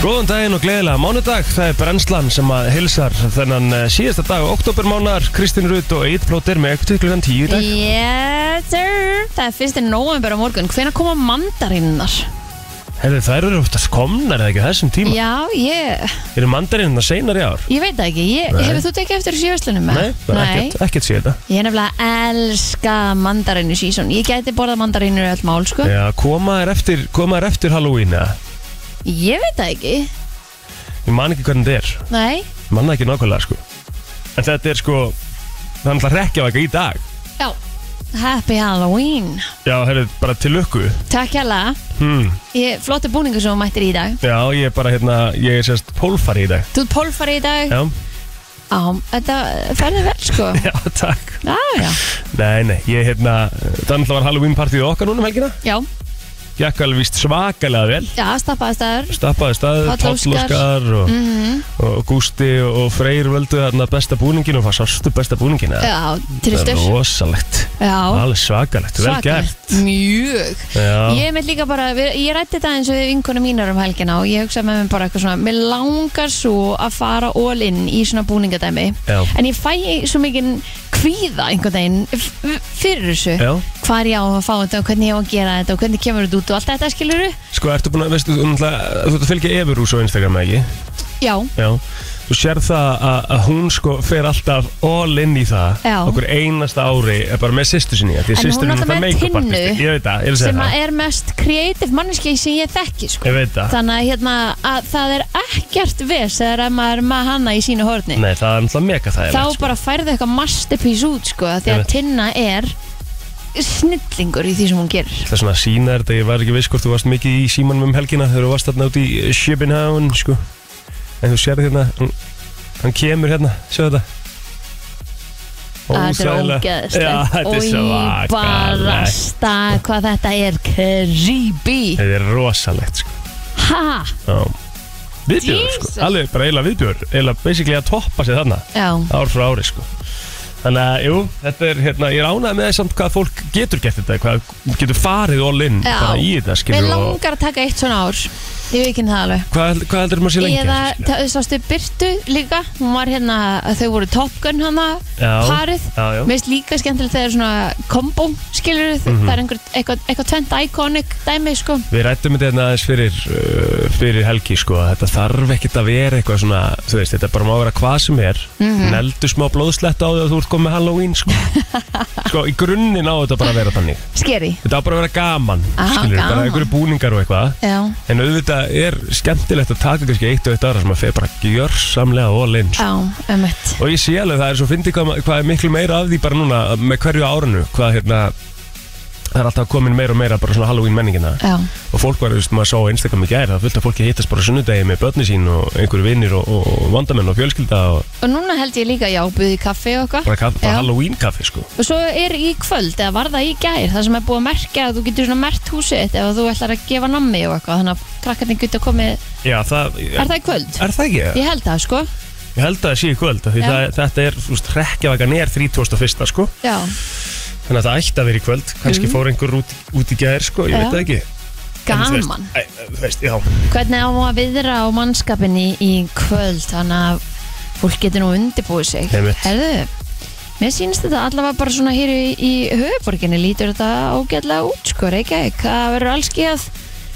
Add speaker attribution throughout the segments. Speaker 1: Góðan daginn og gleðilega mánudag, það er brennslan sem að hilsar þennan eh, síðasta dag oktobermánar, Kristín Rut og Eid Plóter með ektu klukkan 10 í dag
Speaker 2: Yes sir Það er fyrst í november á morgun Hvenær koma mandarinnar?
Speaker 1: Herðu þær eru oftast komnar eða ekki á þessum tíma
Speaker 2: Já, ég,
Speaker 1: Eru mandarinnar seinar í ár?
Speaker 2: ég veit það ekki ég,
Speaker 1: Nei.
Speaker 2: Hefur þú tekið eftir þessu í verslunum?
Speaker 1: Nei, bara ekkert, ekkert sé þetta
Speaker 2: Ég er nefnilega elska mandarinu sísón Ég gæti borðað mandarinu öll mál sko
Speaker 1: Já, koma er eftir, koma er eftir Halloween eða?
Speaker 2: Ég veit það ekki
Speaker 1: Ég man ekki hvernig þetta er,
Speaker 2: Nei,
Speaker 1: ég man það ekki nákvæmlega sko En þetta er sko, það er náttúrulega rekkjavaka í dag
Speaker 2: já Happy Halloween
Speaker 1: Já, herðu, bara til lukku
Speaker 2: Takk hérlega
Speaker 1: hmm.
Speaker 2: Ég- Flottir búningur sem þú mættir í dag
Speaker 1: Já, ég er bara hérna, ég er sérst pólfari í dag
Speaker 2: Þú ert pólfari í dag
Speaker 1: Já,
Speaker 2: Á, þetta ferði vel sko
Speaker 1: já, takk
Speaker 2: Já, já,
Speaker 1: Nei, nei, ég hérna, þannig að var Halloween partíð okkar núna um helgina
Speaker 2: já,
Speaker 1: Gekk alveg víst svakalega vel
Speaker 2: já, stappaði staður
Speaker 1: Stappaði staður,
Speaker 2: Páll Óskar. Mhm.
Speaker 1: Pállóskar og, og Gústi og Freyr völdu þarna besta búningin og það sástu besta búningin eða?
Speaker 2: Já,
Speaker 1: Það
Speaker 2: tristur
Speaker 1: er rosalegt,
Speaker 2: Já,
Speaker 1: alveg svakalegt, vel gert
Speaker 2: svakalegt Mjög
Speaker 1: Já,
Speaker 2: Ég er með líka bara, við- ég rætti þetta eins og við vinkunum mínar um helgina og ég hugsaði með mér bara eitthvað svona Mér langar svo að fara all in í svona búningadæmi
Speaker 1: Já.
Speaker 2: En ég fæ svo mikinn kvíða einhvern veginn f- f- fyrir þessu
Speaker 1: já,
Speaker 2: Hvar ég á að fá þetta og hvernig ég á að gera þetta og hvernig kemur þetta út og allt þetta skilur
Speaker 1: sko ertu búin að, veistu, þú náttúrulega- þú ert að fylgja Everús á Instagram eða ekki?
Speaker 2: Já,
Speaker 1: Já, þú sér það að, að hún sko fer alltaf all in í það
Speaker 2: Já.
Speaker 1: okkur einasta ári, er bara með sýstu sinni því að
Speaker 2: En
Speaker 1: systir er
Speaker 2: hún alltaf
Speaker 1: náttúrulega
Speaker 2: með
Speaker 1: make-up artisti.
Speaker 2: Tinnu
Speaker 1: Ég veit það, ég vil segja
Speaker 2: sem að
Speaker 1: það
Speaker 2: er mest kreatív manneskei sem ég þekki sko
Speaker 1: Ég veit það
Speaker 2: Þannig að, hérna, að það er ekkert ves þegar að maður er með hana í sínu horni
Speaker 1: Nei, það er náttúrulega mega sko. það
Speaker 2: þá bara færðu eitthvað masterpiece út sko, því að
Speaker 1: Einmitt.
Speaker 2: Tinna er snillingur í því sem hún gerir
Speaker 1: Það er svona að sína þetta, ég var ekki veist hvort þú varst mikið í símanum um helgina þegar þú varst þarna út í Sjöbinhavn, sko. En þú sér hérna, hann, hann kemur hérna, sjá þetta.
Speaker 2: að þetta er
Speaker 1: Óþægilega- Já, þetta er
Speaker 2: ógeðslegt og í bara
Speaker 1: svakalegt.
Speaker 2: stað hvað þetta er creepy
Speaker 1: Þetta er rosalegt, sko.
Speaker 2: ha,
Speaker 1: Já. Viðbjörn, sko.
Speaker 2: Jesus.
Speaker 1: Alveg bara eila viðbjörn, eila basically að toppa sig þarna,
Speaker 2: já,
Speaker 1: ár frá ári, sko. Þannig að, jú, þetta er, hérna, ég er ánægð með samt hvað fólk getur gert þetta, hvað getur farið all in,
Speaker 2: Já.
Speaker 1: bara í þetta,
Speaker 2: mér
Speaker 1: skilur, og
Speaker 2: langar að taka eitt svona ár ég veit ekki um það alveg
Speaker 1: hvað, hvað heldur maður sér lengi?
Speaker 2: eða,
Speaker 1: þessu, skilur?
Speaker 2: það- sástu Byrtu líka hún var hérna, þau voru Top Gun hana
Speaker 1: Já.
Speaker 2: parið,
Speaker 1: Já, já.
Speaker 2: mér finnst líka skemmtilegt þegar svona kombo skilur
Speaker 1: Mhm.
Speaker 2: það er einhver, eitthvað, eitthvað tvent iconic dæmi sko
Speaker 1: Við rættum þetta hérna aðeins fyrir, uh, fyrir helgi sko, að þetta þarf ekkert að vera eitthvað svona, þú veist, þetta bara má vera hvað sem er, mm
Speaker 2: Mhm.
Speaker 1: neldu smá blóðsletta á því að þú ert komið með Halloween sko. sko, í grunninn á þetta bara að vera þannig.
Speaker 2: skeri,
Speaker 1: Þetta á bara að vera gaman,
Speaker 2: Aha,
Speaker 1: bara
Speaker 2: gaman.
Speaker 1: einhverju búningar og eitthvað.
Speaker 2: já
Speaker 1: En auðvitað er skemmtilegt að taka kannski eitt og eitt aðra sem að fer bara gjörsamlega all in sko.
Speaker 2: Já, ömmett
Speaker 1: Og ég sé alveg það er svo fyndið hvað, hvað er miklu meira af því bara núna með hverju árinu, hvað hérna, það er alltaf komin meira og meira bara svona Halloween menningina
Speaker 2: Já,
Speaker 1: og fólk var, þú veist, maður sá á Instagram í gæri það fullt af fólki að hittast bara á sunnudegi með börni sín og einhverju vinnir og, og, og vandamenn og fjölskylda og
Speaker 2: og núna held ég líka, já, buðið í kaffi og eitthvað
Speaker 1: bara, kaff, bara
Speaker 2: Já.
Speaker 1: Halloween kaffi sko
Speaker 2: Og svo er í kvöld, eða var það í gær Það sem er búið að merkja að þú getur svona merkt húsið þitt Ef þú ætlar að gefa nammi og eitthvað Þannig að krakkarnir getur komið
Speaker 1: Já, það,
Speaker 2: Er það í kvöld?
Speaker 1: er það ekki?
Speaker 2: Ég held það, sko
Speaker 1: Ég held að það sé í kvöld af því
Speaker 2: Já.
Speaker 1: það, þetta er, þú veist, rekkjavaka nér 31. sko
Speaker 2: Já,
Speaker 1: þannig að það ætti að vera í kvöld kannski fór einhver út, út í gæri sko, ég
Speaker 2: Mhm.
Speaker 1: veit
Speaker 2: Já.
Speaker 1: það ekki En þú veist-
Speaker 2: gaman
Speaker 1: Æ, Þú veist, já
Speaker 2: Hvernig á að viðra á mannskapin í, í kvöld Þannig að fólk getur nú undirbúið sig
Speaker 1: Einmitt.
Speaker 2: Herðu, mér sýnst þetta allavega bara svona hér í, í höfuborginni Lítur þetta ágætlega út, sko, Reykjavík Það verður allski að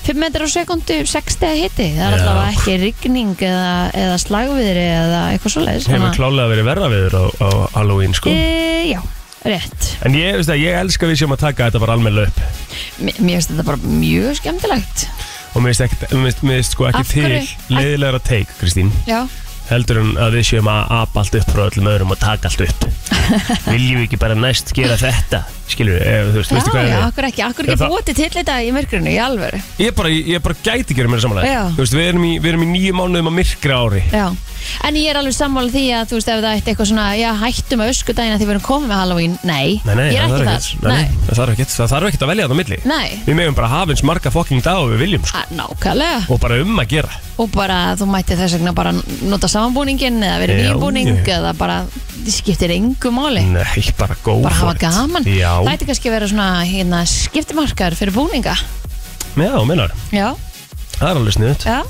Speaker 2: 5 metrar á sekundu, 6 stegi hitti Það er
Speaker 1: Já.
Speaker 2: allavega ekki rigning eða, eða slagviðri eða eitthvað svoleiðis
Speaker 1: Hefur
Speaker 2: þannig að-
Speaker 1: klálega verið verra viður á, á Halloween sko
Speaker 2: e, Já, rétt
Speaker 1: En ég, þú veist, að ég elska við sem að taka þetta bara almenn löp
Speaker 2: Mér mér finnst þetta bara mjög skemmtilegt
Speaker 1: og mér finnst ekkert- mér finnst- mér finnst sko ekki
Speaker 2: Af hverju?
Speaker 1: til leiðilegra teik, Kristín
Speaker 2: Já,
Speaker 1: heldur en að við séum að apa allt upp frá öllum öðrum og taka allt upp viljum við ekki bara næst gera þetta skilur við, Eh, þú veist,
Speaker 2: já,
Speaker 1: veistu hvað
Speaker 2: já,
Speaker 1: ég
Speaker 2: akkur ekki, akkur
Speaker 1: Já,
Speaker 2: ekki
Speaker 1: það-
Speaker 2: búið til þetta í myrkrinu, í alvöru
Speaker 1: er ég bara, ég bara gæti gera mér samanlega
Speaker 2: Já.
Speaker 1: þú veist, við erum í, við erum í nýju mánuðum að myrkra ári
Speaker 2: Já, en ég er alveg sammála því að þú veist ef það ætti eitthvað svona, já hættum að ösku dagina því við erum komið með Halloween, nei,
Speaker 1: nei, nei,
Speaker 2: ég
Speaker 1: það
Speaker 2: er
Speaker 1: þarf
Speaker 2: ekki þar,
Speaker 1: ekkert- nei,
Speaker 2: nei,
Speaker 1: það þarf ekkert, það þarf ekkert að velja þetta á milli
Speaker 2: nei,
Speaker 1: við meðum bara hafa eins marga fokking dag og við viljum sko.
Speaker 2: Að, nákvæmlega,
Speaker 1: og bara um að gera
Speaker 2: og bara þú mætti þess vegna bara nota samanbúningin eða verið
Speaker 1: Já,
Speaker 2: nýbúning
Speaker 1: ég-
Speaker 2: eða bara, þið skiptir engu máli,
Speaker 1: nei, bara góð
Speaker 2: bara hafa gaman,
Speaker 1: já,
Speaker 2: það ætti kannski að vera svona hérna skiptimarkar fyrir búninga,
Speaker 1: já, minnar,
Speaker 2: já,
Speaker 1: það er alveg sniðut
Speaker 2: já,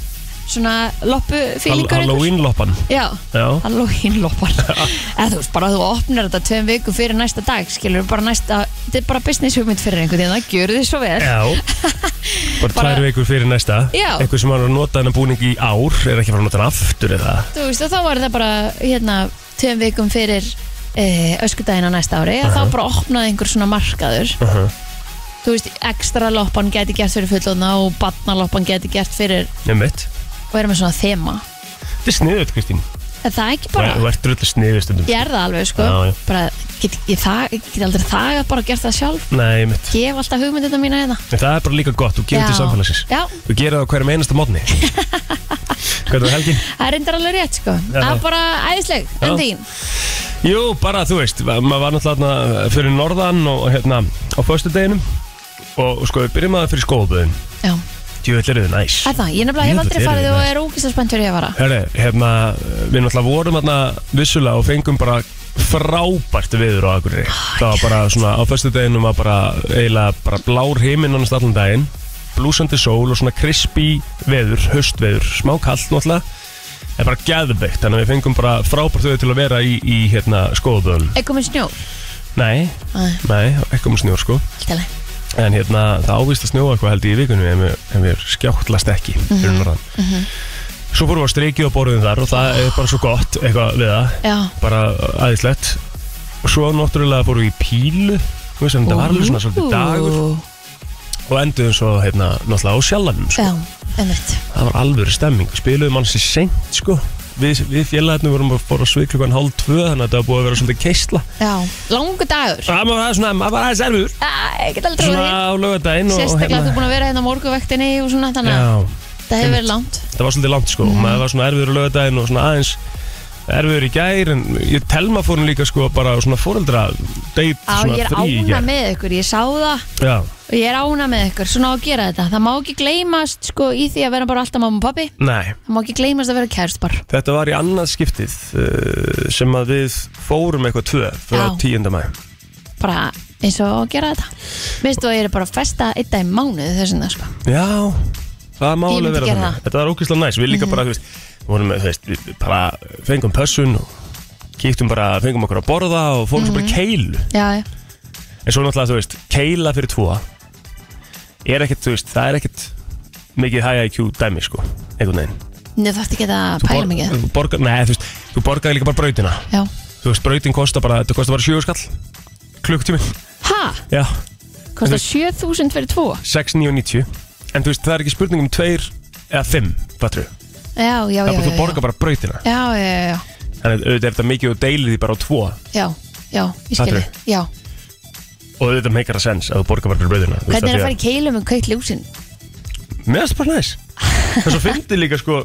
Speaker 2: svona loppu
Speaker 1: Hall-
Speaker 2: fílingur
Speaker 1: Halloween-loppan
Speaker 2: Já,
Speaker 1: Já,
Speaker 2: Halloween loppar Eða þú veist bara að þú opnar þetta tveim viku fyrir næsta dag skilur bara næsta, þetta er bara business hugmynd fyrir einhvern veginn, það gjör þið svo vel
Speaker 1: já Bara
Speaker 2: Bara-
Speaker 1: tvær vikur fyrir næsta
Speaker 2: Já.
Speaker 1: Einhver sem var að nota hennar búning í ár Er ekki að fara að nota hann aftur eða
Speaker 2: Þú veist og þá var það bara hérna tveim vikum fyrir e, öskudagina næsta ári uh þá bara opnaði einhver svona markaður
Speaker 1: Mhm.
Speaker 2: Þú veist, ekstra loppan geti gert fyrir fullona og barnaloppan geti gert fyrir
Speaker 1: Nefnveitt
Speaker 2: og erum með svona þema
Speaker 1: Þetta er sniðut, Kristín
Speaker 2: Er það ekki
Speaker 1: Þú
Speaker 2: bara?
Speaker 1: þú ert rullu sniðu stundum
Speaker 2: Ég er það alveg sko
Speaker 1: Já, já.
Speaker 2: bara, get, ég, það, ég get aldrei það bara gert það sjálf
Speaker 1: Nei, mitt
Speaker 2: gef alltaf hugmyndina mína hérna
Speaker 1: En það er bara líka gott, þú gefur
Speaker 2: Já.
Speaker 1: til samfélagsins
Speaker 2: Já,
Speaker 1: Þú gerir það á hverjum einasta mótni Hvað er það helgin?
Speaker 2: það er reyndar alveg rétt sko
Speaker 1: Já.
Speaker 2: Það er bara æðisleg,
Speaker 1: Já.
Speaker 2: en þín
Speaker 1: Jú, bara þú veist, ma- maður var náttúrulega þarna fyrir norðan og hérna á föstudeginum og og sko, við byrjum að það fyrir skóðböðin
Speaker 2: Já,
Speaker 1: Djöfull eru þið næs
Speaker 2: er það, ég nefnilega hef
Speaker 1: Jú,
Speaker 2: aldrei
Speaker 1: þetta er
Speaker 2: farið og
Speaker 1: næs.
Speaker 2: er ógislega spennt fyrir ég að vara
Speaker 1: Herri, hérna, við náttúrulega vorum hérna vissulega og fengum bara frábært viður á Akureyri Það var bara svona, á föstudeginum var bara eiginlega bara blár heiminn annars allan daginn blúsandi sól og svona crispy veður, höstveður, smá kallt náttúrulega en bara geðveikt, þannig að við fengum bara frábært viður til að vera í, í hérna skóðböðun
Speaker 2: Er komin snjó?
Speaker 1: Nei,
Speaker 2: Æ,
Speaker 1: nei, ekki um snjór sko
Speaker 2: allt í lagi.
Speaker 1: En hérna, það ávist að snjóa eitthvað held ég í vikunni en við, en við skjáttlast ekki
Speaker 2: Mhm,
Speaker 1: fyrir norðan. Svo fórum við að streikið á borðin þar og það er bara svo gott eitthvað við það,
Speaker 2: Já,
Speaker 1: bara aðeinslegt. Og svo náttúrulega fórum við í pílu, þú veist, en þetta var alveg svona svolítið dagur
Speaker 2: Ú,
Speaker 1: og enduðum svo hérna, náttúrulega á sjallanum, sko.
Speaker 2: Já, einmitt
Speaker 1: Það var alvöru stemming, spiluðum hans í seint, sko. Við, við félagarnir vorum að fóra svið klukkan hálf tvö, þannig að þetta var búið að vera svolítið keisla.
Speaker 2: Já, langu dagur
Speaker 1: Það var aðeins svona, maður var aðeins erfur,
Speaker 2: Æ, ég get aldrei
Speaker 1: svona hérna.
Speaker 2: verið
Speaker 1: á lögadaginn og
Speaker 2: Sérstaklega þú búin að vera hérna á morguvektinni og svona þannig að
Speaker 1: Já,
Speaker 2: það hefur verið langt
Speaker 1: það var svolítið langt sko
Speaker 2: Mhm.
Speaker 1: og maður var svona erfiður á lögadaginn og svona aðeins erfiður í gær en ég telma fórum líka sko bara á svona fóreldra deit
Speaker 2: Á,
Speaker 1: svona
Speaker 2: ég er
Speaker 1: frí í
Speaker 2: ána
Speaker 1: gær
Speaker 2: með ykkur, ég sá það
Speaker 1: Já,
Speaker 2: og ég er ána með ykkur, svona á að gera þetta það má ekki gleymast sko í því að vera bara alltaf mamma og pappi,
Speaker 1: nei,
Speaker 2: það má ekki gleymast að vera kærstbar
Speaker 1: þetta var í annað skiptið uh, sem að við fórum eitthvað tvö frá
Speaker 2: Já.
Speaker 1: 10. mæ
Speaker 2: bara eins og á að gera þetta minnstu að ég er bara að festa einn dag í mánuð þess vegna sko,
Speaker 1: Já, það má
Speaker 2: Ég myndi
Speaker 1: alveg vera
Speaker 2: gera
Speaker 1: þannig
Speaker 2: það.
Speaker 1: Þetta var ógeðslega næst, við líka bara, þú veist vorum, með, þú veist, við við bara fengum pössun og kíktum bara, fengum okkur að borða og fórum svo bara
Speaker 2: Mhm.
Speaker 1: í keilu
Speaker 2: já, já,
Speaker 1: En svo náttúrulega, þú veist, keila fyrir tvo er ekkert, þú veist, það er ekkert mikið high IQ dæmi, sko einhvern veginn.
Speaker 2: nú þarfst ekki að pæla mikið
Speaker 1: þú borgar, nei, þú veist, þú borgaði líka bara brautina.
Speaker 2: já,
Speaker 1: Þú veist, brautin kostar bara, þetta kostar bara 7 skall klukktími,
Speaker 2: ha,
Speaker 1: já,
Speaker 2: kostar 7000 fyrir tvo
Speaker 1: 6,990 en þú veist, það er ekki spurning um 2 eða 5, fattur við,
Speaker 2: já, já,
Speaker 1: það er
Speaker 2: já, já,
Speaker 1: bara þú
Speaker 2: já.
Speaker 1: borgar bara brautina
Speaker 2: já, já, já, já,
Speaker 1: þannig að auðvitað er þetta mikið og deilir því bara á 2 og
Speaker 2: já, já, ég skilji
Speaker 1: Fattarðu?
Speaker 2: já,
Speaker 1: auðvitað meikar það sens að þú borgar bara fyrir brautina þú veist, af því
Speaker 2: hvernig er að fara í keilum um með kveikt ljósin
Speaker 1: Mér finnst bara næs Það er svo fyndi líka sko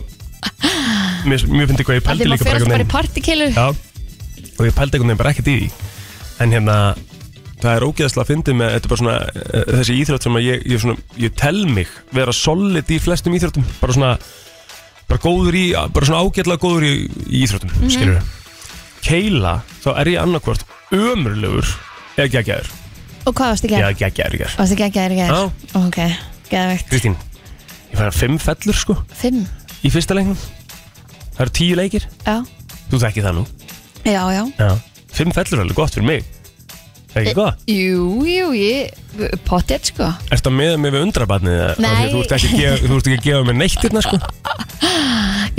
Speaker 1: Mér, mér finnst hvað ég
Speaker 2: að
Speaker 1: pældi
Speaker 2: því
Speaker 1: líka bara
Speaker 2: maður fyrir bara í
Speaker 1: einhvern
Speaker 2: partikeilu
Speaker 1: veginn Já Og ég pældi einhvern veginn bara ekkert í því En hérna Það er ógeðslega að fyndi með Þetta er bara svona eh, Þessi íþrótt sem að ég, ég, svona, ég tel mig Vera solid í flestum íþróttum Bara svona Bara góður í Bara svona ágætlega góður í, í íþróttum mm -hmm. Skilur Keila Þá er ég annarkvort Ömurlegur Eða geggjaður
Speaker 2: og hvað varst ekki
Speaker 1: Eða
Speaker 2: að
Speaker 1: geggjaður í gær.
Speaker 2: varst ekki að gera,
Speaker 1: Já
Speaker 2: gera ok, geðvegt,
Speaker 1: Kristín Ég fæði fimm fellur sko
Speaker 2: fimm
Speaker 1: í fyrsta leiknum Það eru tíu leikir,
Speaker 2: já,
Speaker 1: þú þekki það nú
Speaker 2: já, já
Speaker 1: Já Fimm fellur er alveg gott fyrir mig Það er ekki gott
Speaker 2: Jú, jú, ég, pottet sko
Speaker 1: Ertu að meða mig við undrabarnið eða?
Speaker 2: Nei.
Speaker 1: Af því að Þú ert ekki að gefa, þú ert ekki að gefa mér neitt hérna sko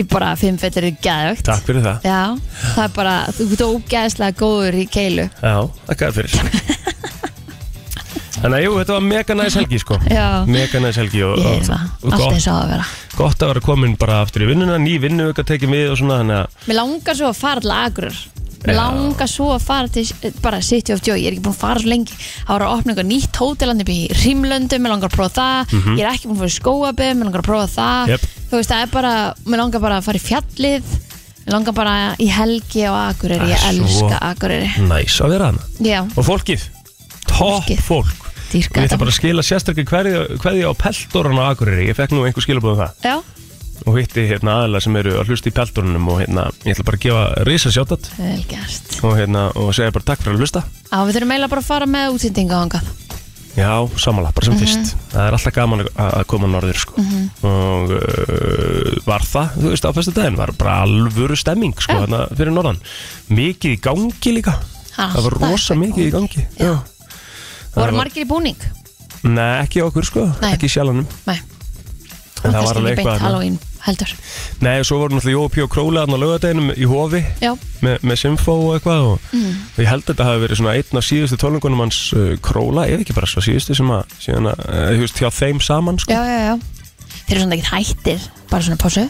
Speaker 2: Ég bara, fimm fettir er gæðvögt
Speaker 1: Takk fyrir það
Speaker 2: Já, það er bara, þú ert ógæðslega góður í keilu
Speaker 1: Já, þakka þér fyrir Þannig að jú, þetta var mega næs helgi sko
Speaker 2: Já.
Speaker 1: Mega næs helgi og,
Speaker 2: Ég
Speaker 1: og,
Speaker 2: er það,
Speaker 1: og
Speaker 2: allt
Speaker 1: gott,
Speaker 2: eins og á að vera
Speaker 1: gott að vera komin bara aftur í vinnuna Ný vinnu ekki að tekið mið og svona Þannig að
Speaker 2: Mér langar svo að fara til Akurur Mér
Speaker 1: Já.
Speaker 2: langar svo að fara til eh, bara City of Joy, ég er ekki búin að fara svo lengi Það var að opna einhver nýtt hótelandi upp í Rímlöndum Mér langar að prófa það, ég er ekki búin að fara í skóaböð Mér langar að prófa það
Speaker 1: Mhm. Jep.
Speaker 2: Þú veist, það er bara, mér langar bara að fara í fjallið Mér langar bara í helgi á Akurur Ég
Speaker 1: Ah, svo.
Speaker 2: elska Akurur
Speaker 1: næs að vera hana
Speaker 2: Já,
Speaker 1: Og fólkið, topp
Speaker 2: Fólkið.
Speaker 1: fólk Ég
Speaker 2: dýrka
Speaker 1: ætla
Speaker 2: þetta.
Speaker 1: bara að skila sérstakir hverði á peltorun á Akureyri Ég fekk nú einhver skilabóð um það
Speaker 2: Já,
Speaker 1: og hitti hérna aðalega sem eru að hlusta í peltorunum og hérna, ég ætla bara að gefa risa sjátat
Speaker 2: vel gert
Speaker 1: og hérna, og segja bara takk fyrir að hlusta
Speaker 2: Já, við þurfum eiginlega bara að fara með útsendinga á hangað
Speaker 1: Já, samanlega, bara sem fyrst Það er alltaf gaman að- að koma norður sko. og uh, var það þú veist á fyrsta daginn, var bara alvöru stemming sko,
Speaker 2: Já.
Speaker 1: þarna fyrir norðan mikið í gangi líka
Speaker 2: Alltaf
Speaker 1: það var rosa
Speaker 2: eitthvað
Speaker 1: mikið í gangi Já. Það
Speaker 2: Voru
Speaker 1: var-
Speaker 2: margir í búning?
Speaker 1: Nei, ekki okkur sko,
Speaker 2: Nei.
Speaker 1: ekki sjalanum
Speaker 2: Nei,
Speaker 1: En það
Speaker 2: það
Speaker 1: var alveg
Speaker 2: var ekki beint
Speaker 1: eitthvað þarna.
Speaker 2: Halloween heldur
Speaker 1: Nei, og svo voru náttúrulega Jópi og Króla þarna á laugardeginum í hofi
Speaker 2: Já,
Speaker 1: með, með Simfó og eitthvað og
Speaker 2: Mm.
Speaker 1: ég held að þetta hafi verið svona einn af síðustu tónlingunum hans uh, Króla, ef ekki bara svo síðustu sem að, síðan að, uh, þú veist, hjá þeim saman sko.
Speaker 2: já, já, já Þeir eru svona ekkert hættir, bara svona pásu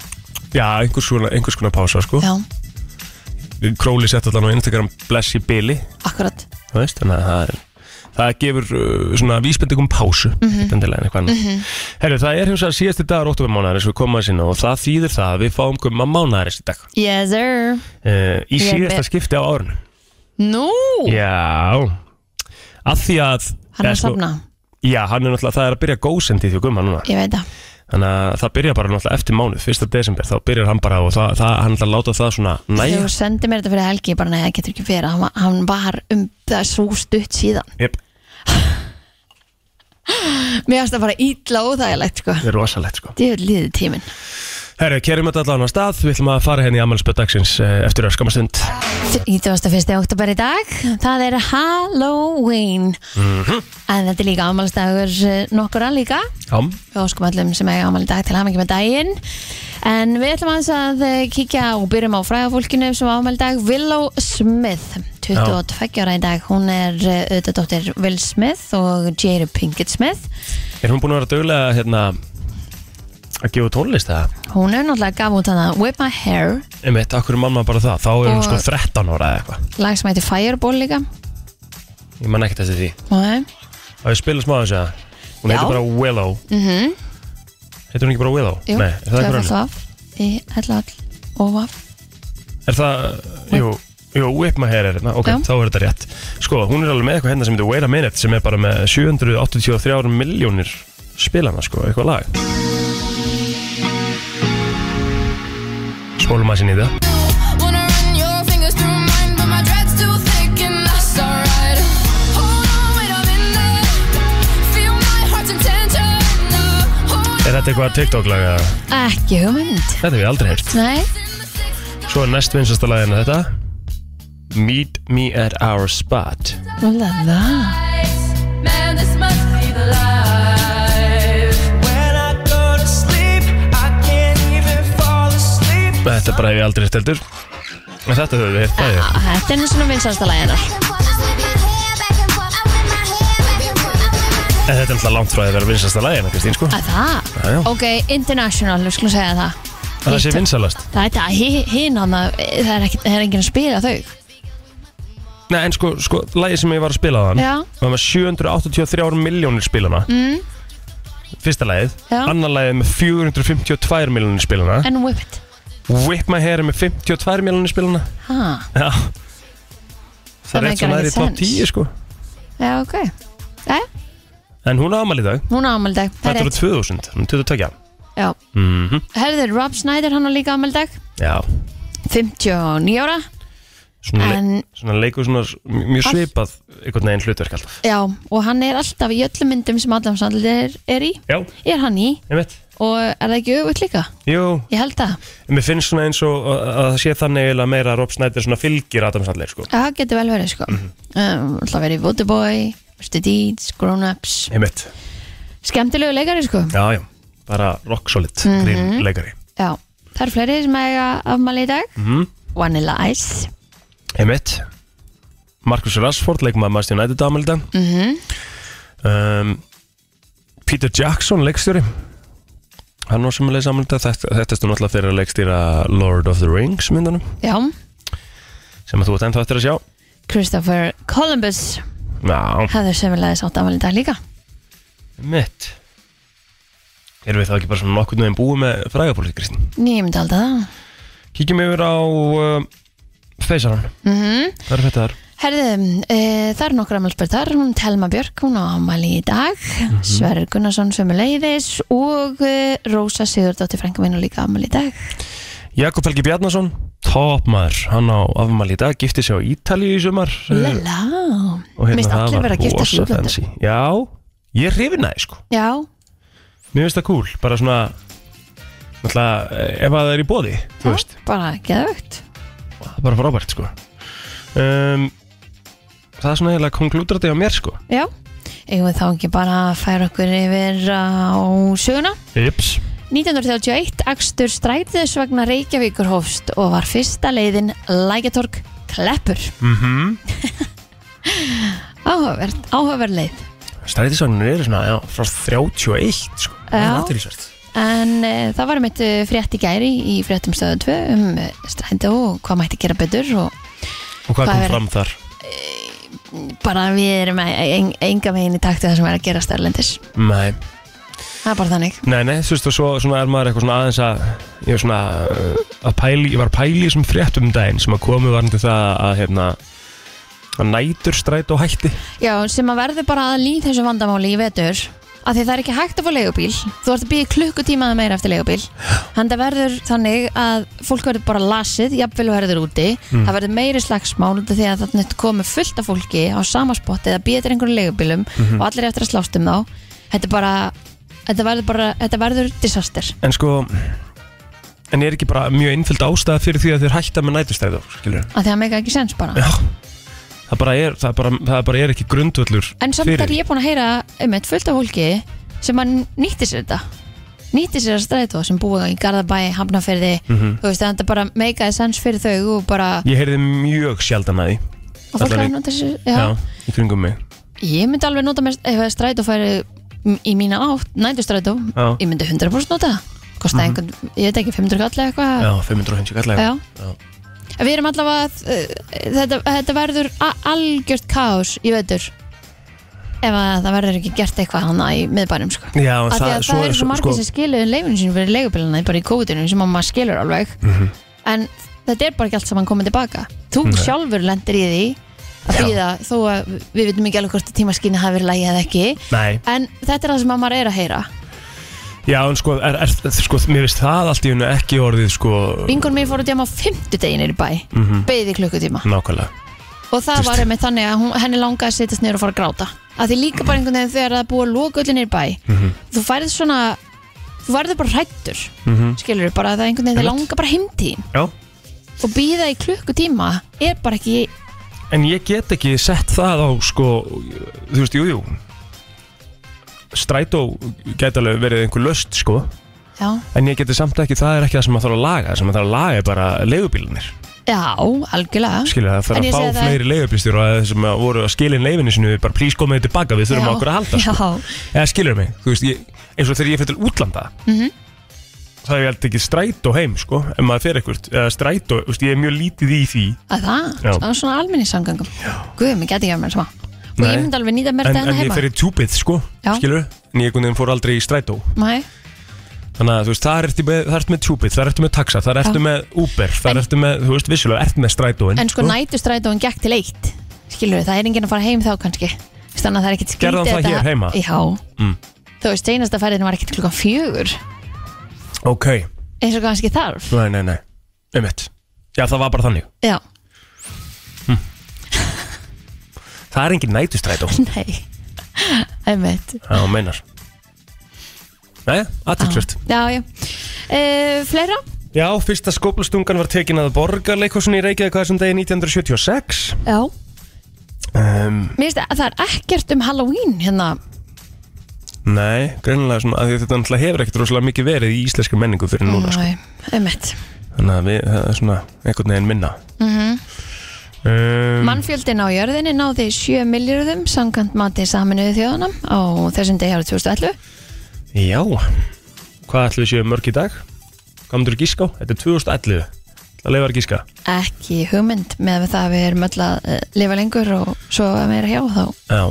Speaker 1: Já, einhvers konar, einhvers konar pása sko.
Speaker 2: Já,
Speaker 1: Króli sett allan á Instagram Bless í Billy
Speaker 2: akkurat
Speaker 1: þú veist, þannig að það er það gefur uh, svona vísbendingum pásu mm
Speaker 2: Mhm.
Speaker 1: -hmm. eitthvað annað. Herru, það er hins vegar síðasti dagar óttúber mánuðarins við komum að sinna og það þýðir það að við fáum gumma mánuðarins í dag
Speaker 2: Yes, sir
Speaker 1: uh, í
Speaker 2: Ég er
Speaker 1: síðasta
Speaker 2: með-
Speaker 1: skipti á árinu
Speaker 2: Nú,
Speaker 1: Já að því að
Speaker 2: hann er
Speaker 1: eða
Speaker 2: að
Speaker 1: sko-
Speaker 2: safna
Speaker 1: Já, hann er náttúrulega, það er að byrja góðsendi því gumma núna
Speaker 2: Ég veit það
Speaker 1: Þannig að það byrja bara náttúrulega eftir mánuð, 1. desember þá byrjar hann bara og það, það, hann ætlar að láta það svona næja
Speaker 2: Þegar þú sendir mér þetta fyrir helgi, ég bara nei, það getur ekki verið Hann var, hann var um það svo stutt síðan
Speaker 1: yep.
Speaker 2: Mér finnst það bara ítla óþægilegt, sko
Speaker 1: Það er rosalegt sko
Speaker 2: Þið er liðið tíminn
Speaker 1: Herru, kerum þetta allan á stað, við ætlum að fara henni í ammælspöð dagsins eh, eftir að skamastund
Speaker 2: 31. oktober í dag Það er Halloween
Speaker 1: Mhm.
Speaker 2: En þetta er líka afmælstagur nokkura líka
Speaker 1: Já,
Speaker 2: Við óskum öllum sem eiga afmæli í dag til hamingi með daginn En við ætlum aðeins að eh, kíkja og byrjum á fræðafólkinu sem á afmæli í dag Willow Smith, 22 ára í dag Hún er eh, auðvitað dóttir Will Smith og Jada Pinkett Smith
Speaker 1: er hún búin að vera dögulega hérna að gefa út tónlist eða?
Speaker 2: Hún er náttúrulega gaf út hana Whip My Hair
Speaker 1: Einmitt, akkur er mamma bara það, þá er hún
Speaker 2: Og-
Speaker 1: sko 13 ára eða eitthvað
Speaker 2: Lag sem heitir Fireball líka
Speaker 1: Ég man ekkert eftir því
Speaker 2: Nei.
Speaker 1: Það er spila smá þess að Hún
Speaker 2: Já.
Speaker 1: heitir bara Willow mm Heitir hún ekki bara Willow?
Speaker 2: Mhm. Jú,
Speaker 1: Nei, er það ekki
Speaker 2: tvöfalt
Speaker 1: raun?
Speaker 2: af Í ætla all og af
Speaker 1: Er það, jú, jú, Whip My Hair er hérna, ok,
Speaker 2: Já.
Speaker 1: þá er þetta rétt Sko, hún er alveg með eitthvað hérna sem heitir Wait a Minute sem er bara með 783 miljónir spilana, sko, eitthvað lag Spólum að sinni í það
Speaker 3: Wanna run your fingers through mine, but my dread's too thick and that's alright. Hold on, wait a minute. Feel my heart's intention. Hold
Speaker 1: Er þetta eitthvað TikTok-lag eða?
Speaker 2: Ekki hugmynd
Speaker 1: Þetta hef ég aldrei heyrt.
Speaker 2: Nei,
Speaker 1: Svo er næst vinsasta lagin að þetta Meet me at our spot
Speaker 2: hún er það
Speaker 3: Man, this must be the life.
Speaker 4: When I go to sleep, I can't even fall asleep.
Speaker 1: Þetta bara hef ég aldrei heyrt heldur En þetta höfum við heyrt bæði
Speaker 2: Þetta er nú svona vinsalsta laginar
Speaker 1: En þetta er alltaf langt frá því að vera vinsasta lagin, Kristín, sko
Speaker 2: Að það?
Speaker 1: Já, já.
Speaker 2: Ok, international, við skulum segja það
Speaker 1: Það sé vinsalast
Speaker 2: Það er þetta, hinn hann það er, ekki, það er enginn að spila þau
Speaker 1: Nei, en sko, sko, lagið sem ég var að spila á þann
Speaker 2: Já.
Speaker 1: var með 783 miljónir spilana mm. Fyrsta lagið
Speaker 2: Já.
Speaker 1: Annar lagið með 452 miljónir spilana
Speaker 2: En whip it
Speaker 1: Whip My Hair er með 52 miljónir spilana
Speaker 2: ha.
Speaker 1: Já Það
Speaker 2: Það
Speaker 1: er
Speaker 2: make
Speaker 1: rétt svona er
Speaker 2: alveg
Speaker 1: í top
Speaker 2: sense.
Speaker 1: 10 sko
Speaker 2: Já, ok Æ,
Speaker 1: En hún á amal í dag
Speaker 2: Hún á afmældag, það
Speaker 1: Þetta
Speaker 2: er
Speaker 1: eru
Speaker 2: rétt
Speaker 1: 2000, hún er 22
Speaker 2: Já.
Speaker 1: mm
Speaker 2: Herður, Rob Snyder, hann á líka afmældag
Speaker 1: Já
Speaker 2: 59 ára
Speaker 1: Svona, en...
Speaker 2: En-
Speaker 1: svona leikur svona s- mjög
Speaker 2: All-
Speaker 1: svipað einhvern veginn hlutverk alltaf
Speaker 2: Já, og hann er alltaf í öllum myndum sem allan sannlega er, er í
Speaker 1: Já,
Speaker 2: Er hann í
Speaker 1: einmitt
Speaker 2: og er það ekki öfugt líka?
Speaker 1: Jú,
Speaker 2: Ég held það
Speaker 1: mér finnst svona eins og að að það sé þannig eiginlega meira að Rob Snyder svona fylgir Adam Sandler sko
Speaker 2: Já, Það getur vel verið sko
Speaker 1: Mhm.
Speaker 2: um, Alltaf verið í Waterboy, Mr. Deeds, Grown Ups
Speaker 1: Einmitt
Speaker 2: Skemmtilegu leikari sko
Speaker 1: Já, já, bara rock solid grín leikari
Speaker 2: Já, það eru fleiri sem eiga afmæli í dag
Speaker 1: Mhm.
Speaker 2: Vanilla Ice
Speaker 1: Einmitt Marcus Rashford, leikmaður Master United ámelda mm -hmm. um, Peter Jackson, leikstjóri Hann var sem að leysa ámelda Þetta þetta er stund alltaf fyrir að leikstýra Lord of the Rings myndunum
Speaker 2: Já,
Speaker 1: sem að þú ert ennþá eftir að sjá
Speaker 2: Christopher Columbus
Speaker 1: Já,
Speaker 2: hefur sömulegðis átt afmæli í dag líka
Speaker 1: einmitt Erum við þá ekki bara svona nokkurnu en búið með frægapólík, Kristín?
Speaker 2: Nýjum dalda það
Speaker 1: Kíkjum yfir á uh, feysaran mm -hmm. Það er þetta þar
Speaker 2: Herðu, e, það er nokkra afmælspörðar Hún Telma Björk, hún á afmæli í dag mm -hmm. Sverrir Gunnarsson sömulegðis og e, Rósa Sigurdóttir frænka minn á líka afmæli í dag
Speaker 1: Jakob Helgi Bjarnason, topmaður hann á afmæli í dag, gifti sig á Ítalíu í sumar
Speaker 2: Lala,
Speaker 1: Og
Speaker 2: minnst
Speaker 1: það
Speaker 2: allir
Speaker 1: var
Speaker 2: verið að gifta sig
Speaker 1: rosa
Speaker 2: útlöndum
Speaker 1: fancy. Já, Ég er hrifin að, sko
Speaker 2: Já,
Speaker 1: Mér finnst það cool, bara svona Náttúrulega, eh, ef að það er í bóði Þú veist,
Speaker 2: bara geðvögt
Speaker 1: það er bara frábært, sko um, Það er svona eiginlega konklúdrati á mér, sko
Speaker 2: Já, eigum við þá ekki bara að færa okkur yfir á söguna
Speaker 1: Yps
Speaker 2: 1931 akstur strætis vegna Reykjavíkur hófst og var fyrsta leiðin Lækjatorg Kleppur
Speaker 1: mm
Speaker 2: Áhugavert, áhugaverð leið
Speaker 1: Strætisvagnir eru svona, já, frá 31, sko Það er
Speaker 2: Já.
Speaker 1: athyglisvert.
Speaker 2: En e, það var mitt frétt í gæri í fréttum stöðu 2 um eh, strætó og hvað mætti gera betur og
Speaker 1: Og hvað
Speaker 2: Hvað
Speaker 1: kom
Speaker 2: er-
Speaker 1: fram þar?
Speaker 2: bara við erum en, enga megin í takti það sem er að gera stærlendis
Speaker 1: Nei,
Speaker 2: Það er bara þannig
Speaker 1: nei, nei, þú veist, og svo svona er maður eitthvað svona aðeins að Ég var svona uh, að pæli, ég var að pæli í þessum fréttum um daginn sem að komu varandi það að, hérna að nætur stræt og hætti
Speaker 2: Já, sem að verður bara að líð þessu vandamáli í vetur af því það er ekki hægt að fá leigubíl þú ert að býja klukkutíma eða meira eftir leigubíl þannig að verður þannig að fólk verður bara lasið, jafnvel og verður úti það verður meiri slagsmál út af því að þannig komið fullt af fólki á sama spotti eða býja til einhverjum leigubílum og allir eru eftir að slást um þá þetta, er bara, þetta verður bara þetta verður disaster
Speaker 1: En sko En er ekki bara mjög einföld ástæða fyrir því að þeir hætta með nætustræðu Skilur
Speaker 2: af því að það meika ekki sens bara
Speaker 1: Já Það bara er, það bara, það bara er ekki grundvöllur
Speaker 2: En samt
Speaker 1: fyrir
Speaker 2: er ég búin að heyra um eitt fullt af fólki sem að nýtti sér þetta nýtti sér að strætó sem búið í Garðabæ, Hafnarferði þú veist, þannig að þetta bara meikaði sens fyrir þau og bara,
Speaker 1: Ég heyrði mjög sjaldan að því
Speaker 2: og fólk
Speaker 1: allavega
Speaker 2: er að
Speaker 1: í-
Speaker 2: nota sér já.
Speaker 1: í kringum mig
Speaker 2: ég myndi alveg nota mér eh, ef að strætó færi m- í mína átt, næntu strætó
Speaker 1: Já.
Speaker 2: ég myndi 100% nota það. kostaði einhvern, ég veit ekki, 500 kall eða eitthvað
Speaker 1: Já, 550 kallega
Speaker 2: Já. En við erum allavega uh, þetta, þetta verður a- algjört kaos í veitur ef að það verður ekki gert eitthvað hana í miðbænum sko
Speaker 1: Já, en
Speaker 2: Af því að það eru svo margir
Speaker 1: sko,
Speaker 2: sem skilur leifinu sín fyrir leigubílana bara í COVID-19 sem að maður skilur alveg
Speaker 1: Mhm.
Speaker 2: en þetta er bara ekki allt saman komið tilbaka þú sjálfur lendir í því að
Speaker 1: Já.
Speaker 2: býða þó að við vitum ekki alveg hvort tímaskynni hafi verið lægi eða ekki
Speaker 1: Nei,
Speaker 2: en þetta er það sem að maður er að heyra
Speaker 1: já, en sko, er, er, sko Mér veist það allt í hennu ekki orðið sko
Speaker 2: vingun mér fór út hjá á fimmtudeginir í bæ
Speaker 1: mm
Speaker 2: beðið í klukkutíma
Speaker 1: Nákvæmlega
Speaker 2: og það
Speaker 1: Þú veist.
Speaker 2: var einmitt þannig að hún, henni langaði að sittast niður og fara að gráta að því líka bara einhvern veginn þegar það er búið að loka öllinir í bæ
Speaker 1: Mhm.
Speaker 2: þú færið svona þú verður bara hrættur
Speaker 1: mm
Speaker 2: skilur bara að það er einhvern veginn þeir
Speaker 1: Einmitt.
Speaker 2: langa bara heimtíðin
Speaker 1: Já
Speaker 2: og býða í klukkutíma er bara ekki
Speaker 1: En ég get ekki sett það á sko, þú veist, jú, jú Strætó geta alveg verið einhver löst sko
Speaker 2: já,
Speaker 1: En ég geti samt ekki, það er ekki það sem maður þarf að laga Það sem maður þarf að laga er bara leigubílanir
Speaker 2: já algjörlega
Speaker 1: Skilja það, þarf
Speaker 2: En
Speaker 1: að
Speaker 2: ég segi
Speaker 1: fá
Speaker 2: það-
Speaker 1: fleiri leigubílstjór Og þeir sem að voru að skilja inn leifinu sinu Bara please komið tilbaka, við þurfum
Speaker 2: Já.
Speaker 1: á okkur að halda sko.
Speaker 2: já,
Speaker 1: Eða skilur mig, þú veist, ég, eins og þegar ég fyrir til útlanda
Speaker 2: Mhm.
Speaker 1: Það er ég held ekki strætó heim sko Ef maður fer ekkert, eða strætó, þú veist, ég er mjög lítið í því
Speaker 2: að það,
Speaker 1: Já.
Speaker 2: það er svona almenningssangangum guðum, ég geti ekki að mér sama og
Speaker 1: Nei.
Speaker 2: ég myndi alveg nýta mér
Speaker 1: En,
Speaker 2: þetta hérna
Speaker 1: en ég
Speaker 2: heima
Speaker 1: fer í tjúpið sko,
Speaker 2: Já.
Speaker 1: skilur En ég einhvern veginn fór aldrei í strætó
Speaker 2: Nei.
Speaker 1: Þannig að þú veist, það ertu með, það ertu með tjúpið, það ertu með taxa, það ertu
Speaker 2: Já.
Speaker 1: með Uber, það
Speaker 2: En-
Speaker 1: ertu með, þú veist, vissulega, ertu með strætóin.
Speaker 2: en sko nætustrætóin gekk til eitt skilur það er enginn að fara heim þá kannski Veist, þannig að það er ekkit
Speaker 1: Gerði hann
Speaker 2: skrítið
Speaker 1: það
Speaker 2: þetta-
Speaker 1: hér heima?
Speaker 2: já,
Speaker 1: Mm.
Speaker 2: þú veist, seinasta ferðin var ekkit klukkan fjögur
Speaker 1: Ok,
Speaker 2: eins og kannski þarf
Speaker 1: nei, nei, nei, um Já, það var bara þannig.
Speaker 2: já,
Speaker 1: Það er engin nætustrætó,
Speaker 2: nei einmitt
Speaker 1: það meinar. Nei, aðtilsvöld.
Speaker 2: já, já uh, fleira?
Speaker 1: Já, fyrsta skóplastungan var tekin að borgarleikhúsinni í Reykjavík hvað sem degi 1976.
Speaker 2: já
Speaker 1: Um,
Speaker 2: Mér finnst að það er ekkert um Halloween hérna
Speaker 1: nei, greinilega svona, af því að þetta náttúrulega hefur ekkert rosalega mikið verið í íslenski menningu fyrir núna. Sko. Hmm.
Speaker 2: Nei, einmitt
Speaker 1: Þannig að við, það er svona einhvern veginn minna.
Speaker 2: mm
Speaker 1: Um,
Speaker 2: Mannfjöldin á jörðinni náði 7 miljardum samkant mati saminuðu þjóðana á þessum degi árið 2011
Speaker 1: Já, hvað ætlum við séu mörg í dag? Hvað myndur þú gíska á? Þetta er 2011 Það leifar að gíska
Speaker 2: ekki hugmynd með það að við erum öll að eh, lifa lengur og svo að meira hjá þá
Speaker 1: Já,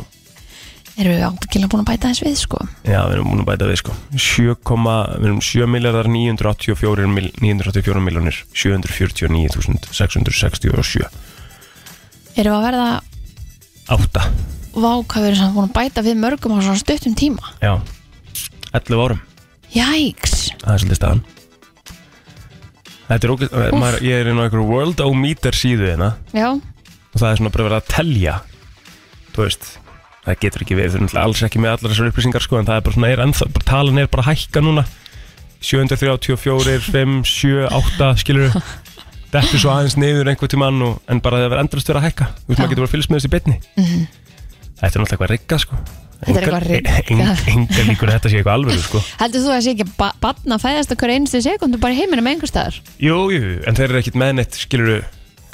Speaker 2: erum við ábyggilega búin að bæta þess við sko
Speaker 1: já við erum múin að bæta við sko 7, við erum 7 miljardar 984 mil, 984 miljonir 749.667
Speaker 2: erum við að verða
Speaker 1: Átta
Speaker 2: váka við erum samt búin að bæta við mörgum á svona stuttum tíma
Speaker 1: Já, 11 árum
Speaker 2: Jæks,
Speaker 1: Það er svolítið staðan Þetta er ógæst maður, Ég er inn á einhverju World O Meter síðu hérna
Speaker 2: já
Speaker 1: og það er svona bara verið að telja þú veist, það getur ekki verið, þau eru náttúrulega alls ekki með allar þessar upplýsingar sko, en það er bara svona, er ennþá, bara talan er bara að hækka núna 734, 5, 7, 8 skilur þetta er svo aðeins niður einhvern tímann og, en bara það verður endrast verið að hækka þú veist, maður getur bara að fylgst með þessi bitni þetta er náttúrulega eitthvað að rigga sko
Speaker 2: Mhm. Þetta er eitthvað að rigga.
Speaker 1: enga líkur að þetta sé eitthvað alveg sko
Speaker 2: Heldur þú að sé ekki ba batna að fæðast okkur einustu sekundu bara í heiminum einhver staðar?
Speaker 1: Jú, jú, en þeir eru ekkit meðnett, skilur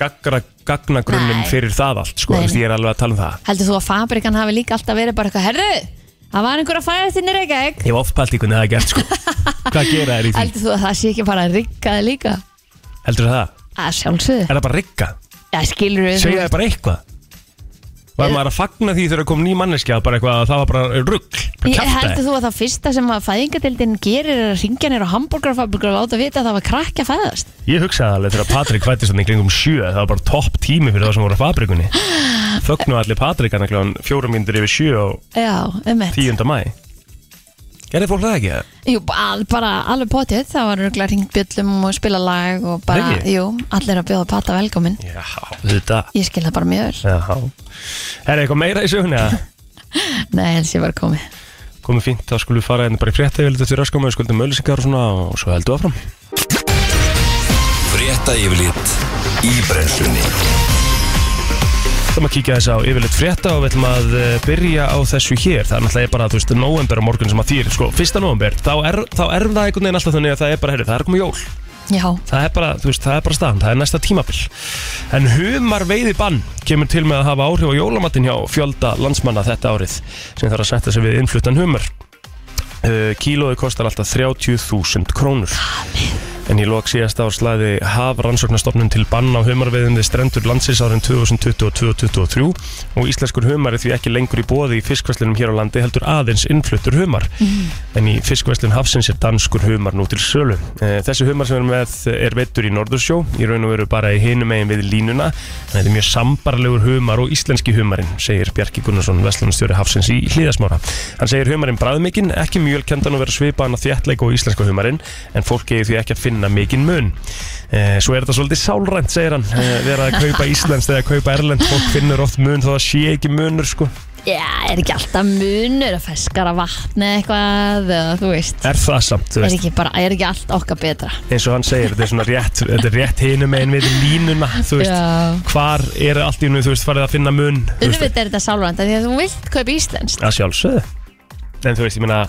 Speaker 1: gagra, gagnagrunnum
Speaker 2: Nei.
Speaker 1: fyrir það allt, sko,
Speaker 2: Nei,
Speaker 1: þú veist,
Speaker 2: nei.
Speaker 1: ég er alveg að tala um það
Speaker 2: Heldur þú að fabrikan hafi líka alltaf verið bara eitthvað Herðu, það var einhver að fæðast inn í Reykjavík
Speaker 1: Ég hef oft pælt í hvernig það er gert, sko Hvað gera þær í því?
Speaker 2: Heldur þú að það sé ekki bara að rigga þig líka?
Speaker 1: Heldur það?
Speaker 2: Að sjálfsögðu
Speaker 1: Er það bara rigga?
Speaker 2: Já, skilur við
Speaker 1: Segja þær bara eitthvað? Var maður að fagna því þegar það kom ný manneskja bara eitthvað að það var bara rugg bara
Speaker 2: Ég
Speaker 1: kjafta
Speaker 2: heldur þú að það fyrsta sem að fæðingadeildin gerir er að ringja nýra hambúrgarfabrikur og láta vita að það var krakki að fæðast
Speaker 1: Ég hugsaði alveg þegar Patrik fættist hann í kringum sjö það var bara topp tími fyrir það sem voru á fabrikunni Fögnu allir Patrik hann klán fjórum myndir yfir sjö á
Speaker 2: Já, um eitt
Speaker 1: 10. mæ Gerði fólk það ekki? eða?
Speaker 2: Jú, al, bara alveg potið, það var röglega ringt bjöllum og spila lag og bara,
Speaker 1: Nei.
Speaker 2: jú, allir að bjóða pata velkomin
Speaker 1: Já, þetta
Speaker 2: Ég skil það bara mjög vel
Speaker 1: Já Er eitthvað meira í sögunni að
Speaker 2: Nei, helst ég var komið
Speaker 1: komið fínt þá skulum við fara hérna bara í frétta yfirleitt eftir raskum við skuldum öllisingar og svona og svo heldur áfram
Speaker 5: Frétta yfirlit í brennslunni
Speaker 1: Það maður kíkja þess á yfirleitt frétta og við ætlum að eh, byrja á þessu hér það er náttúrulega bara, þú veist, november á morgun sem að þýr sko, fyrsta november, þá er, þá er það einhvern veginn alltaf þannig að það er bara, herri, það er komið jól
Speaker 2: Já,
Speaker 1: það er bara, þú veist, það er bara staðan, það er næsta tímabil en humar veiði bann kemur til með að hafa áhrif á jólamattin hjá fjölda landsmanna þetta árið sem þarf að setja sig við innfluttan humar uh, kílóði kostar alltaf 30.000 krónur en í lok síðast ár slæði hafrannsóknastofnun til bann á humarveiðin við strendur landsins árin 2022-2023 og íslenskur humar er því ekki lengur í bóði í fiskvæslinum hér á landi heldur aðeins innfluttur humar en í fiskvæslin Hafsins er danskur humar nú til sölu. Eh, Þessi humar sem er með er veittur í Norðursjó, í raun og veru bara í hinum megin við línuna, en þetta er mjög sambarlegur humar og íslenski humarinn, segir Bjarki Gunnarsson, Vestlunastjóri Hafsins í Hlíðasmára. Hann segir humarinn bræðmikinn, ekki mjölkendan og vera svipaðan að þjættleika og íslenska humarinn, en fólk eigi því ekki að finna mikinn mun. Eh, Svo er þetta svolítið sálrænt, segir hann, eh, vera að kaupa íslenskt eða kaupa erlend, fólk finnur oft mun þó það sé ekki munur, sko.
Speaker 2: Já, er ekki alltaf munur að feskara vatni eitthvað, eða, þú veist
Speaker 1: Er það samt, þú
Speaker 2: Er
Speaker 1: veist?
Speaker 2: ekki, bara, er ekki allt okkar betra
Speaker 1: eins og hann segir, þetta er svona rétt þetta er rétt hinum einn við línuna þú veist,
Speaker 2: Já.
Speaker 1: hvar er allt í nú þú veist, farið að finna mun þú veist,
Speaker 2: Auðvitað er þetta sálvænt Því að þú vilt kaupa íslenskt
Speaker 1: að sjálfsögðu en þú veist, ég meina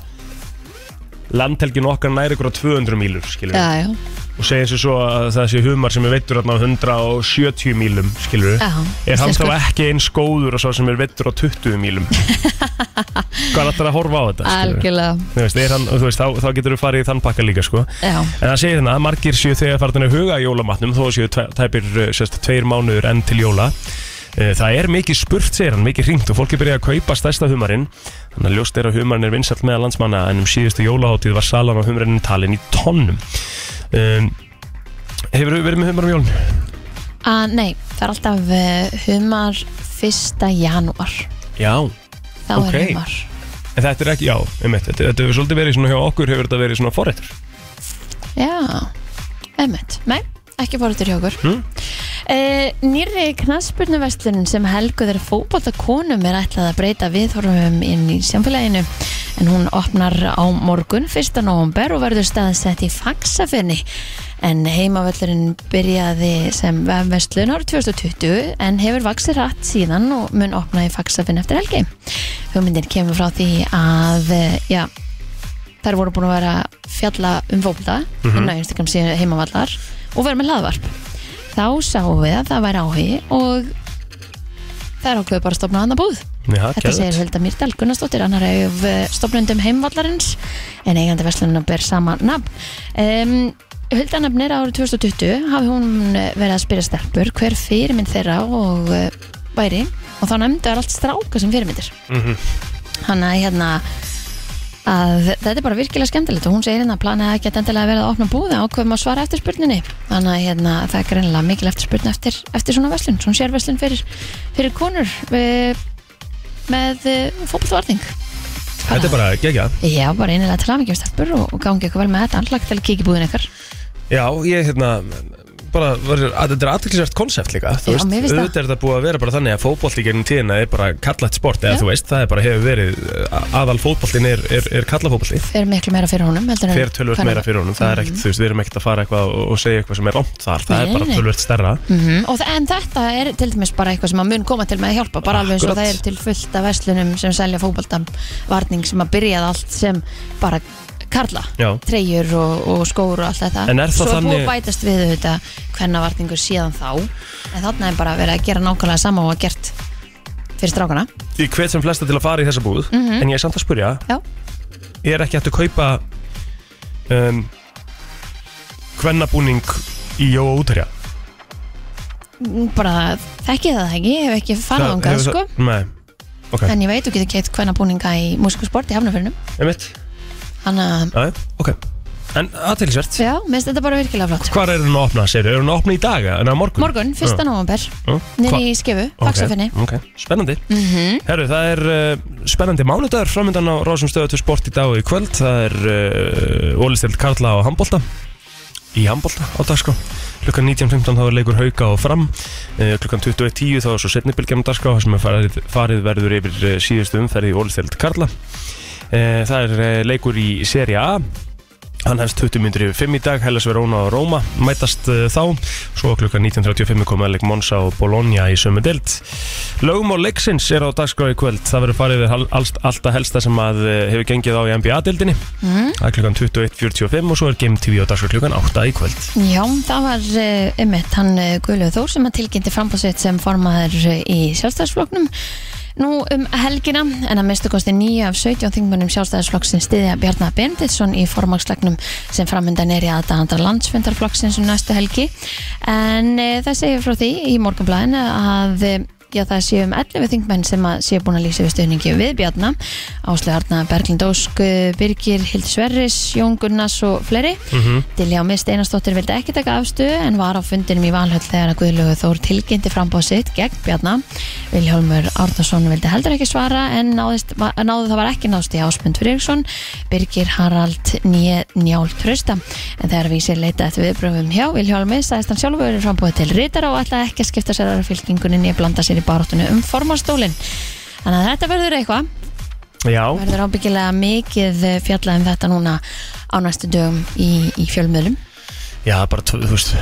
Speaker 1: landhelgin okkar næri ykkur á 200 mílur skilur
Speaker 2: Já, já,
Speaker 1: og segir sér svo að það sé humar sem er veittur þarna á 170 mílum skilur
Speaker 2: Já,
Speaker 1: er hann þá
Speaker 2: íslenskur.
Speaker 1: ekki eins góður og svo sem er veittur á 20 mílum hvað er þetta að horfa á þetta skilurðu?
Speaker 2: algjörlega
Speaker 1: Þú veist, er hann, þú veist, þá, þá getur þú farið í þann pakka líka sko.
Speaker 2: Já.
Speaker 1: En það segir þannig að margir séu þegar farin að huga að jólamatnum þó séu tve- tæpir eh, sérst, tveir mánuður enn til jóla Eh, Það er mikið spurt, segir hann, mikið hringt og fólki byrjaði að kaupa stærsta humarinn Þannig að ljóst er að humarinn er vinsall meða landsmanna en um síðustu jólaháttíð var salan á humarinnum talin í tonnum um, Hefur verið með humar um jólun?
Speaker 2: að, Ah, Nei, það er alltaf uh, humar 1. janúar
Speaker 1: Já
Speaker 2: Þá
Speaker 1: Ok.
Speaker 2: er humar
Speaker 1: En þetta er ekki, já, um þetta, þetta hefur svolítið verið svona hjá okkur, hefur þetta verið svona forrættur
Speaker 2: Já, einmitt. Nei, ekki fóruður hjá okkur. Mm? nýri knaspurnuverslun sem helguður fótbolta konum er ætlað að breyta viðhorfum inn í samfélaginu en hún opnar á morgun 1. november og verður staðsett í fagsafirni en heimavöllurinn byrjaði sem vefverslun árið 2020 en hefur vaksið rætt síðan og mun opna í fagsafirni eftir helgi. Hugmyndin kemur frá því að, eh, já, þær voru búin að vera að fjalla um fókbalta mm -hmm. inn á Instagram síðan heimavallar og vera með hlaðvarp þá sáum við að það væri áhugi og þær ákveðu bara að stopna hann að búð
Speaker 1: Já,
Speaker 2: Þetta
Speaker 1: geðveikt.
Speaker 2: segir Hulda Mýrdal Gunnarsdóttir annar af eh, stofnendum heimvallarins en eigandi verslunum ber sama nafn um, Hulda nafnir árið 2020 hafi hún eh, verið að spyrja stelpur hver fyrirmynd þeirra og eh, væri og þá nefndu er allt stráka sem fyrirmyndir
Speaker 1: Mhm.
Speaker 2: hann að hérna að þetta er bara virkilega skemmtilegt og hún segir hérna að planið hafi ekki endilega verið að opna búða ákveðum að svara eftir spurninni þannig að hérna, það er greinilega mikil eftir spurning eftir, eftir svona verslun, svona sérverslun fyrir, fyrir konur Eh, við, með fótballvarning
Speaker 1: Þetta er bara gegja
Speaker 2: Já, bara einilega til aðmyggjum stelpur og, og gangi ykkur vel með þetta andlag til að kíkja í búðin ykkar
Speaker 1: Já, ég hérna bara, verður- að þetta er aðtillisvært konsept líka þú
Speaker 2: Já,
Speaker 1: veist,
Speaker 2: mér finnst það.
Speaker 1: Auðvitað er þetta búið að vera bara þannig að fótbolti gegnum tíðina er bara kallat sport eða
Speaker 2: Já.
Speaker 1: þú veist, það er bara hefur verið uh, aðal fótboltin er, er, er kallafótbolti
Speaker 2: fer miklu meira fyrir honum heldur en
Speaker 1: fer tölvöld
Speaker 2: hvernig-
Speaker 1: meira fyrir honum, það er ekkert, þú veist, við erum ekkert að fara eitthvað og, og segja eitthvað sem er omt þar, það
Speaker 2: Mhm.
Speaker 1: er
Speaker 2: Nei,
Speaker 1: bara
Speaker 2: nei.
Speaker 1: tölvöld stærra
Speaker 2: Mhm, og þa- en þetta er til dæmis bara eitthvað sem að mun koma til með að hjálpa bara alveg eins og
Speaker 1: Akkurat.
Speaker 2: það er til fullt af verslunum sem selja fókbaltam varning sem að byrjaði allt sem bara karla
Speaker 1: Já.
Speaker 2: treyjur og, og skór og allt þetta
Speaker 1: En er það
Speaker 2: svo er búið
Speaker 1: þannig-
Speaker 2: að bætast við þetta hvenna varningur síðan þá en þarna er bara verið að gera nákvæmlega sama og að gert fyrir strákana
Speaker 1: Ég hvet sem flesta til að fara í þessa búð en ég er samt að spurja,
Speaker 2: Mhm. Já.
Speaker 1: er ekki hægt að kaupa um, hvennabúning í Jóa útherja
Speaker 2: Mm, bara þekki það ekki, ég hef ekki farað ángað
Speaker 1: hefur
Speaker 2: sko
Speaker 1: það- Nei, ok,
Speaker 2: en ég veit þú getur keitt hvenna búninga í músikusport í hafnafyrinum
Speaker 1: einmitt
Speaker 2: hann að,
Speaker 1: Nei, ok En aðtilsvert,
Speaker 2: já, minnst þetta bara virkilega flott
Speaker 1: hvar er hún að opna, segir Er hún að opna í dag, en að morgun?
Speaker 2: Morgun, 1. november
Speaker 1: Já.
Speaker 2: Nýri í Mhm. skefu,
Speaker 1: Hva-
Speaker 2: Faxafinni
Speaker 1: Ok, ok, spennandi Herru, það er uh, spennandi mánudagur framöndan á Rásum stöðu til sport í dag og í kvöld Það er uh, ólistild Karla og Hambolta Í Hambolta á dagskrá Klukkan 19.15 þá er leikur hauka og fram uh, Klukkan 21.10 þá er svo setnibilgjum dagskrá þar sem er farið, farið verður yfir eh, síðustu umferði í ólistild Karla uh, Það er uh, leikur í seri A Hann hefst 20 myndir yfir 5 í dag, Hellas Verona og Róma mætast uh, þá, svo klukkan 19.35 koma leik Monsa og Bologna í sömu deild. Lögum og leiksins er á dagskrá í kvöld, það verður farið við alltaf helsta sem að uh, hefur gengið á í NBA-deildinni. Það er klukkan 21.45 og svo er Game TV á dagskrá klukkan 8 í kvöld.
Speaker 2: Já, það var uh, ummitt hann uh, Guðlöð Þór sem að tilkynnti frambúðsveit sem formaður eh, í sjálfstæðsflokknum nú um helgina en að mistu kosti 9 af 17 þingmönnum sjálfstæðsflokksins stiðja Bjarnar Benditsson í formagslagnum sem framöndan er í aðdæðandar landsfundarflokksins um næstu helgi en uh, það segir frá því í morgunblæðinu að uh, Já, það séu um 11 þingmenn sem að séu búin að lýsa við stöðningi við Bjarna Áslega Arna, Berglind Ósk, eh, Birgir, Hild Sverris, Jón Gunnars og fleiri Diljá Mist Einarsdóttir vildi ekki taka afstöðu en var á fundinum í Valhöll þegar að Guðlaugur Þór tilkynnti frambóð sitt gegn Bjarna. Viljólmur Árnason vildi heldur ekki svara en náðist, va- náðu það var ekki náðst í Ásmund Friðriksson, Birgir Harald Njé Njál Trösta. En þegar vísir leita eftir viðbröfum hjá Viljólmi sagðist hann sjálfur verið frambóðið til rítar og ætlaði ekki að skipta sér aðra fylkingunni nýja blanda sér í baráttunni um formastólinn. Þannig að þetta verður eitthvað
Speaker 1: Já,
Speaker 2: verður ábyggilega mikið fjallað um þetta núna á næstu dögum í, í fjölmiðlum.
Speaker 1: já, bara, tve- þú veist,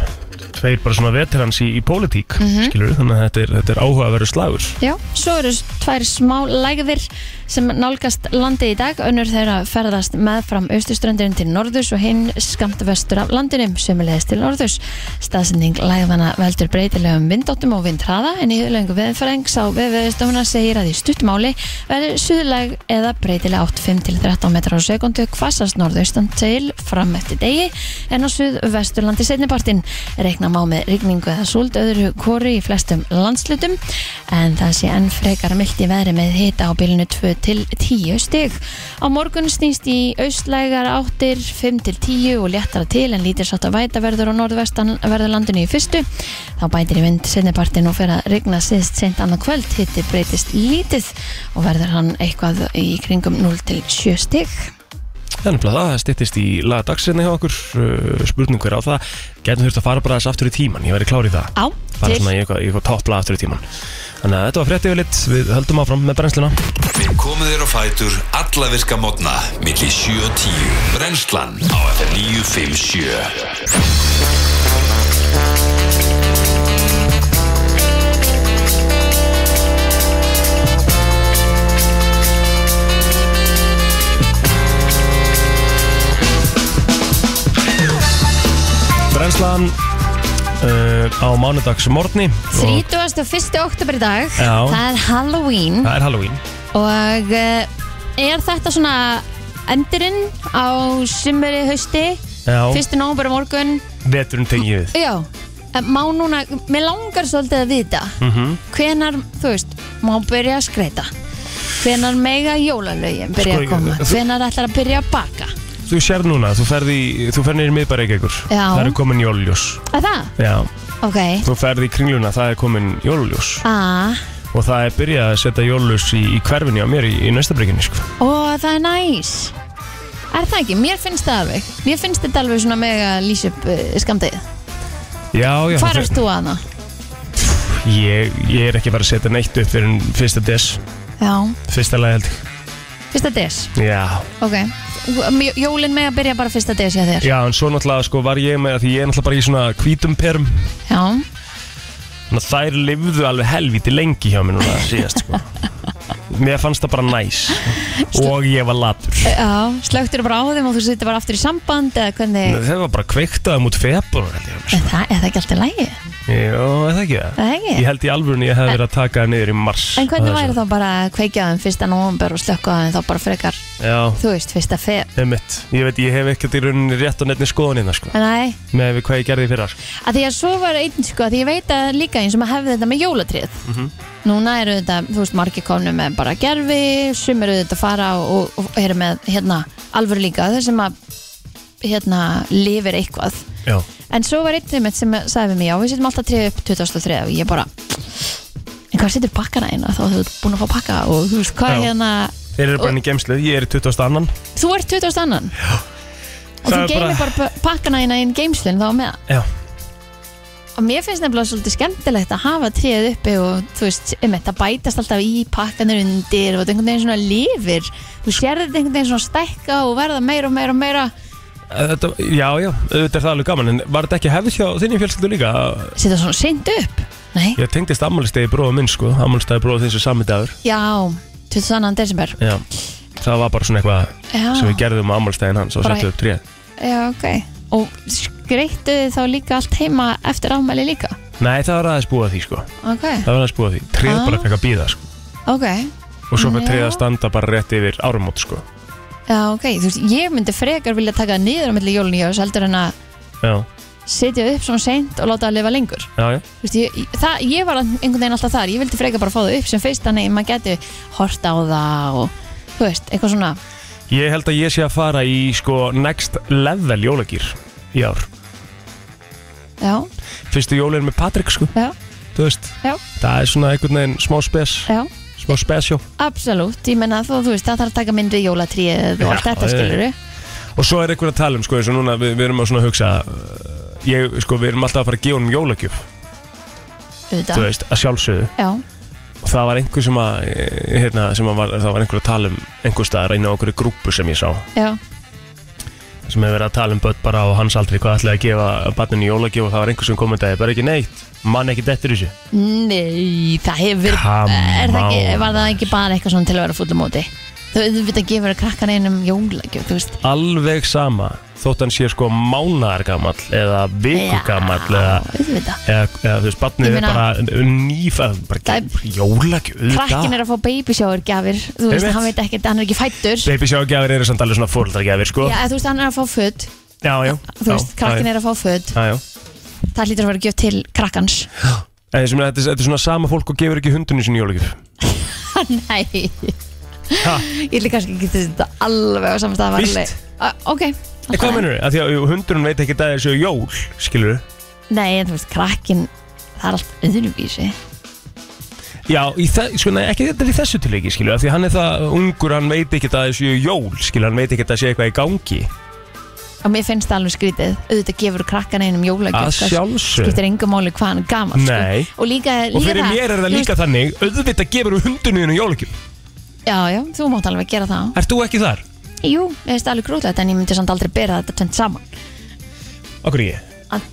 Speaker 1: tveir bara svona veterans í, í pólitík, mm þannig að þetta er, þetta er áhugaverður slagur.
Speaker 2: Já, svo eru tvær smá lægðir sem nálgast landið í dag önnur þeirra ferðast meðfram austurströndurinn til norðurs og hinn skamt vestur af landinum sömulegist til norðurs staðsending lægðana veldur breytilegum vindóttum og vindhraða en í hulengu veðfærengs á veðveðstofuna segir að í stuttmáli verður suðlæg eða breytileg 8-5 til 13 metrar á sekundu hvassast norðaustan til fram eftir degi en á suðvesturlandi setnipartin reikna má með rigningu eða súld öðru kóru í flestum landslutum en það sé enn frekar mildt í veðri með hita á bylunu 2 til 10 stig. Á morgun snýst í austlægar áttir 5 til 10 og léttara til en lítir sátt að væta verður á norðvestan verður landinu í fyrstu. Þá bætir í vind setnipartin og fer að rigna síðst seint annað kvöld, hitti breytist lítið og verður hann eitthvað í kringum 0 til 7 stig.
Speaker 1: Það er nefnilega það, það styttist í laga dagsinni hjá okkur, uh, spurningur á það Gætum þurft að fara bara þess aftur í tíman, ég væri klár í það
Speaker 2: Á,
Speaker 1: Bara
Speaker 2: Ah, til.
Speaker 1: svona í eitthvað, í eitthvað toppla aftur í tíman Þannig að þetta var frétt yfirlit, við höldum áfram með brennsluna
Speaker 5: Við komum þér á fætur alla virka mótna milli 7 og 10 Brennslan á FM 957
Speaker 1: Brennslan uh, á mánudagsmorni
Speaker 2: 31. oktober í dag
Speaker 1: Já.
Speaker 2: Það er Halloween
Speaker 1: Það er Halloween
Speaker 2: Og eh, er þetta svona endurinn á sumri hausti
Speaker 1: Já,
Speaker 2: 1. nómur morgun
Speaker 1: veturinn tengið við
Speaker 2: Já eh, Má núna, mér langar svolítið að vita mm
Speaker 1: Mhm.
Speaker 2: -hmm. Hvenar, þú veist, má byrja að skreita Hvenar mega jólalögin byrja
Speaker 1: Sko,
Speaker 2: að koma
Speaker 1: þú-
Speaker 2: Hvenar ætlar að byrja að baka
Speaker 1: Þú sér núna, þú ferði, þú ferði nýri miðbæri ekki ykkur
Speaker 2: Já.
Speaker 1: Það eru komin jóluljós
Speaker 2: Að það?
Speaker 1: Já,
Speaker 2: Ok
Speaker 1: þú ferði í kringluna, það er komin jóluljós
Speaker 2: ah,
Speaker 1: Og það er byrjað að setja jóluljós í, í hverfinni á mér í, í næstabrygginni sko.
Speaker 2: Ó, það er næs Er það ekki? Mér finnst það alveg Mér finnst þetta alveg svona mega lýs upp uh, skamdegið
Speaker 1: Já, já
Speaker 2: eh, Hvar
Speaker 1: það-
Speaker 2: ert þú aðna?
Speaker 1: ég, ég er ekki bara að setja neitt upp fyrir fyrsta des
Speaker 2: Já,
Speaker 1: Fyrsta lag held ég
Speaker 2: fyrsta des
Speaker 1: Já,
Speaker 2: Ok, Mj- jólin með að byrja bara fyrsta des hjá þér
Speaker 1: já en svo náttúrulega sko var ég með Því ég er náttúrulega bara í svona hvítum perum
Speaker 2: Já,
Speaker 1: Þannig að þær lifðu alveg helviti lengi hjá mér núna síðast sko Mér fannst það bara næs Og ég var latur
Speaker 2: já slögtur bara á þeim og þú sittir bara aftur í samband eða hvernig
Speaker 1: Það var bara kveiktaðum út februar held ég
Speaker 2: Er það, er það ekki alltaf lægi?
Speaker 1: Jó, er það ekki það?
Speaker 2: Það er ekki?
Speaker 1: Ég held í alvörunni ég hef verið að taka það niður í mars
Speaker 2: En hvernig væri þá bara að kveikja á þeim fyrsta november og slökka á þeim þá bara frekar,
Speaker 1: Já,
Speaker 2: þú veist, fyrsta feb
Speaker 1: einmitt Ég veit, ég hef ekkert í rauninni rétt á nefni skoðunina sko
Speaker 2: Nei,
Speaker 1: Með við hvað ég gerði í fyrra sko
Speaker 2: að því að svo var einn sko, að því ég veit að líka eins og maður hefði þetta með jólatrið núna eru þetta, þú veist, margir komnu með bara gerfi, sum eru þetta að fara og, og eru með, hérna, alvöru líka þeir sem að, hérna lifir eitthvað,
Speaker 1: Já,
Speaker 2: en svo var einn þeim sem sagði við mig, já, við setjum alltaf trið upp 2003 og ég bara en hvað setur pakkana eina, þá þú ert búin að fá pakka og þú veist, hvað
Speaker 1: Já.
Speaker 2: hérna
Speaker 1: þeir eru bara inn í gemslu, ég er í 22.
Speaker 2: þú ert 2000 annan og
Speaker 1: Það
Speaker 2: þú
Speaker 1: er
Speaker 2: geymir
Speaker 1: bara-
Speaker 2: bara, pakkana eina inn geimslun þá með
Speaker 1: Já,
Speaker 2: og mér finnst nefnilega svolítið skemmtilegt að hafa tríð uppi og þú veist, um þetta bætast alltaf í pakkanir undir og þetta einhvern veginn svona lifir þú sér þetta einhvern veginn svona stækka og verða meira og meira og meira
Speaker 1: þetta, já, já, auðvitað er það alveg gaman En var þetta ekki hefð hjá þinni fjölskyldu líka?
Speaker 2: setja svona seint upp nei,
Speaker 1: Ég tengdist ammálistegi bróða minn sko Ammálistegi bróða þessu sami dagur
Speaker 2: já, 22. desember
Speaker 1: Já, það var bara svona eitthvað
Speaker 2: já,
Speaker 1: sem við gerðum á ammálstæðin hans og
Speaker 2: Bara-
Speaker 1: settum upp tríð
Speaker 2: já, ok og skreittu þið þá líka allt heima eftir ámæli líka
Speaker 1: Nei, það var aðeins búið að því sko
Speaker 2: ok,
Speaker 1: Það var aðeins búið að því, tríð
Speaker 2: Ah.
Speaker 1: bara fekk að býða sko
Speaker 2: ok
Speaker 1: Og svo fyrir
Speaker 2: Já.
Speaker 1: tríð að standa bara rétt yfir árumót sko
Speaker 2: já, ok, þú veist, ég myndi frekar vilja taka það niður á milli jólun í ás heldur en að
Speaker 1: Já,
Speaker 2: setja upp svona seint og láta það lifa lengur
Speaker 1: já, já,
Speaker 2: Þú veist, ég, það, ég var einhvern veginn alltaf þar ég vildi freka bara fá það upp sem fyrst þannig að maður geti horta á það og þú veist, eitthvað svona
Speaker 1: Ég held að ég sé að fara í sko next level jólagýr í ár
Speaker 2: já,
Speaker 1: Fyrstu jólin með Patrik sko,
Speaker 2: já,
Speaker 1: þú veist
Speaker 2: Já.
Speaker 1: Það er svona einhvern veginn smá spes,
Speaker 2: já,
Speaker 1: smá spesjó
Speaker 2: absolutt ég menna þú, þú veist, það þarf að taka myndri jólatríð og allt
Speaker 1: Já,
Speaker 2: þetta
Speaker 1: já,
Speaker 2: skilur
Speaker 1: Og svo er einhvern að tala um sko, eins og núna við, við erum að svona hugsa uh, ég, sko, Við erum alltaf að fara að gefa honum jólagjöf, þú
Speaker 2: auðvitað,
Speaker 1: veist, að sjálfsögðu
Speaker 2: já,
Speaker 1: og það var einhver sem að, eh, hérna, sem að var, það var einhver að tala um einhver staðar inn á einhverju grúpu sem ég sá
Speaker 2: já
Speaker 1: sem hefur verið að tala um börn bara á hans aldri hvað ætlaði að gefa barninu í jólagjöf og það var einhver sem kommentaði bara ekki neitt, mann ekki dettur í þessu
Speaker 2: nei, það hefur
Speaker 1: Come
Speaker 2: er það ekki,
Speaker 1: on.
Speaker 2: var það ekki bara eitthvað svona til að vera fúllum úti þú veit að gefa krakkan einum jólagjöf, þú veist
Speaker 1: alveg sama þótt hann sé sko mánaðar gamall eða viku gamall eða,
Speaker 2: auðvitað
Speaker 1: eða, eða þú veist, barnið
Speaker 2: Ég
Speaker 1: er
Speaker 2: meina-
Speaker 1: bara nýfæð bara
Speaker 2: Það
Speaker 1: jólagjöf
Speaker 2: krakkin er að fá babyshower gjafir þú veist,
Speaker 1: Einmitt.
Speaker 2: hann veit ekki, hann er ekki fættur
Speaker 1: Baby shower gjafir eru samt alveg svona fórhaldargjafir sko
Speaker 2: Já, eða þú veist, hann er að fá föt
Speaker 1: Já, já
Speaker 2: Þú veist, krakkin er að fá föt
Speaker 1: Já, já
Speaker 2: Það hlýtur að vera gjöf til krakkans
Speaker 1: En þessi, þetta, er- þetta er svona sama fólk og gefur ekki hundinu sinni jólagjöf
Speaker 2: Nei
Speaker 1: Ha?
Speaker 2: Ég vil kannski ekki þetta alveg á saman stað
Speaker 1: Víst.
Speaker 2: varleg. Á, Ok
Speaker 1: En hvað mennur þið? Því að hundurinn veit ekki að það er séu jól, skilur
Speaker 2: Nei, en þú veist, krakkin Það er allt öðruvísi
Speaker 1: Já, í það, sko, nei, ekki þetta er í þessu tilviki, skilur Því að hann er það ungur, hann veit ekki að það séu jól, skilur Hann veit ekki að það sé eitthvað í gangi
Speaker 2: Og mér finnst það alveg skrítið Auðvitað gefur krakkan einum
Speaker 1: Að
Speaker 2: jólagjöf það
Speaker 1: sjálfsög
Speaker 2: Skiptir engum máli hvað hann er gamall sko.
Speaker 1: Nei.
Speaker 2: Og líka, líka
Speaker 1: Og fyrir mér er það
Speaker 2: þú
Speaker 1: líka þannig Auðvitað gefur þú hundinu þínu jólagjöf
Speaker 2: veist- Já, já, þú mátt alveg gera það
Speaker 1: Ert þú ekki þar?
Speaker 2: Jú, ég veist alveg grútlegt En ég myndi samt aldrei bera þetta tvent saman
Speaker 1: Okkur ég
Speaker 2: Að-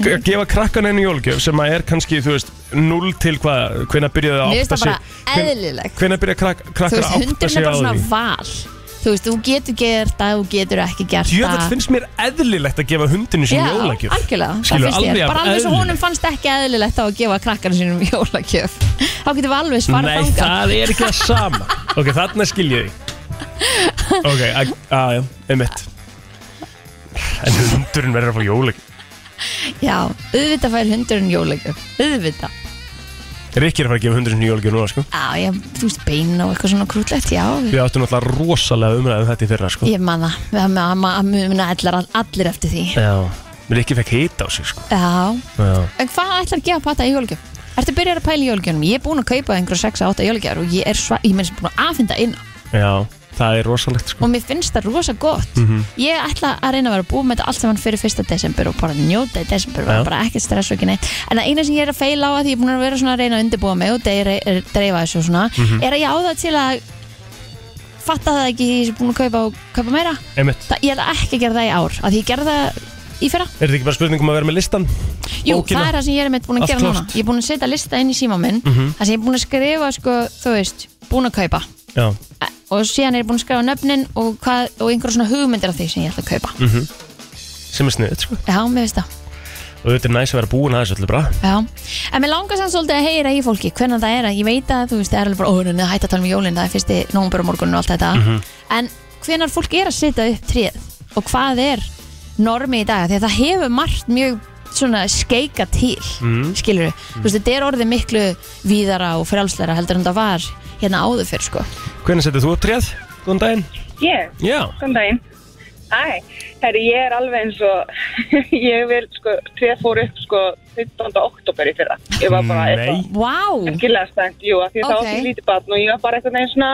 Speaker 1: Að gefa krakkan einu jólgjöf sem að er kannski, þú veist, 0 til hvað, hvenær byrjaði að
Speaker 2: Mér finnst
Speaker 1: átta
Speaker 2: það bara
Speaker 1: sig hven-
Speaker 2: eðlilegt.
Speaker 1: Hvenær byrjaði krak,
Speaker 2: þú
Speaker 1: krakkar
Speaker 2: veist,
Speaker 1: að átta
Speaker 2: hundurinn
Speaker 1: sig
Speaker 2: er
Speaker 1: á
Speaker 2: bara svona
Speaker 1: því
Speaker 2: val þú veist, þú getur gert það, þú getur ekki gert
Speaker 1: Jöfnveld
Speaker 2: það
Speaker 1: finnst mér eðlilegt að gefa hundinu
Speaker 2: Já,
Speaker 1: sinni jólagjöf
Speaker 2: algjörlega, það
Speaker 1: Skilur,
Speaker 2: finnst
Speaker 1: alveg
Speaker 2: ég bara alveg svo
Speaker 1: eðlilegt.
Speaker 2: honum fannst ekki eðlilegt á að gefa krakkarnu sínum jólagjöf þá getum við alveg svarað
Speaker 1: Nei,
Speaker 2: þangað
Speaker 1: það er ekki það sama Ok, þarna skil ég þig Ok, að- að, já, einmitt En hundurinn verður að fá jólagjöf
Speaker 2: já, auðvitað fær hundurinn jólagjöf auðvitað,
Speaker 1: Rikki er að fara að gefa hundurinn sinni jólagjöf núna, sko
Speaker 2: já, ég, þú veist, bein og eitthvað svona krútlegt, já
Speaker 1: Við áttum náttúrulega rosalega umræðum þetta í fyrra, sko
Speaker 2: ég man það, við hafum að- að- að muna allir, allir eftir því
Speaker 1: Já, Rikki fekk hita á sig, sko
Speaker 2: já,
Speaker 1: Já
Speaker 2: en hvað ætlar að gefa pata í jólagjöf? Ertu byrjar að pæla í jólagjöfnum? Ég er búin að kaupa einhverja 6-8 jólagjöfar og ég er sva, ég meins búin að afhenda inn
Speaker 1: Já, það er rosalegt sko.
Speaker 2: og mér finnst það rosa gott ég ætla að reyna að vera að búa með þetta allt saman fyrir 1. desember og bara njóta í desember
Speaker 1: Já.
Speaker 2: og bara ekkert stress og ekki neitt en það eina sem ég er að feila á að því ég er búin að vera svona að reyna að undirbúa mig og deyri- er- dreifa þessu og svona er að ég á það til að fatta það ekki því ég er búin að kaupa og kaupa meira
Speaker 1: einmitt
Speaker 2: það, ég ætla ekki að gera það í ár að því ég gerði það í fyrra
Speaker 1: Er þetta ekki bara spurning um að vera með listan?
Speaker 2: Jú,
Speaker 1: Bókina?
Speaker 2: það er það sem ég er meitt búin að
Speaker 1: Allt
Speaker 2: gera núna
Speaker 1: klárt.
Speaker 2: Ég er búin að setja lista inn í síma minn mm Það sem ég er búin að skrifa, sko, þú veist, búin að kaupa
Speaker 1: Já,
Speaker 2: E- Og síðan er ég búin að skrifa nöfnin og, hvað, og einhverja svona hugmyndir af því sem ég ætla að kaupa
Speaker 1: sem er sniðið sko.
Speaker 2: Já, mér veist það
Speaker 1: Og þetta er næs að vera búin að þessu öllu bara
Speaker 2: Já, en mér langar sann svolítið að heyra í fólki hvernig það er að ég veit að þú veist það er alveg bara óhörunni að hætta að tala um jólinn það er fyrsti nómbur og morgun og allt þetta
Speaker 1: Mhm.
Speaker 2: en hvernig fólk er að setja upp tríð og hvað er normi í dag því að það hefur margt mjög svona skeika til
Speaker 1: Mhm.
Speaker 2: mm. skilur við, þú veist þetta er orðið miklu víðara og frjálsleira heldur en það var hérna áður fyrr sko
Speaker 1: Hvernig setur þú upp tréð? Góðan daginn
Speaker 6: Ég,
Speaker 1: Já,
Speaker 6: kom daginn. Æ, herri, ég er alveg eins og ég vil, sko, tréð fór upp, sko, 15. oktober í fyrra. Ég var bara
Speaker 1: Mm, Nei.
Speaker 6: eitthvað
Speaker 2: Vá,
Speaker 6: skiljaðast þengt, jú, af því þá
Speaker 2: Ok.
Speaker 6: átti ég lítið batn og ég var bara eitthvað neginn svona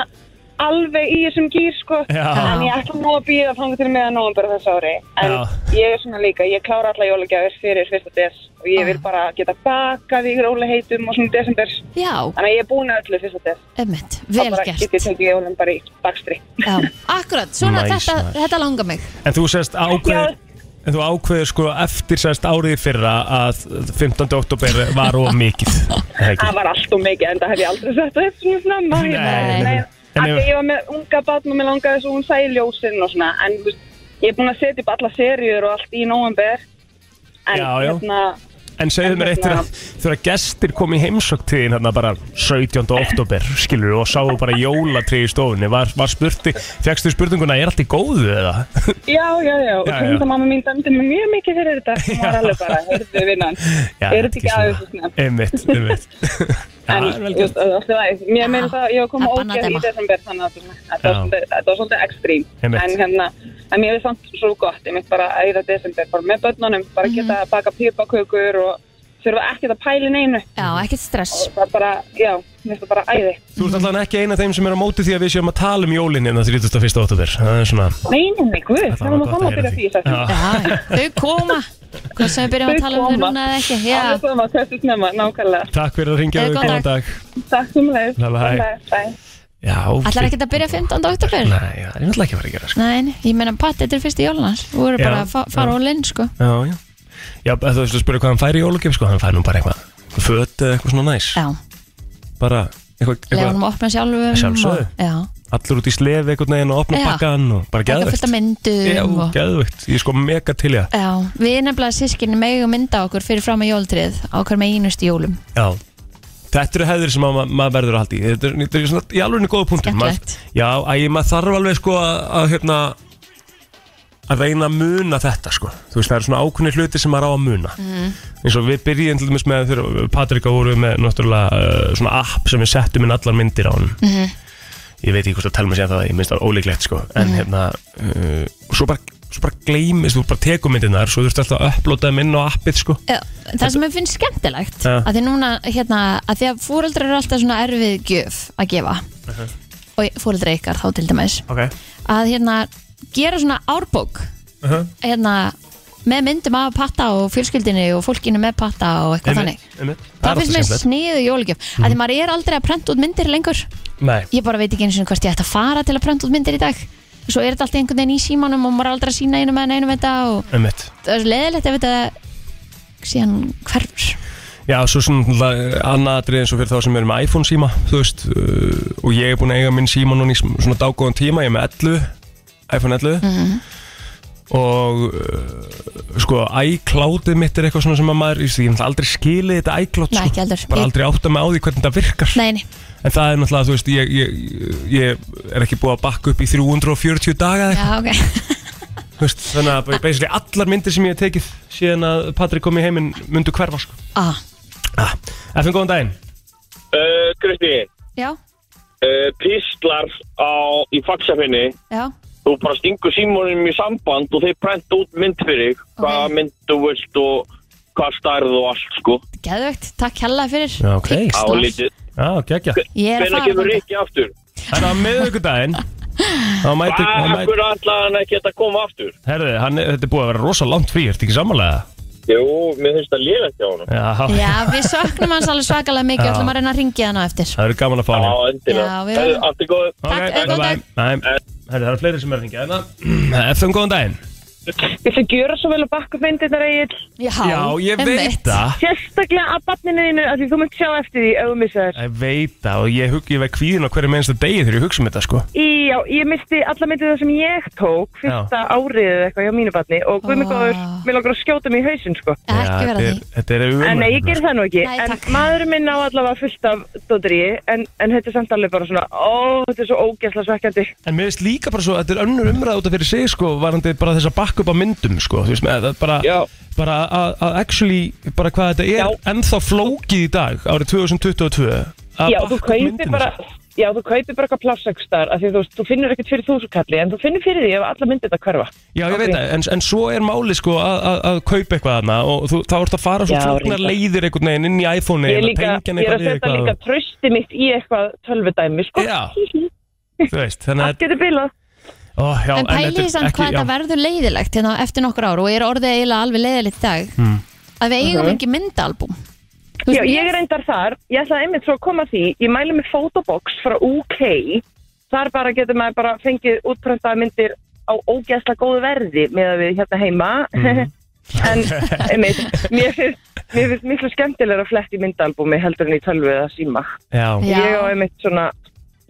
Speaker 6: alveg í þessum gýr, sko.
Speaker 1: Já.
Speaker 6: En ég ætla nú að býða frá til meðan nóvember þess ári. En
Speaker 1: Já.
Speaker 6: ég er svona líka, ég klára alla jólagjafir fyrir fyrsta des og ég vil
Speaker 2: Ah.
Speaker 6: bara geta bakað í róliheitum og svona desember.
Speaker 2: já,
Speaker 6: Þannig að ég er búin að öllu fyrsta des.
Speaker 2: ummitt, vel
Speaker 6: Þá bara
Speaker 2: gert
Speaker 6: get ég tekið jólum bara í bakstri.
Speaker 2: já. Akkurat, svona
Speaker 1: Nice,
Speaker 2: þetta,
Speaker 1: maður.
Speaker 2: þetta langar mig
Speaker 1: en þú sérst ákveður En þú ákveður sko eftir sérst árið í fyrra að 15. oktober var of mikið Það ekki
Speaker 6: Það var allt og mikið, en það hef ég aldrei sett það upp svona snemma. Hérna,
Speaker 1: Nei,
Speaker 2: nei,
Speaker 1: nei. En
Speaker 6: Af því
Speaker 1: ef-
Speaker 6: ég var með unga barn og mér langaði svo hún sæði ljósinn og svona, en þú veist, ég er búin að setja upp alla seríur og allt í nóvember. En
Speaker 1: Já, já.
Speaker 6: hérna,
Speaker 1: En segðu
Speaker 6: En
Speaker 1: mér eitt þegar
Speaker 6: hérna-
Speaker 1: þegar gestir kom í heimsóktíðin hérna bara 17. oktober, skilur og sáu bara jólatrið í stofunni var, var spurti, fegstu spurninguna er allt í góðu eða?
Speaker 6: já, já, já, og
Speaker 1: Já, já.
Speaker 6: tengdamamma mín dæmdi mig mjög mikið fyrir þetta. Hún var alveg bara, heyrðu vinnan,
Speaker 1: Já,
Speaker 6: er þetta ekki aðeins svo snemma?
Speaker 1: Einmitt, einmitt Já,
Speaker 6: En,
Speaker 1: það er vel gert.
Speaker 6: þú veist, alltaf aðeins, mér meina það, ég var komið
Speaker 2: Það bannaði
Speaker 6: ógeð í
Speaker 2: þeim að-
Speaker 6: desember, þannig að svona- þetta var
Speaker 1: Já.
Speaker 6: svolítið- þetta var svolítið ekstrím.
Speaker 1: Einmitt.
Speaker 6: En hérna, en mér er samt svo gott, ég mynd bara að í það desember, bara með börnunum, bara
Speaker 2: Mhm.
Speaker 6: geta að baka pípakökur og þurfa ekkert að pæla í neinu.
Speaker 2: Já, ekkert stress
Speaker 6: Og það bara, já, mér finnst það bara æði.
Speaker 1: Þú ert allavega ekki eina af þeim sem er á móti því að við séum að tala um jólinn innan 31. oktober Það er svona,
Speaker 6: Nei, nei, nei, guð,
Speaker 1: það
Speaker 6: það
Speaker 1: var
Speaker 6: var maður
Speaker 1: gott
Speaker 6: saman
Speaker 1: að
Speaker 6: að
Speaker 1: heyra
Speaker 6: byrja því,
Speaker 1: því
Speaker 6: sagði
Speaker 1: Já.
Speaker 2: Já, þau koma Hvað sem við byrjum að
Speaker 6: Þau
Speaker 2: tala um þau
Speaker 6: koma.
Speaker 2: núna eða ekki Já,
Speaker 6: Alveg sama, hversu snemma, nákvæmlega.
Speaker 1: Takk fyrir að ringja
Speaker 2: Jæja,
Speaker 1: og
Speaker 2: góðan
Speaker 1: góðan dag
Speaker 6: Takk sem leið.
Speaker 1: Bye, bye.
Speaker 6: Bye.
Speaker 1: Já,
Speaker 2: ætlar ekki að byrja 15. oktober?
Speaker 1: Nei, það er náttúrulega ekki að fara að gera sko.
Speaker 2: Nei, ég meina patti, þetta er fyrst í jólunars Þú voru
Speaker 1: Já,
Speaker 2: bara að fa- fara
Speaker 1: já.
Speaker 2: á linn, sko
Speaker 1: Já, já Já, ef þú veist að spyrja hvað hann fær í jólugjöf sko, hann fær nú bara eitthvað eitthvað Föt eða eitthvað svona næs
Speaker 2: Já,
Speaker 1: Bara eitthvað,
Speaker 2: lega
Speaker 1: eitthvað
Speaker 2: honum að opna sjálfum
Speaker 1: Að sjálfsögðu.
Speaker 2: og- Já,
Speaker 1: allir út í slefi einhvern veginn og opna
Speaker 2: Já.
Speaker 1: pakkan og bara
Speaker 2: ekki fullt af
Speaker 1: geðvögt Já,
Speaker 2: myndum og,
Speaker 1: geðvögt, ég er sko mega til í það
Speaker 2: Já, við nefnilega sískinni megum mynda okkur fyrir fram að jóltrið á hver með einustu jólum
Speaker 1: Já Þetta eru hefðir sem að ma- maður verður að halda í Þetta er, þetta er svona, í alveg góða punktur
Speaker 2: Skemmtilegt.
Speaker 1: Já, að ég maður þarf alveg sko að, að hérna að reyna að muna þetta sko Þú veist, það eru svona ákunni hluti sem maður á að muna mm. eins og við byrjum til dæmis með þegar Patrika voru við með náttúrulega uh, svona app sem við settum inn allar myndir á hann mm. Ég veit ekki hvort að telma sér það ég minnst það ólíklegt sko en hérna, uh, svo bara, svo bara gleymis, þú bara tekum myndirnar svo þurftu alltaf að upplóta þeim inn á appið sko
Speaker 2: Já, Það sem ég finnst skemmtilegt
Speaker 1: Já.
Speaker 2: að því núna, hérna, að því að fóreldrar eru alltaf svona erfið gjöf að gefa og fóreldrar ykkar þá til dæmis
Speaker 1: okay.
Speaker 2: að hérna gera svona árbók hérna með myndum af patta og fjölskyldinu og fólkinu með patta og eitthvað þannig það finnst mér sniðu jólugjöf mm
Speaker 1: Mhm.
Speaker 2: að því maður er aldrei að prenta út myndir lengur
Speaker 1: Nei,
Speaker 2: ég bara veit ekki eins og hvert ég ætti að fara til að prenta út myndir í dag svo er þetta alltaf einhvern veginn í símanum og maður er aldrei að sína einum eða einum þetta og
Speaker 1: einmitt
Speaker 2: það er leðilegt ef þetta síðan hverfur
Speaker 1: Já, svo svona annað atrið eins og fyrir þá sem eru með iPhone síma Þú veist, uh, og ég er búin að eiga minn síma núna í sm- svona dágóðan tíma Ég er með 11, iPhone 11
Speaker 2: Mhm.
Speaker 1: Og uh, sko, iCloudið mitt er eitthvað svona sem að maður Ég veist, ég hef náttúrulega aldrei skilið þetta iCloud
Speaker 2: Nei,
Speaker 1: sko.
Speaker 2: ekki heldur.
Speaker 1: Bara
Speaker 2: Ég-
Speaker 1: aldrei átta mig á því hvernig þetta virkar
Speaker 2: nei, nei,
Speaker 1: En það er náttúrulega, þú veist, ég, ég, ég er ekki búið að bakka upp í 340 daga eða eitthvað.
Speaker 2: já ok
Speaker 1: Þú veist, Þannig að bara basically allar myndir sem ég hef tekið Síðan að Patrik kom í heiminn myndu hverfa sko.
Speaker 2: ah,
Speaker 1: ah, FN, góðan daginn
Speaker 7: Uh, Kristín,
Speaker 2: já,
Speaker 7: uh, píslar á, í faxafinni,
Speaker 2: já,
Speaker 7: þú bara stingur símónum í samband og þeir prenta út mynd fyrir þig,
Speaker 2: Ok.
Speaker 7: hvaða mynd þú vilt og hvað stærð og allt, sko.
Speaker 2: geðvögt takk hella fyrir
Speaker 1: Já, ok.
Speaker 7: Á
Speaker 2: Pixlar.
Speaker 7: lítið.
Speaker 1: Já, geggja
Speaker 2: ég er að
Speaker 7: Hvernig
Speaker 2: fara
Speaker 7: kemur
Speaker 2: þangað.
Speaker 7: Rikki aftur?
Speaker 1: Það er á miðvíkudaginn Hann mæti,
Speaker 6: Ah,
Speaker 1: hann
Speaker 7: Hvað,
Speaker 1: mæti,
Speaker 7: hverju ætlaði hann ekki að koma aftur?
Speaker 1: herði, hann, er- þetta er búið að vera rosa langt frí, ertu ekki sammálega?
Speaker 7: Jú, mér finnst það lélegt hjá honum.
Speaker 1: Já,
Speaker 2: Já, við söknum hans alveg svakalega mikið
Speaker 1: Já.
Speaker 2: ætlum að reyna að ringja hann á eftir
Speaker 1: það verður gaman að fá
Speaker 7: Já,
Speaker 1: hann
Speaker 7: endilega.
Speaker 2: Já, við-
Speaker 7: Herðu, Allt er góð.
Speaker 2: Takk,
Speaker 1: Ok,
Speaker 2: eh, góðan
Speaker 1: bye-bye.
Speaker 2: dag.
Speaker 1: Nei, herri, það eru fleiri sem er að hringja hérna Efum góðan daginn
Speaker 6: Viltu gjöra svo vel að bakka fyndirnar eigin
Speaker 2: Já,
Speaker 1: Já, ég veit það
Speaker 6: sérstaklega að barninu þínu að því þú mynd sjá eftir því ef þú missa þér
Speaker 1: Ég veit það og ég huggi veg kvíðin á hverju mennstu degi þegar ég hugsa um þetta sko
Speaker 6: Í, Já, ég misti alla myndið það sem ég tók fyrsta árið eða eitthvað hjá mínu barni og guð
Speaker 2: Vá.
Speaker 6: mig góður, mér langar að skjóta mig í hausinn sko.
Speaker 2: Ekki
Speaker 1: Já, þetta
Speaker 2: vera því
Speaker 1: er- Þetta er
Speaker 6: En nei, ég ger það nú ekki,
Speaker 2: Nei,
Speaker 6: en
Speaker 2: takk.
Speaker 6: maðurinn minn á allavega fullt af dóttri en, en þetta er samt alveg bara svona, ó, þetta er svo ógæsla svekkjandi.
Speaker 1: En mér finnst líka bara svo, þetta er önnur umræða út af fyrir sig sko, varandi bara þess að bakka upp á myndum sko, þú veist, með, það er bara,
Speaker 7: Já.
Speaker 1: bara að- að actually, bara hvað þetta er
Speaker 6: Já.
Speaker 1: ennþá flókið í dag, árið 2022 að
Speaker 6: Já,
Speaker 1: bakka
Speaker 6: þú
Speaker 1: upp
Speaker 6: kaupir
Speaker 1: myndina sko.
Speaker 6: bara
Speaker 1: sína.
Speaker 6: Já, þú kaupir bara eitthvað plássökstar af því þú, veist, þú finnur ekkert fyrir þúsukalli en þú finnur fyrir því ef alla myndir þetta hverfa
Speaker 1: Já, ég veit það, en, en svo er máli sko að, að, að kaupa eitthvað þarna og þú, þá ertu að fara svo
Speaker 6: Já,
Speaker 1: flóknar
Speaker 6: reyndar.
Speaker 1: leiðir einhvern veginn inn í iPhone-i
Speaker 6: Ég, er
Speaker 1: eða
Speaker 6: líka,
Speaker 1: tengja hann
Speaker 6: ég er
Speaker 1: eitthvað
Speaker 6: að
Speaker 1: við
Speaker 6: setja líka
Speaker 1: eitthvað
Speaker 6: trösti mitt í eitthvað tölvudæmi, sko
Speaker 1: Já, þú veist, þannig
Speaker 6: Allt
Speaker 1: að
Speaker 6: getur bilað
Speaker 1: ó, já,
Speaker 2: En
Speaker 1: þetta er
Speaker 2: pæliði samt
Speaker 1: ekki-
Speaker 2: hvað
Speaker 1: já.
Speaker 2: þetta verður leiðilegt hérna eftir nokkur ár og er orðið eiginlega alveg leiðilegt í dag
Speaker 1: Hmm.
Speaker 2: að við eigum ekki myndaalbum Þú
Speaker 6: Já,
Speaker 2: veist,
Speaker 6: ég er endar þar, ég ætlaði einmitt svo að koma að því Ég mæli með Photobox frá UK Þar bara getur maður bara fengið útprentaða myndir á ógæsla góðu verði með að við hérna heima
Speaker 2: Mhm.
Speaker 6: En, einmitt, mér finnst, mér finnst miklu skemmtilega að fletti myndalbumi heldur en í tölvu eða síma
Speaker 1: Já,
Speaker 2: Já.
Speaker 6: Ég á einmitt svona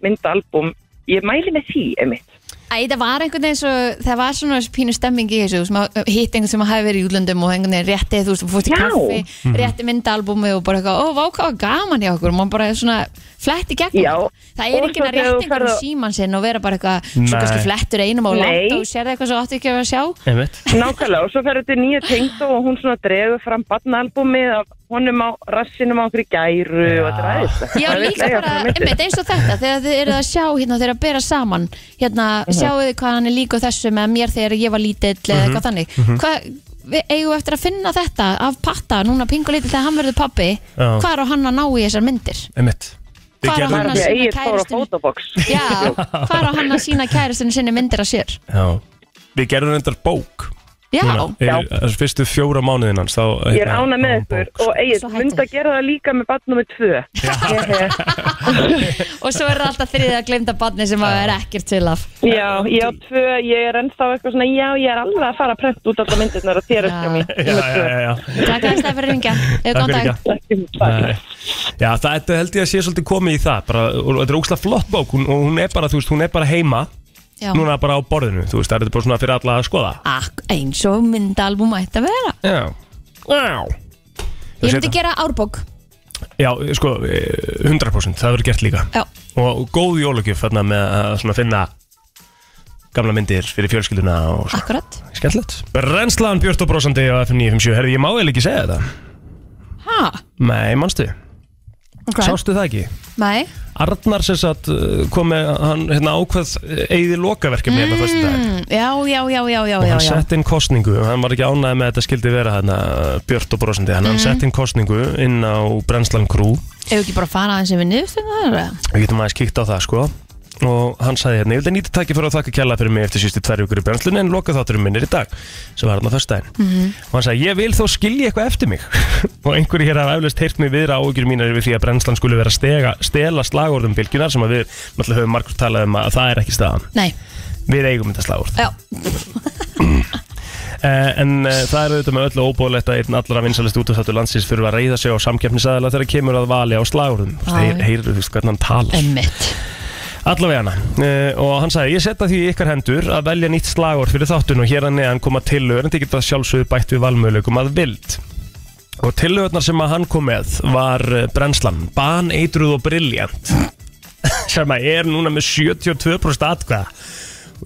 Speaker 6: myndalbum Ég mæli með því einmitt
Speaker 2: Æ, það var einhvern veginn svo, það var svona pínu stemming í þessu, sem að hitt einhvern sem hafi verið í útlöndum og einhvern veginn rétti þú veist, þú fórst í
Speaker 6: Já.
Speaker 2: kaffi,
Speaker 1: Hmm.
Speaker 2: rétti myndaalbumi og bara eitthvað, ó, vá, hvað var gaman hjá okkur og maður bara svona flett í gegnum
Speaker 6: Já.
Speaker 2: það er
Speaker 6: Og
Speaker 2: ekki
Speaker 6: svo
Speaker 2: að
Speaker 6: þegar þú
Speaker 2: rétti einhvern
Speaker 6: ferð á-
Speaker 2: síman sinn og vera bara eitthvað, svo
Speaker 1: Nei.
Speaker 2: kannski flettur einum og
Speaker 6: Nei.
Speaker 2: langt og sér eitthvað svo áttu ekki að vera að sjá
Speaker 1: einmitt
Speaker 6: Nákvæmlega, og svo fer þetta nýja tengd og hún svona dregur fram barnaalbumið af honum á rassinum á okkur gæru og þetta er aðeins
Speaker 2: Já, líka bara,
Speaker 6: um
Speaker 2: einmitt, eins og þetta þegar þið eruð að sjá, hérna, þeir að bera saman hérna,
Speaker 1: Mhm.
Speaker 2: sjáu þið hvað hann er líka þessu með mér þegar ég var lítill eða eitthvað þannig
Speaker 1: Mhm.
Speaker 2: hvað, við eigum við eftir að finna þetta af patta, núna pingu lítill þegar hann verður pappi,
Speaker 1: Já.
Speaker 2: hvað er á hann að ná í þessar myndir?
Speaker 1: Einmitt Við
Speaker 2: Hvað er
Speaker 1: gerðum-
Speaker 2: hann að
Speaker 6: Ég
Speaker 2: sína
Speaker 6: eigið fór á
Speaker 2: kæristinu
Speaker 6: fotobox
Speaker 2: Já, hvað er á hann að sína kæristinu sinni myndir að sér?
Speaker 1: Já, við gerðum reyndar bók
Speaker 2: Já,
Speaker 6: Já.
Speaker 1: Núna, þessu fyrstu fjóra mánuðin hans þá, hérna,
Speaker 6: Ég er ána með ykkur
Speaker 1: sko.
Speaker 6: og eigið,
Speaker 2: Svo hættum
Speaker 6: mynd að
Speaker 2: við.
Speaker 6: gera það líka með barn nummið tvö Ég hef-
Speaker 2: og svo er alltaf þriðið að glemta barni sem að er ekkert til af
Speaker 6: Já, ég á tvö, ég er ennþá eitthvað svona Já, ég er alveg að fara að prenta út alla myndirnar og þér eftir
Speaker 2: Já.
Speaker 6: mér
Speaker 1: Já, já, já, já.
Speaker 2: Takk að það fyrir ringja, eða
Speaker 1: Takk
Speaker 2: góðan
Speaker 1: fyrir
Speaker 2: dag
Speaker 1: líka. Nei. Já, það þetta held ég að sé svolítið komið í það bara, og þetta er ógslag flott bók hún, og hún er bara, þú veist, hún er bara heima
Speaker 2: Já.
Speaker 1: núna bara á borðinu, þú veist, það er þetta bara svona fyrir alla að skoða
Speaker 2: Ak- Eins og myndalbum ætti að vera
Speaker 1: Já Já
Speaker 2: Ég myndi gera árbók
Speaker 1: Já, sko, eh, 100% það verður gert líka
Speaker 2: Já,
Speaker 1: og góð jólugjöf þarna með að svona finna gamla myndir fyrir fjölskylduna og svona,
Speaker 2: akkurat
Speaker 6: Ah.
Speaker 1: skemmtilegt Rennslaðan Björn og brosandi á FM 957 Herði, ég má eða ekki segja þetta
Speaker 2: Ha,
Speaker 1: Nei, manstu,
Speaker 2: ok
Speaker 1: sástu það ekki?
Speaker 2: Nei,
Speaker 1: Arnar sem sagt uh, kom með hann hérna ákvað eigði lokaverkefni hérna þessi dag
Speaker 2: mm, já, já, já, já, já,
Speaker 1: og
Speaker 2: já,
Speaker 1: hann
Speaker 2: já.
Speaker 1: sett inn kostningu hann var ekki ánægð með að þetta skildi vera hérna Björt og brosandi, hann,
Speaker 2: Mm.
Speaker 1: hann sett inn kostningu inn á Brennslan Crew og
Speaker 2: Ef ekki bara fara aðeins sem við niðurstum það eða?
Speaker 1: getum aðeins kíkt á það sko og hann sagði hérna, ég vildi nýta tæki fyrir að þakka kjalla fyrir mig eftir sístu tvær vikur í brennslunni en loka þátturum minn er í dag sem var hann á föstudaginn
Speaker 2: Mhm.
Speaker 1: og hann sagði, ég vil þó skilja eitthvað eftir mig og einhverju hér hafa eflaust heyrt mig viðra áhugjur mínar yfir því að brennslan skulle vera að stega, stela slagorðum bylgjunar sem að við náttúrulega höfum margur talað um að það er ekki staðan
Speaker 2: Nei,
Speaker 1: við eigum þetta slagorð
Speaker 2: já,
Speaker 1: Uh, en uh, það er auðvitað með öllu óbúðlegt að einn allra vinsalist útastáttur landsins fyrir að reyða sig á samkeppnisaðala þegar kemur að vali á slagurðum
Speaker 2: Já,
Speaker 1: þeir
Speaker 2: já.
Speaker 1: heyrðu þú veist hvernig hann talar
Speaker 2: einmitt
Speaker 1: allavega hana uh, og hann sagði ég setja því í ykkar hendur að velja nýtt slagorð fyrir þáttun og hér að neðan koma tillögur en þið geta sjálfsögðu bætt við valmöðlögum að vild og tillögurnar sem að hann kom með var eh, brennslan, ban, eitruð og briljant sem að er núna með 72% atkvæða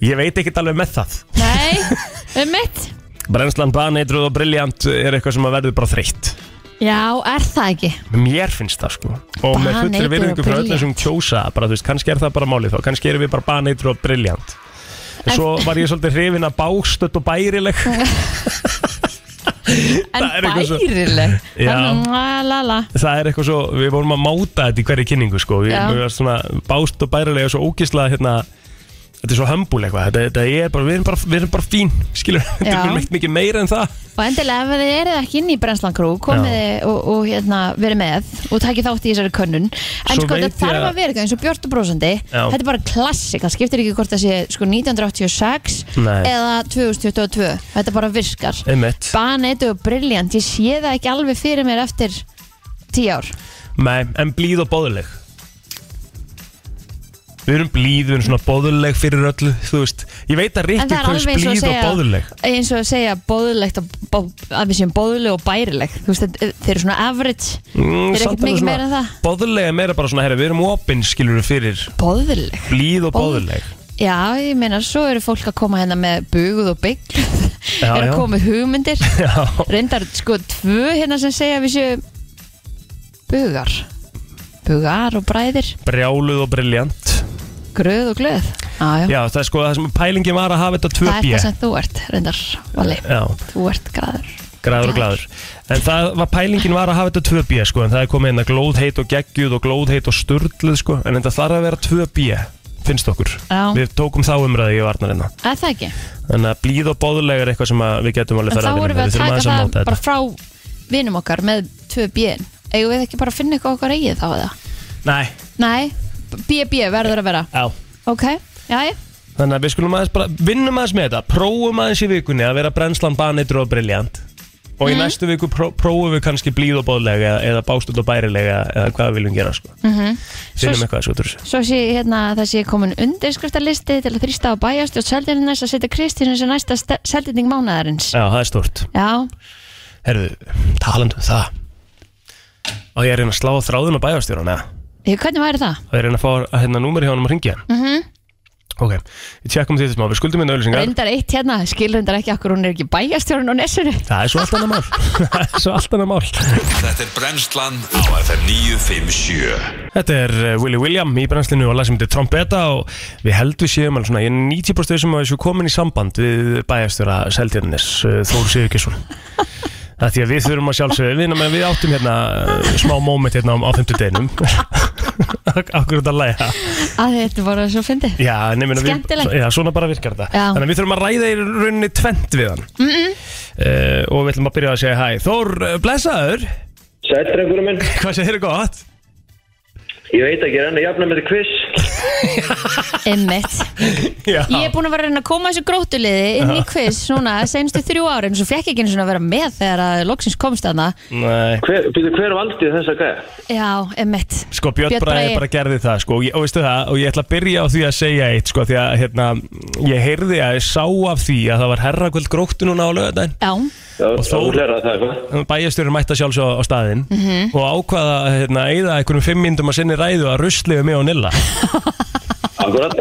Speaker 1: og ég veit ekkert alveg með það
Speaker 2: Nei, einmitt
Speaker 1: Brennslan baneitruð og briljant er eitthvað sem að verður bara þreytt
Speaker 2: Já, er það ekki?
Speaker 1: Mér finnst það sko Og með
Speaker 2: Baneitruð
Speaker 1: fullri
Speaker 2: og
Speaker 1: virðingu frá öllum
Speaker 2: brilliant.
Speaker 1: sem kjósa bara, þú veist, Kannski er það bara málið þá Kannski erum við bara baneitruð og briljant En svo var ég svolítið hrifin að bágstödd og bærileg
Speaker 2: En
Speaker 1: Það er eitthvað svo-
Speaker 2: bærileg
Speaker 1: Já.
Speaker 2: Þannig, la, la, la.
Speaker 1: Það er eitthvað svo, við vorum að máta þetta í hverju kynningu sko. Við
Speaker 2: Já.
Speaker 1: við varum svona bágstödd og bærileg og svo ógislega hérna þetta er svo humble eitthvað þetta, þetta er bara, við erum bara, við erum bara fín skilur, þetta
Speaker 2: Já.
Speaker 1: er meitt mikið meira en það
Speaker 2: Og endilega ef þið eruð ekki inn í Brenslan Crew komið
Speaker 1: Já.
Speaker 2: þið og, og hérna, verið með og takið þátt í þessari könnun en
Speaker 1: Svo
Speaker 2: sko
Speaker 1: veit
Speaker 2: þetta
Speaker 1: ég
Speaker 2: þarf
Speaker 1: að-
Speaker 2: að vera eitthvað eins og Björn og Brósandi
Speaker 1: Já.
Speaker 2: þetta er bara klassik, það skiptir ekki hvort það sé sko 1986
Speaker 1: Nei.
Speaker 2: eða 2022, þetta bara virkar
Speaker 1: einmitt,
Speaker 2: Banetu og briljant, ég sé það ekki alveg fyrir mér eftir 10 ár
Speaker 1: Nei, en blíð og bóðuleg við erum blíð, við erum svona bóðuleg fyrir öllu, þú veist ég veit að
Speaker 2: En
Speaker 1: Rikki
Speaker 2: það er
Speaker 1: kaus
Speaker 2: alveg eins
Speaker 1: blíð
Speaker 2: og að
Speaker 1: og
Speaker 2: segja
Speaker 1: bóðuleg
Speaker 2: eins og að segja bóðulegt og bó, að við séum bóðuleg og bærileg þú veist, þetta- þeir eru svona average
Speaker 1: Mm,
Speaker 2: Þeir eru
Speaker 1: samt
Speaker 2: ekkert
Speaker 1: alveg
Speaker 2: mikið
Speaker 1: svona-
Speaker 2: meira en það.
Speaker 1: Boðleg er meira bara svona, herri, við erum opinn skilur við fyrir
Speaker 2: bóðuleg
Speaker 1: blíð og
Speaker 2: Boð-
Speaker 1: bóðuleg
Speaker 2: Já, ég meina, svo eru fólk að koma hérna með buguð og byggl
Speaker 1: Já,
Speaker 2: er að
Speaker 1: já.
Speaker 2: koma með hugmyndir
Speaker 1: Já,
Speaker 2: reyndar sko tvö hérna sem segja við séum bugar bugar og bræðir,
Speaker 1: brjáluð og briljant
Speaker 2: gröð og glöð já, já.
Speaker 1: Já, það er sko það sem pælingin var að hafa þetta
Speaker 2: það er
Speaker 1: 2B
Speaker 2: það sem þú ert, reyndar Vali,
Speaker 1: Já,
Speaker 2: þú ert græður
Speaker 1: græður og glæður En það var pælingin var að hafa þetta 2B sko, En það er komið inn að glóðheit og geggjuð og glóðheit og sturluð sko, En þetta þarf að vera 2B Finnst okkur
Speaker 2: Já.
Speaker 1: Við tókum þá umræði í varnarina
Speaker 2: Það er það ekki,
Speaker 1: Þannig að blíð og bóðulega er eitthvað sem að við getum alveg
Speaker 2: en þá
Speaker 1: fara
Speaker 2: vorum við að taka það
Speaker 1: móta
Speaker 2: bara
Speaker 1: þetta
Speaker 2: frá vinum okkar með 2B-in eigum við ekki bara að finna eitthvað okkar eigið þá eða?
Speaker 1: Nei,
Speaker 2: Nei, BB verður að vera
Speaker 1: já
Speaker 2: Ok, já,
Speaker 1: Þannig að við skulum aðeins bara, vinnum aðeins með þetta, prófum aðeins í vikunni að vera brennslan baneitur og briljant og
Speaker 2: Mhm.
Speaker 1: í næstu viku pró, prófum við kannski blíð og bóðlega eða, eða bástund og bærilega eða hvað við viljum gera sko. Mm Finnum
Speaker 2: Mhm. Svo-
Speaker 1: eitthvað sko, svo trúsi.
Speaker 2: Svo sé ég hérna að það sé komin undirskriftarlisti til að þrýsta á bæjast og seldinnes að setja Kristínu sem næsta seldinning mánaðarins.
Speaker 1: Já, það er stort.
Speaker 2: Já,
Speaker 1: Herðu, talandu um það. Og ég er að reyna að slá á þráðun og bæjastjóran, eða?
Speaker 2: ég, hvernig væri það?
Speaker 1: Og ég er að reyna að fá að hérna númeri hjá hann um að ringja. Mm -hmm.
Speaker 2: Mhm.
Speaker 1: Ok, við tjekkum því þetta smá, við skuldum hérna auðlýsingar.
Speaker 2: Reyndar eitt hérna, skilur reyndar ekki okkur hún er ekki bæjastjórun á nesinu.
Speaker 1: Það er svo allt annað mál. það er svo allt annað mál.
Speaker 5: Þetta er Brennslan á FM 957
Speaker 1: Þetta er eh, Willy William í brennslinu og lag sem heitir Trombetta og við heldum við séum alveg svona, ég er 90% sem að þessu komin í samband við bæjastjóra Seldjarnis Þór Sigurkesson Það er því að við þurfum að sjálfsögja við, nema við áttum hérna eh, smá moment hérna á, á fimmtudeginum Akkur þetta læga
Speaker 2: Að þetta bara svo fyndi.
Speaker 1: Já, nefnir að við,
Speaker 2: Skemmtilegt.
Speaker 1: já, svona bara virkar þetta
Speaker 2: Já.
Speaker 1: Þannig að við þurfum að ræða í rauninni tvent við hann mm Og við ætlum að byrja að segja hæ Þór, eh, blessaður,
Speaker 7: Sæll, drengurinn minn.
Speaker 1: hvað segir þér gott?
Speaker 7: Ég veit ekki, ég er enn að jafna með þið quiz.
Speaker 2: Einmitt.
Speaker 1: Já.
Speaker 2: Ég er búin að vera að reyna að koma þessu grótuliði inn í quiz svona senstu þrjú árin svo fekk ég ekki einu svona að vera með þegar að loksins komst þarna.
Speaker 1: Nei
Speaker 7: Hver, byrju, hver valdi þessa gæja?
Speaker 2: Já, einmitt.
Speaker 1: Sko Björn Bræði bara gerði það sko, og, ég, og veistu það, og ég ætla að byrja á því að segja eitt sko, því að hérna, ég heyrði að ég sá af því að það var herrakvöld gróttu núna á lögadaginn
Speaker 2: Já,
Speaker 7: Já,
Speaker 1: Og Þór-
Speaker 7: þú hleraði það eitthvað.
Speaker 1: bæjastjórið mætti sjálfs á, á staðinn og ákvaða að hérna, eyða einhvernum fimm myndum að sinni ræðu að rusliðu mig og Nilla
Speaker 7: Akkurat.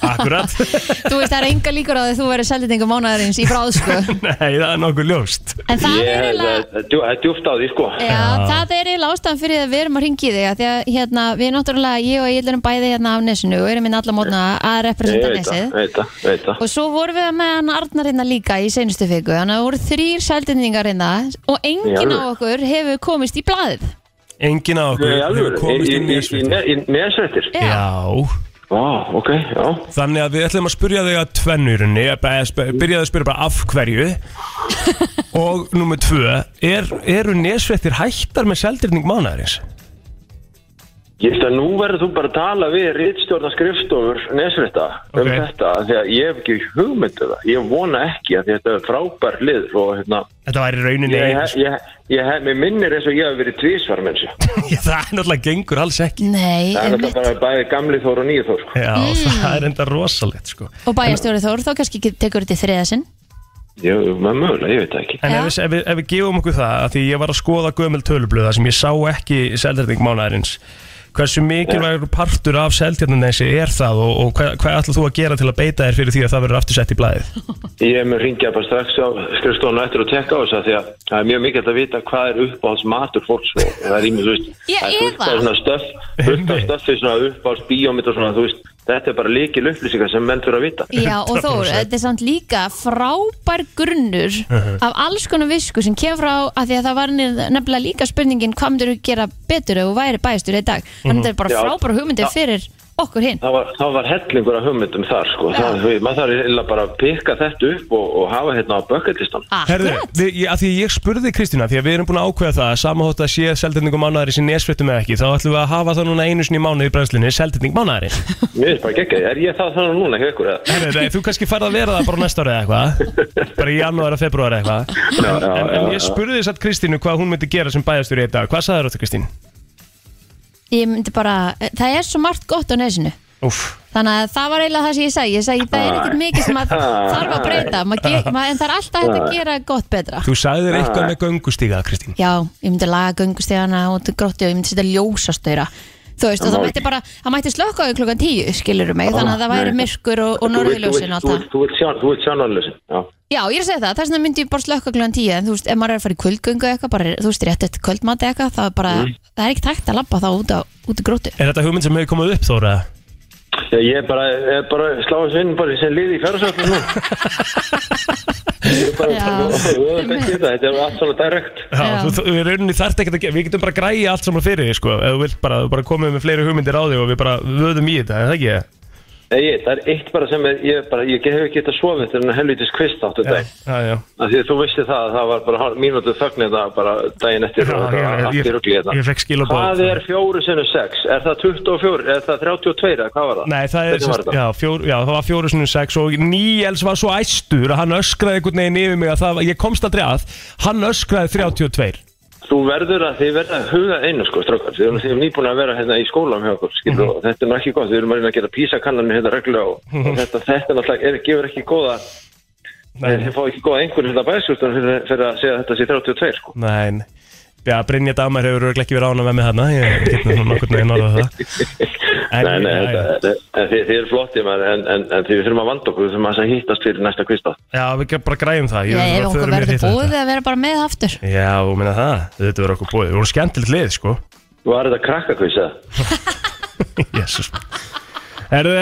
Speaker 1: Akkurat
Speaker 2: þú veist það er enga líkur á því að þú verið seldinningu mánaðarins í bráð sko.
Speaker 1: Nei, það er nokkuð ljóst
Speaker 2: En það
Speaker 7: Ég
Speaker 2: er
Speaker 7: held
Speaker 2: eiginlega...
Speaker 7: að það djú- það er djúft á því, sko.
Speaker 2: Já, það er eiginlega ástæðan fyrir að við erum að ringi þig af Því að hérna, við náttúrulega, ég og Egil erum bæði hérna á nesinu og erum inn alla mótna að
Speaker 7: Ég
Speaker 2: representa
Speaker 7: veit það,
Speaker 2: nesið
Speaker 7: veit það, veit það.
Speaker 2: Og svo vorum við með hann Arnar hérna líka í seinustu fiku Þannig að það voru þrýr sældendingar hérna og enginn
Speaker 7: alvöru?
Speaker 2: á okkur hefur komist í blaðið
Speaker 1: Engin á okkur
Speaker 7: Nei,
Speaker 1: hefur
Speaker 7: alveg,
Speaker 1: komist
Speaker 7: í,
Speaker 1: inn
Speaker 7: í,
Speaker 1: í
Speaker 7: í,
Speaker 1: þessu
Speaker 7: ne- í nesrættir?
Speaker 1: Já,
Speaker 7: Vá, ok, já.
Speaker 1: þannig að við ætlum að spyrja þig að tvennurunni byrjaði að spyrja bara af hverju og nummer tvö er, eru nesvettir hættar með seldirning mánæðarins?
Speaker 7: Ég veist að nú verður þú bara að tala við rittstjórna skrifstofur nesrætta um
Speaker 1: Ok.
Speaker 7: þetta, af því að ég hef ekki hugmyndu það. Ég vona ekki að þetta er frábær lið og hérna,
Speaker 1: Þetta væri í rauninni
Speaker 7: ég,
Speaker 1: einu
Speaker 7: ég, ég, ég hef, mér minnir eins og ég hef verið tvísvar mennsi.
Speaker 1: sko. það er náttúrulega gengur alls ekki
Speaker 2: Nei,
Speaker 7: Það er
Speaker 2: einmitt
Speaker 7: náttúrulega bara bæði gamli þór og nýju þór, sko.
Speaker 1: Já, það er enda rosalegt sko.
Speaker 2: Og bæjarstjóri Þór, þá kannski get- tekur þetta í þriða sinn
Speaker 7: Jú, maður mögulega, ég veit það ekki.
Speaker 1: En
Speaker 2: Já.
Speaker 1: ef við, ef, við, ef við gefum okkur það að því ég var að skoða gömul tölublöða sem ég sá ekki seldirning mánæðarins hversu mikilvægur partur af seldirningnesi er það og, og hvað, hvað ætlað þú að gera til að beita þér fyrir því að það verður aftur sett í blæðið?
Speaker 7: Ég mun ringja bara strax á skrifstofuna eftir og tekka á þess að því að það er mjög mikilvægt að vita hvað er uppáhalds matur fólks og það er ímið, þú veist,
Speaker 2: Ég
Speaker 7: það er fullt af
Speaker 2: efa.
Speaker 7: svona stöff, fullt af stöffi, svona uppáhalds bíómið og svona, þú veist, þetta er bara líkil upplýsingar sem menn fyrir að vita.
Speaker 2: Já, og
Speaker 1: 100%.
Speaker 2: Þór, þetta er samt líka frábær grunnur
Speaker 7: Uh-huh.
Speaker 2: af alls konar visku sem kemur frá að því að það var ne- nefnilega líka spurningin hvað myndir þú gera betur ef þú væri bæjastur í dag þannig að þetta er bara
Speaker 7: Mhm. Já.
Speaker 2: frábær hugmyndir
Speaker 7: Já.
Speaker 2: fyrir okkur hinn
Speaker 7: það var, það var hellingur af hugmyndum þar sko. það, við- maður þarf eiginlega bara að pikka þetta upp og, og hafa hérna á bucketlistan
Speaker 2: Ah.
Speaker 1: Herðu,
Speaker 2: Akkurat.
Speaker 1: við, ég, að því að ég spurði Kristína, því að við erum búin að ákveða það að samahótt að sé seldendingum mánæðarins í nesfrittum eða ekki, þá ætlum við að hafa það núna einu sinni í mánuði í brennslunni, seldending mánæðarins.
Speaker 7: mér finnst bara geggja, er ég það þannig núna hjá ykkur eða?
Speaker 1: Herðu, nei, þú kannski færð að vera það bara næsta árið eða eitthvað, bara í janúar og februar eða eitthvað.
Speaker 7: Já, já,
Speaker 1: En, en
Speaker 7: já,
Speaker 1: ég
Speaker 7: já.
Speaker 1: spurði þess að Kristínu hvað hún myndi gera sem bæðastjóri í dag. Hvað sagði þetta Kristín?
Speaker 2: Ég myndi bara, það er svo margt gott á nesinu
Speaker 1: Úff,
Speaker 2: Þannig að það var eiginlega það sem ég sagði Ég sagði,
Speaker 7: Ah.
Speaker 2: það er ekkert mikið sem að þarf að breyta Ma ge, ma, En það er alltaf
Speaker 7: Ah.
Speaker 2: hægt að gera gott betra
Speaker 1: þú sagðir eitthvað með göngustíga, Kristín.
Speaker 2: Já, ég myndi laga göngustegana út í grótti og ég myndi setja ljósastöyra Þú veist, og það mætti bara, það mætti slökka á klukkan tíu, skilurðu mig, þannig að það væri myrkur og, og norðurljósin og
Speaker 7: Ah, Þú
Speaker 2: allt
Speaker 7: vilt-
Speaker 2: það.
Speaker 7: þú vilt- þú vilt sjá norðljósin já,
Speaker 2: Já, ég er að segja það, þess vegna myndi ég bara slökka klukkan tíu, en þú veist, ef maður er að fara í kvöldgöngu eitthvað, bara, þú veist, rétt eftir kvöldmati eitthvað, þá er bara,
Speaker 7: Mm.
Speaker 2: það er ekki takt að labba þá út, á, út í gróttu.
Speaker 1: Er þetta hugmynd sem hefur komið upp, Þóra?
Speaker 7: Já, ég er bara, ég er bara slá þessu inn bara sem liði í fjárhásvöldum nú Ég er bara,
Speaker 2: Já.
Speaker 7: þú veist ekki þetta, þetta er allt svona direkt
Speaker 1: Já,
Speaker 2: Já.
Speaker 1: þú, þú, við rauninni þarft ekkert að gera, við getum bara að græja allt saman fyrir þig, sko, ef þú vilt bara, þú bara komið með fleiri hugmyndir á þig og við bara vöðum í þetta, er það ekki?
Speaker 7: Nei, það er eitt bara sem er, ég, er bara, ég hef ekki getað sofið til hennar helvitis kvist áttu
Speaker 1: Já,
Speaker 7: dag
Speaker 1: já, já.
Speaker 7: Af Því að þú vissi það að það var bara hál- mínútu þögnir það bara daginn eftir
Speaker 1: Já,
Speaker 7: og
Speaker 1: ég-
Speaker 7: þetta var allt
Speaker 1: ég-
Speaker 7: í rugli þetta.
Speaker 1: ég fekk skilaboð.
Speaker 7: Hvað er fjóru sinni sex? Er það 24? Er það 32? eða Hvað var það?
Speaker 1: Nei, það er,
Speaker 7: Hvernig var
Speaker 1: sérst,
Speaker 7: þetta?
Speaker 1: já, fjór, já, það var fjóru sinni sex og Níels var svo æstur að hann öskraði einhvern veginn yfir mig að það, var- ég komst aldrei að, hann öskraði 32.
Speaker 7: Þú verður að þið verða að huga einu sko, strákar. Þið erum, þið erum nýbúin að vera hérna í skólam hjá okkur, skilur,
Speaker 1: Mhm.
Speaker 7: og þetta er nú ekki gott. Þið erum að reyna að gera písakannanir hérna reglulega og, og þetta, þetta náttúrulega er, gefur ekki góða,
Speaker 1: Mhm. Nei,
Speaker 7: þið fá ekki góða einhvern hérna bæðskjórnum fyrir, fyrir að segja að þetta sé 32 sko.
Speaker 1: nei, nei. Já, Brynja Damar hefur örugglega ekki verið ánað með mig þarna, ég get nú nokkur neginn orðað það. En-
Speaker 7: nei, nei,
Speaker 1: já,
Speaker 7: þetta,
Speaker 1: já.
Speaker 7: þetta- en þið, þið eru flotti maður, en, en, en þið þurfum að vanda okkur, við þurfum að hittast fyrir næsta kvistað.
Speaker 1: Já, við bara græjum það.
Speaker 2: Já, ef
Speaker 1: þau eru
Speaker 2: okkur
Speaker 1: mér
Speaker 2: verður
Speaker 1: hitt þetta.
Speaker 2: búið að vera bara með aftur.
Speaker 1: Já, þú meina það, þetta verður okkur búið. Við vorum skemmtilegt lið, sko.
Speaker 7: Var þetta krakkakviss eða?
Speaker 1: Jésus. Herðu,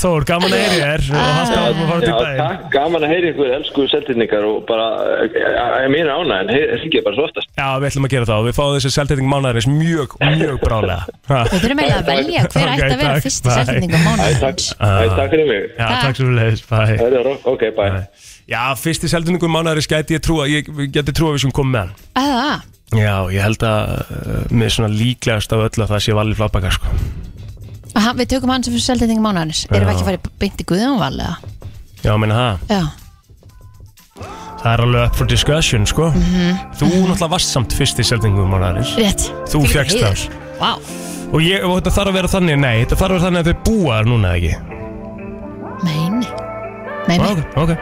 Speaker 1: Þór, gaman að heyri þér og
Speaker 2: Ah.
Speaker 1: hans gaman að fara til
Speaker 7: Já,
Speaker 1: daginn.
Speaker 7: takk, gaman að heyra ykkur, elsku seldinningar og bara, eh, eh, ég meina ána, en hringið bara svo oftast.
Speaker 1: Já, við ætlum að gera það og við fáum þessi seltending mánæðarins mjög, mjög brálega. Ha.
Speaker 2: Við þurfum eiginlega að velja hver
Speaker 1: Ok,
Speaker 2: ætti að vera
Speaker 1: takk,
Speaker 2: fyrsti
Speaker 1: bye.
Speaker 2: seltendingum
Speaker 7: Æ,
Speaker 2: mánuð.
Speaker 7: takk, Æ,
Speaker 1: Ah.
Speaker 7: takk fyrir mig.
Speaker 1: Já,
Speaker 2: Takk.
Speaker 1: takk sem við leiðis, bæ.
Speaker 7: Það er rokk, ok,
Speaker 1: Ναι.
Speaker 7: bye.
Speaker 1: Já, fyrsti seldendingum mánæðarins gæti ég trúa, ég ég gæti trúa við sem komum með hann.
Speaker 2: Eða,
Speaker 1: Já, ég held að uh, með svona líklegast af öllu að það sé valið flábakar, sko.
Speaker 2: Aha, við tökum hann sem fyrir seltendingum mánuðanis. Erum við ekki að fara beint í Guðjónval eða?
Speaker 1: Já, meina það.
Speaker 2: Já,
Speaker 1: Það er alveg up for discussion, sko. Þú náttúrulega varst samt fyrsti seldendingum mánæðarins.
Speaker 2: rétt.
Speaker 1: Þú
Speaker 2: Þvílíkur
Speaker 1: fékkst
Speaker 2: heiður.
Speaker 1: það.
Speaker 2: Vá,
Speaker 1: Og, ég, og þetta þarf að vera þannig, nei, þetta þarf að vera þannig að þau búa þar núna, ekki?
Speaker 2: meini. Meini.
Speaker 1: Ok, ok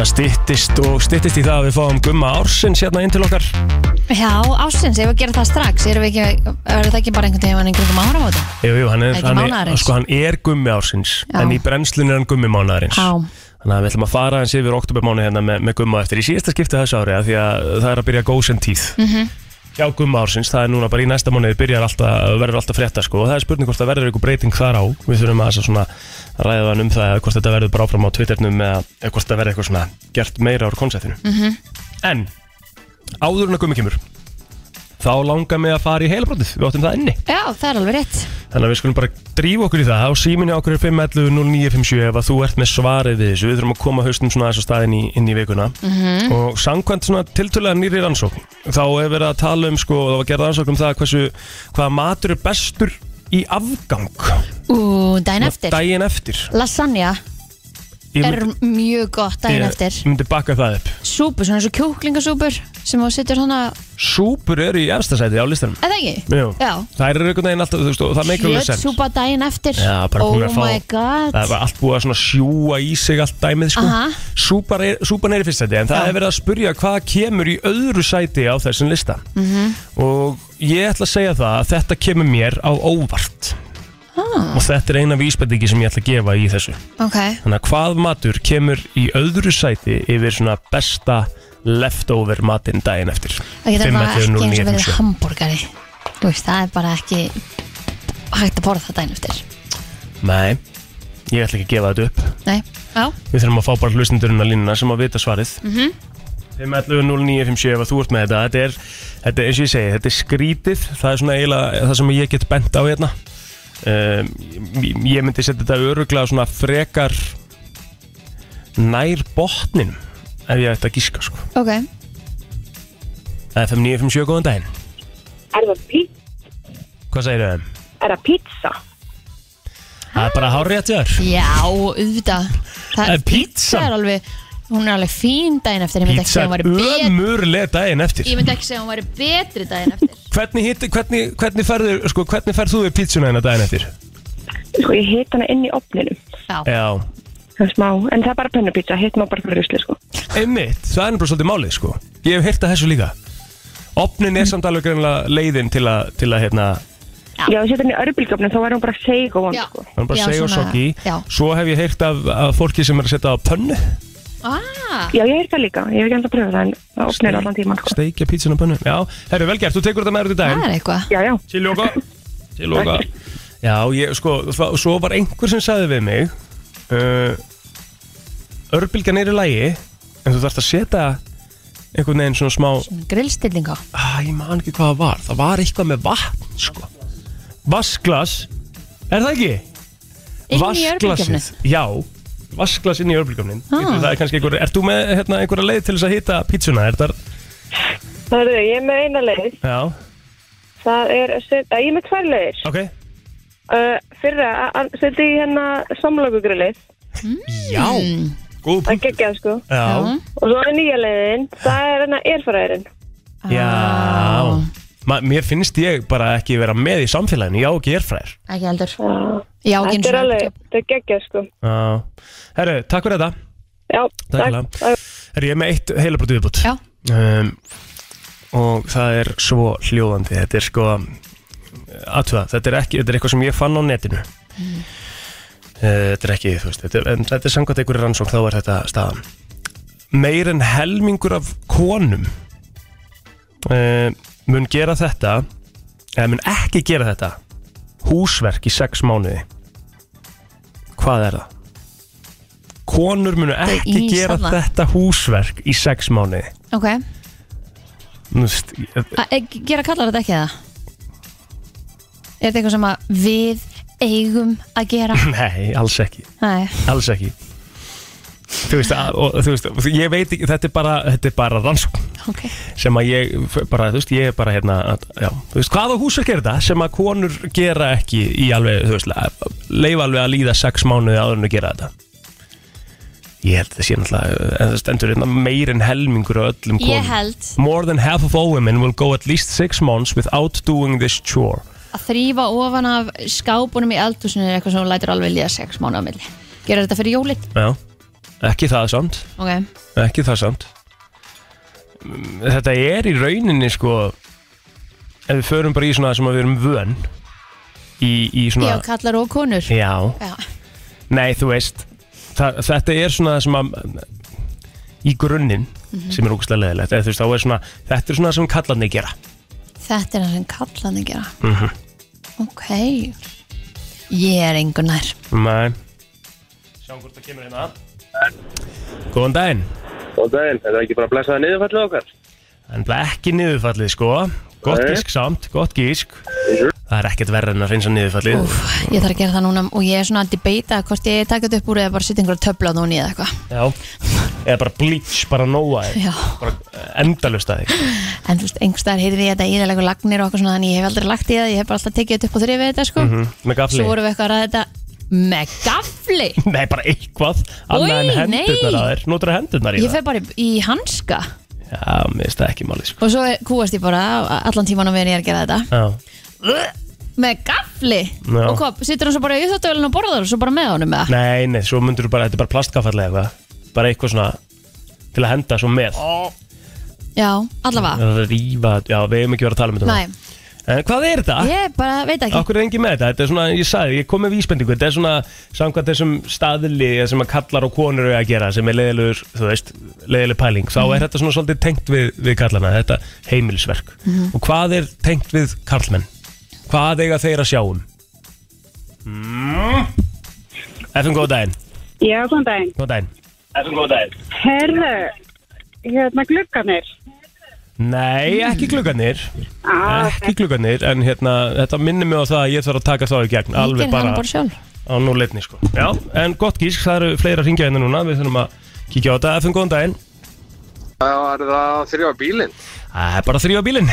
Speaker 1: Það styttist og styttist í það að við fáum gumma ársins hérna inn til okkar
Speaker 2: Já, ásins, ef við gerum það strax, erum við ekki, verður það ekki bara einhvern tíma einhvern tíma áramóta?
Speaker 1: Jú, jú, hann er,
Speaker 2: Ekki
Speaker 1: hann er,
Speaker 2: mánaðarins.
Speaker 1: sko, hann er gummi ársins
Speaker 2: Já.
Speaker 1: En í brennslunni er hann gummi mánaðarins
Speaker 2: Já.
Speaker 1: Þannig að við ætlum að fara hans yfir oktobermánu hérna með, með gumma á eftir Í síðasta skipti þessu ári að því að það er að byrja góðsend tíð mm
Speaker 2: Mhm.
Speaker 1: -hmm. Já, gumma ársins, það er núna bara í næsta mánuði byrjar alltaf, verður alltaf frétta sko og það er spurning hvort það verður einhver breyting þar á Við þurfum að svona ræða hann um það eða hvort þetta verður bara áfram á Twitternum eða eða hvort það verður eitthvað svona gert meira úr konseptinu
Speaker 2: Mhm.
Speaker 1: En, áður en að gummi kemur þá langar mig að fara í heilabrótið, við áttum það inni
Speaker 2: Já, það er alveg rétt.
Speaker 1: Þannig að við skulum bara drífa okkur í það og síminni okkur er 511 0957 ef að þú ert með svarið við þessu við þurfum að koma haustum svona þess að staðin í, inn í vikuna
Speaker 2: Mhm.
Speaker 1: og samkvæmt svona tiltölulega nýri rannsókn þá er verið að tala um sko, það var gerð rannsókn um það hversu hvaða matur er bestur í afgang
Speaker 2: Ú, daginn eftir.
Speaker 1: daginn eftir
Speaker 2: Lasagna
Speaker 1: Ég
Speaker 2: er
Speaker 1: myndi-
Speaker 2: mjög gott daginn eftir.
Speaker 1: Ég myndi bakka það upp
Speaker 2: Súpur, svona eins og kjúklingasúpur sem þú setur svona,
Speaker 1: Súpur eru í efstasæti á listanum
Speaker 2: eða ekki?
Speaker 1: Jú.
Speaker 2: Já.
Speaker 1: Það eru einhvern veginn alltaf, þú veist, og það meikir alveg sens
Speaker 2: Kjötsúpa daginn eftir
Speaker 1: Já, bara
Speaker 2: Oh
Speaker 1: búin að fá
Speaker 2: my god
Speaker 1: Það var allt búið að svona sjúa í sig allt dæmið sko.
Speaker 2: Aha.
Speaker 1: Súpar er- Súpan er í fyrst sæti En það er verið að spurja hvað kemur í öðru sæti á þessum lista
Speaker 2: Mhm.
Speaker 1: -hmm. Og ég ætla að segja það að þetta kemur mér á óvart ah. Og þetta er eina vísbendingi sem ég ætla að gefa í þessu
Speaker 2: Ok,
Speaker 1: Þannig að hvað matur kemur í öðru sæti yfir svona besta leftover matinn daginn eftir
Speaker 2: það getur bara
Speaker 1: 511
Speaker 2: ekki eins og
Speaker 1: 0957.
Speaker 2: verið hambúrgari Þú veist, það er bara ekki hægt að borða það daginn eftir
Speaker 1: Nei, ég ætla ekki að gefa þetta upp
Speaker 2: Nei, já,
Speaker 1: Við þurfum að fá bara hlustendurinn að línuna sem að vita svarið mm
Speaker 2: Mhm.
Speaker 1: -hmm. 5.11.09.57 ef að þú ert með þetta Þetta er, þetta er eins og ég segi, þetta er skrítið Það er svona eiginlega það sem ég get bent á hérna um, ég- ég myndi setja þetta öruglega svona frekar nær botninum ef ég ætti að gíska sko
Speaker 2: Ok,
Speaker 1: FM 957, góðan daginn
Speaker 6: Er það, pí
Speaker 1: Hvað segir þau?
Speaker 6: er það pizza?
Speaker 1: Það er bara hárið að þér
Speaker 2: já, auðvitað Það
Speaker 1: En pítsan?
Speaker 2: pizza er alveg, hún er alveg fín daginn eftir Ég myndi ekki
Speaker 1: Pizza
Speaker 2: segja hún
Speaker 1: er
Speaker 2: væri betri
Speaker 1: ömurlega daginn eftir
Speaker 2: Ég myndi ekki segja hún væri betri daginn eftir
Speaker 1: Hvernig, hitti, hvernig, hvernig, ferður, sko, hvernig ferð þú við pítsuna hérna daginn eftir?
Speaker 6: Sko, ég hita hana inn í opninum.
Speaker 2: Já,
Speaker 1: Já,
Speaker 6: Það er smá, en það er bara pönnupizza, hitt má bara fyrir rusli, sko.
Speaker 1: einmitt, það er bara svolítið málið sko Ég hef heyrt að þessu líka Opnin er samt alveg greinlega leiðin til að, til að hérna,
Speaker 6: Já, ég setja henni í örbílgjöfnum, þá væri hún bara seig og vond,
Speaker 2: Já.
Speaker 6: sko.
Speaker 1: hann bara
Speaker 2: Já,
Speaker 1: segja og
Speaker 2: svona-
Speaker 1: sokki
Speaker 2: já.
Speaker 1: Svo hef ég heyrt af, af fólki sem er að setja á pönnu
Speaker 2: ah,
Speaker 6: Já, ég hef það líka, ég hef ekki enda að pröfa það, en það opnir allan tíman, sko.
Speaker 1: Steikja pítsuna á pönnu Já, herru, velgert, þú tekur þetta með þér út í daginn
Speaker 2: það er eitthvað
Speaker 6: Já, já.
Speaker 1: Til loka Til loka Já, ég, sko, það- svo var einhver sem sagði við mig uh, Örbylgan er í lagi En þú þarft að setja einhvern veginn svona smá
Speaker 2: Grillstilling á
Speaker 1: ah, Ég man ekki hvað það var Það var eitthvað með vatn, sko Vasklas Er það ekki?
Speaker 2: Inn í
Speaker 1: Vatnsglasið,
Speaker 2: örbylgjafni
Speaker 1: Já, vasklas inn í örbylgjöfnin
Speaker 2: Ah.
Speaker 1: Það er kannski einhver Ert þú með hérna, einhverja leið til þess að hita pítsuna? Er það,
Speaker 6: Það er, ég er með eina leið.
Speaker 1: já,
Speaker 6: Það er, set, ég er með tvær leiðir.
Speaker 1: ok
Speaker 6: Uh, fyrra, setja ég hérna samlokugrillið,
Speaker 1: Já,
Speaker 2: Mm.
Speaker 1: góð
Speaker 6: það
Speaker 1: punkt
Speaker 6: geggjað, sko.
Speaker 1: Já,
Speaker 6: Og svo er nýja leiðin, það er hérna erfaraðurinn.
Speaker 1: Já
Speaker 2: Ah.
Speaker 1: Ma, Mér finnst ég bara ekki vera með í samfélaginu Já, ekki ég er fræðir
Speaker 2: Ekki heldur Já, ekki eins
Speaker 6: Þetta er
Speaker 2: og
Speaker 6: alveg, þetta er geggjað, sko.
Speaker 1: Herru, takk fyrir þetta
Speaker 6: Já,
Speaker 1: Takk. Herru, ég er með eitt heilabróti viðbútt
Speaker 2: Já.
Speaker 1: um, Og það er svo hljóðandi Þetta er sko Atvað, þetta er ekki, þetta er eitthvað sem ég fann á netinu Eh, Þetta er ekki, þú veist Þetta er, en þetta er samkvæmt einhverju rannsókn Þá er þetta staðan Meir en helmingur af konum uh, mun gera þetta eða mun ekki gera þetta húsverk í sex mánuði hvað er það? konur munu ekki
Speaker 2: í
Speaker 1: gera
Speaker 2: þarna.
Speaker 1: þetta húsverk í sex mánuði
Speaker 2: Ok,
Speaker 1: Nú, veist, ég-
Speaker 2: A, e, gera kallar þetta ekki það? Er þetta eitthvað sem að við eigum að gera?
Speaker 1: nei, alls ekki
Speaker 2: Nei,
Speaker 1: alls ekki þú veist, að, og, þú veist og ég veit ekki, þetta er bara, þetta er bara rannsókn
Speaker 2: ok
Speaker 1: sem að ég, f- bara, þú veist, ég er bara hérna, að, já, þú veist, hvaða húsverk er þetta sem að konur gera ekki í alveg, þú veist, að leifa alveg að líða sex mánuði áður en að gera þetta ég held að það sé náttúrulega en það stendur hérna meir en helmingur á öllum konum
Speaker 2: Ég held
Speaker 1: more than half of all women will go at least six months without doing this chore
Speaker 2: að þrýfa ofan af skápunum í eldhúsinu er eitthvað sem hún lætur alveg líða sex mánu á milli Gera þetta fyrir jólin?
Speaker 1: já, ekki það samt
Speaker 2: Ok,
Speaker 1: ekki það samt Mm, þetta er í rauninni sko ef við förum bara í svona sem að við erum vön í, í svona
Speaker 2: ég og kallar og konur
Speaker 1: Já,
Speaker 2: Já,
Speaker 1: nei þú veist það, Þetta er svona sem að í grunninn sem er ógustlega leðilegt eða þú veist þá er svona þetta er svona sem kallarni gera
Speaker 2: þetta er það sem kallarni gera Ok Ég er engu nær
Speaker 1: Nei Sjáum hvort það kemur hérna Góðan daginn
Speaker 7: Góðan daginn, er það ekki bara að blessa það niðurfallið okkar?
Speaker 1: En það er ekki niðurfallið sko Gott
Speaker 7: Nei.
Speaker 1: gísk samt, gott gísk Það er ekkert verra en að reynsa niðurfallið
Speaker 2: Úf, ég þarf að gera það núna og ég er svona að debata hvort ég taka þetta upp úr eða bara setja einhverja töfla á núni eða eitthvað
Speaker 1: Já Eða bara bleach, bara nóa þig
Speaker 2: Já.
Speaker 1: Bara endalust að þig
Speaker 2: en þú veist, einhverstaðar heyrði ég þetta íðalegu lagnir og eitthvað svona þannig ég hef aldrei lagt í það, ég hef bara alltaf tekið þetta upp og þrifið þetta sko
Speaker 1: Með
Speaker 2: svo
Speaker 1: gafli
Speaker 2: vorum við eitthvað að ræða þetta með gafli
Speaker 1: Nei, bara eitthvað Annað en
Speaker 2: Oj, nei.
Speaker 1: hendurnar að þér Nótur hendurnar í
Speaker 2: ég
Speaker 1: það
Speaker 2: fer bara í, í hanska
Speaker 1: Já, mér finnst það ekki málið sko
Speaker 2: og svo er- kúast ég bara á- allan tíman á meðan ég er að gera þetta
Speaker 1: Já,
Speaker 2: með gafli
Speaker 1: Já.
Speaker 2: og hvað, situr hann svo bara í þáttuvelin og borðar og svo bara með honum með það
Speaker 1: nei, nei, svo myndur þú bara, þetta er bara plastkaffall eða eitthvað Bara eitthvað svona til að henda svo með
Speaker 2: já, allavega,
Speaker 1: Rífa, já, við hefum ekki verið að tala um þetta
Speaker 2: næ,
Speaker 1: En hvað er þetta?
Speaker 2: ég bara veit ekki
Speaker 1: Akkur er engin með þetta, þetta er svona, ég sagði, ég kom með vísbendingu Þetta er svona samkvæmt þessum staðli sem að kallar og konur eru að gera sem er leiðilegur, þú veist, leiðileg pæling þá
Speaker 2: Mhm.
Speaker 1: er þetta svona svolítið tengt við, við kallana þetta heimilisverk
Speaker 2: Mhm.
Speaker 1: og hvað er tengt við karlmenn? Hvað eiga þeir að sjá um?
Speaker 2: Mhm.
Speaker 1: Mm. FM, góð daginn
Speaker 8: Já, góðan daginn.
Speaker 1: Góð daginn
Speaker 8: Herðu, hérna glugganir.
Speaker 1: Nei, ekki gluggarnir
Speaker 8: Ah,
Speaker 1: Ekki gluggarnir, en hérna Þetta minnir mig á það að ég þarf að taka þá í gegn Alveg
Speaker 2: Enginn hann
Speaker 1: bara
Speaker 2: bara sjálf
Speaker 1: á núleitni sko Já, en gott gísk, það eru fleira að ringja hérna núna Við þurfum að kíkja á þetta, FN góðan daginn
Speaker 7: Það var það þrjá bílinn.
Speaker 1: Það er bara þrjá bílinn,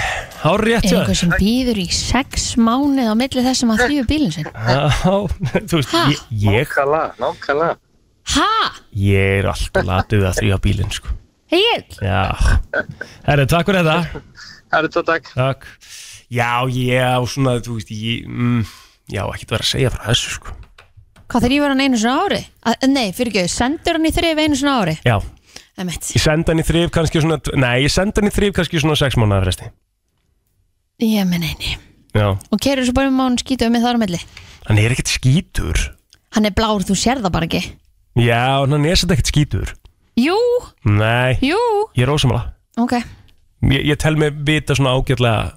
Speaker 1: hár rétt
Speaker 2: Er
Speaker 1: hjá
Speaker 2: einhver
Speaker 1: þér.
Speaker 2: sem býður í sex mánuð á milli þessum að þrjú bílinn sinn?
Speaker 1: Já, þú veist,
Speaker 2: Ha?
Speaker 1: ég, ég,
Speaker 7: Nákvæmlega, nákvæmlega.
Speaker 2: Ha?
Speaker 1: ég er alltaf latið að þrjá bílinn sko
Speaker 2: Egil?
Speaker 1: Já, herri, takk fyrir þetta
Speaker 7: Það er þetta takk.
Speaker 1: Takk Já, ég á svona, þú veist, ég mm, Já, ekkert verið að segja frá þessu sko
Speaker 2: Hvað þrýfur hann einu svona ári? Að, nei, fyrir ekki, sendur hann í þrif einu svona ári?
Speaker 1: Já,
Speaker 2: Emmett.
Speaker 1: ég senda hann í þrif kannski svona Nei, ég senda hann í þrif kannski svona sex mánuðar resti
Speaker 2: Ég menn eini.
Speaker 1: Já,
Speaker 2: Og kerur svo bara um mánu skítu um með þar á milli.
Speaker 1: hann er ekkert skítur
Speaker 2: Hann er blár, þú sér það bara ekki.
Speaker 1: Já, en hann er satt ekkert skítur
Speaker 2: Jú,
Speaker 1: Nei,
Speaker 2: jú.
Speaker 1: ég er ósamala
Speaker 2: Ok.
Speaker 1: Ég, ég tel mig vita svona ágætlega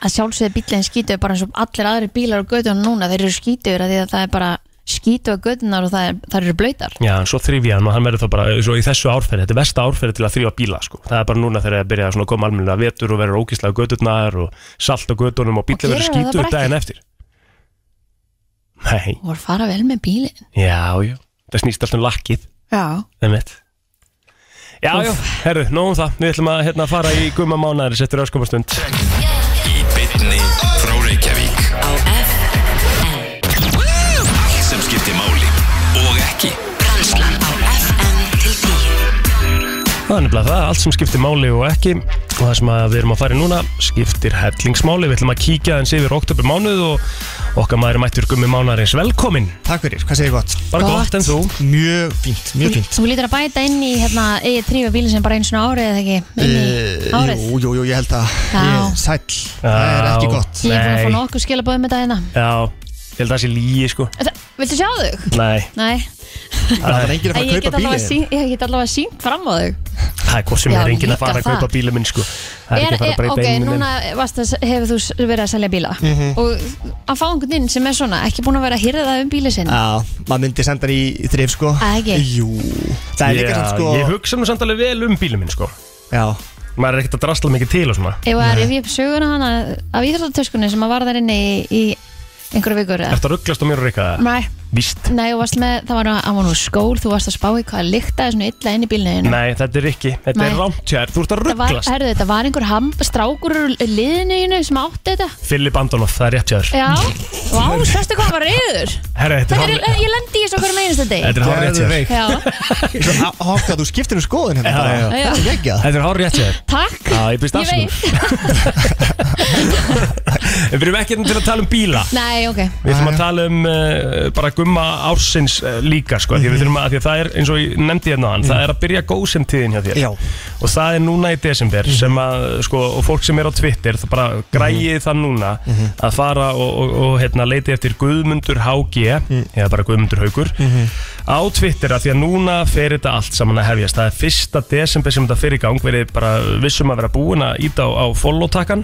Speaker 2: Að sjálfsögðu bílinn skítu bara eins og allir aðri bílar á gödunum núna. Þeir eru skítur að því að það er bara skítu á gödunar og það, er, það eru blöytar.
Speaker 1: Já, en svo þrýf ég hann og hann verður þá bara Svo í þessu árferði, þetta er versta árferði til að þrýfa bíla sko. Það er bara núna þegar það byrja að koma almennilega vetur og verður ógislega gödurnar og salt á gödunum og bíla
Speaker 2: Og
Speaker 1: verður
Speaker 2: gerir það
Speaker 1: skítur
Speaker 2: bara
Speaker 1: daginn eftir Nei,
Speaker 2: Og voru fara vel með bílinn.
Speaker 1: já, já Það snýst alltaf um lakkið,
Speaker 2: Já.
Speaker 1: það mitt Já, já, herru, nóg um það Við ætlum að hérna, fara í gumma mánæðis eftir öskumastund
Speaker 5: Í bytni frá Reykjavík
Speaker 9: á FM
Speaker 5: Allt sem skiptir máli og ekki
Speaker 9: Brennslan á FM til 10
Speaker 1: Það er nefnilega það, allt sem skiptir máli og ekki og það sem að við erum að fara í núna skiptir hellingsmáli, við ætlum að kíkja aðeins yfir oktober mánuð og okkar maður er mættur gummi mánarins velkomin
Speaker 10: Takk fyrir, hvað segir gott?
Speaker 1: bara
Speaker 2: Gott.
Speaker 1: gott en þú
Speaker 10: Mjög fínt, mjög fínt
Speaker 2: Þú lítur að bæta inn í hérna, eigið þrýfa bílinn sem bara einu svona árið eða ekki? Inn í
Speaker 10: Eh,
Speaker 2: árið?
Speaker 10: Jú, jú, jú, ég held að
Speaker 2: Já.
Speaker 10: ég- Sæll, það er ekki gott
Speaker 2: Ég er búin að fá
Speaker 1: Nei.
Speaker 2: nokkuð skilabóðum með dagina
Speaker 1: Já, ég held að það sé líi sko
Speaker 2: hérna. Þetta- Viltu sjá þau?
Speaker 1: Nei,
Speaker 2: Nei,
Speaker 10: Það er
Speaker 2: ég
Speaker 10: enginn að fara að
Speaker 2: get
Speaker 10: kaupa
Speaker 2: allavega,
Speaker 10: bílið
Speaker 2: sín, ég get allavega sínt fram á þau
Speaker 1: það er gott sem
Speaker 2: Já,
Speaker 1: er enginn að
Speaker 2: líka
Speaker 1: fara að
Speaker 2: það.
Speaker 1: kaupa bílum minn sko Það er ekki að fara að
Speaker 2: er,
Speaker 1: breyta Mhm.
Speaker 2: Ok,
Speaker 1: einu
Speaker 2: núna varst að, hefur þú s- verið að selja bíla Og að fá einhvern inn sem er svona Ekki búin að vera að hýrða það um bíli
Speaker 1: Ah,
Speaker 2: sinn
Speaker 10: Já, maður myndi senda hann í þrif sko
Speaker 2: Það ekki?
Speaker 10: Jú, það er líka svona sko
Speaker 1: Ég hugsa nú samt alveg vel um bílum minn sko
Speaker 10: Já,
Speaker 1: maður er ekkert að drasla mikið til og svona
Speaker 2: Ef að rifja upp söguna hana Af íþróttatöskunni sem að var þar inni í, í einhverju vikur eða?
Speaker 1: Ertu að rugglast á mér og reyka það?
Speaker 2: Nei,
Speaker 1: Víst
Speaker 2: nei, og varst með, það var nú- hann var nú skól Þú varst að spá í hvað lyktaði svona illa inn í bílinu þínum.
Speaker 1: Nei, þetta er ekki, þetta
Speaker 2: Nei.
Speaker 1: er rámt hér, þú ert að
Speaker 2: Það var,
Speaker 1: rugglast
Speaker 2: herðu, þetta var einhver ham, strákur úr liðinu þínu sem átti þetta
Speaker 1: Filip Andonoff, það er rétt hjá þér
Speaker 2: Já, vá, sérstu hvað hann var reyður
Speaker 1: Herra, þetta er
Speaker 2: Þetta er,
Speaker 1: hárrétt-
Speaker 2: ég lendi í þessu okkur meðinstu deg
Speaker 1: Þetta er hár rétt hjá þér
Speaker 2: Já,
Speaker 10: hókka, þú skiptir um skoðun hérna
Speaker 1: Já,
Speaker 10: bara.
Speaker 1: já.
Speaker 2: Já.
Speaker 10: Það er ekki
Speaker 1: Þetta er hár rétt hjá þér
Speaker 2: takk
Speaker 1: Já, ég byrst afsökunar
Speaker 2: veit.
Speaker 1: En Við erum ekki hérna til að tala um bíla
Speaker 2: Nei, ok
Speaker 1: Við þurfum
Speaker 10: Jæja.
Speaker 1: að tala um uh, bara gumma ársins uh, líka sko, því, við þurfum að, því að það er eins og ég nefndi hérna mm. það er að byrja góðsum tíðin hjá þér
Speaker 10: Já.
Speaker 1: og það er núna í desember sem að sko, og fólk sem er á Twitter það bara græið það núna að fara og, og, og hérna, leiti eftir Guðmundur HG eða bara Guðmundur Haugur á Twitter að því að núna fer þetta allt saman að hefjast það er fyrsta desember sem þetta fer í gang verið bara vissum að vera búin að íta á, á follow-takkan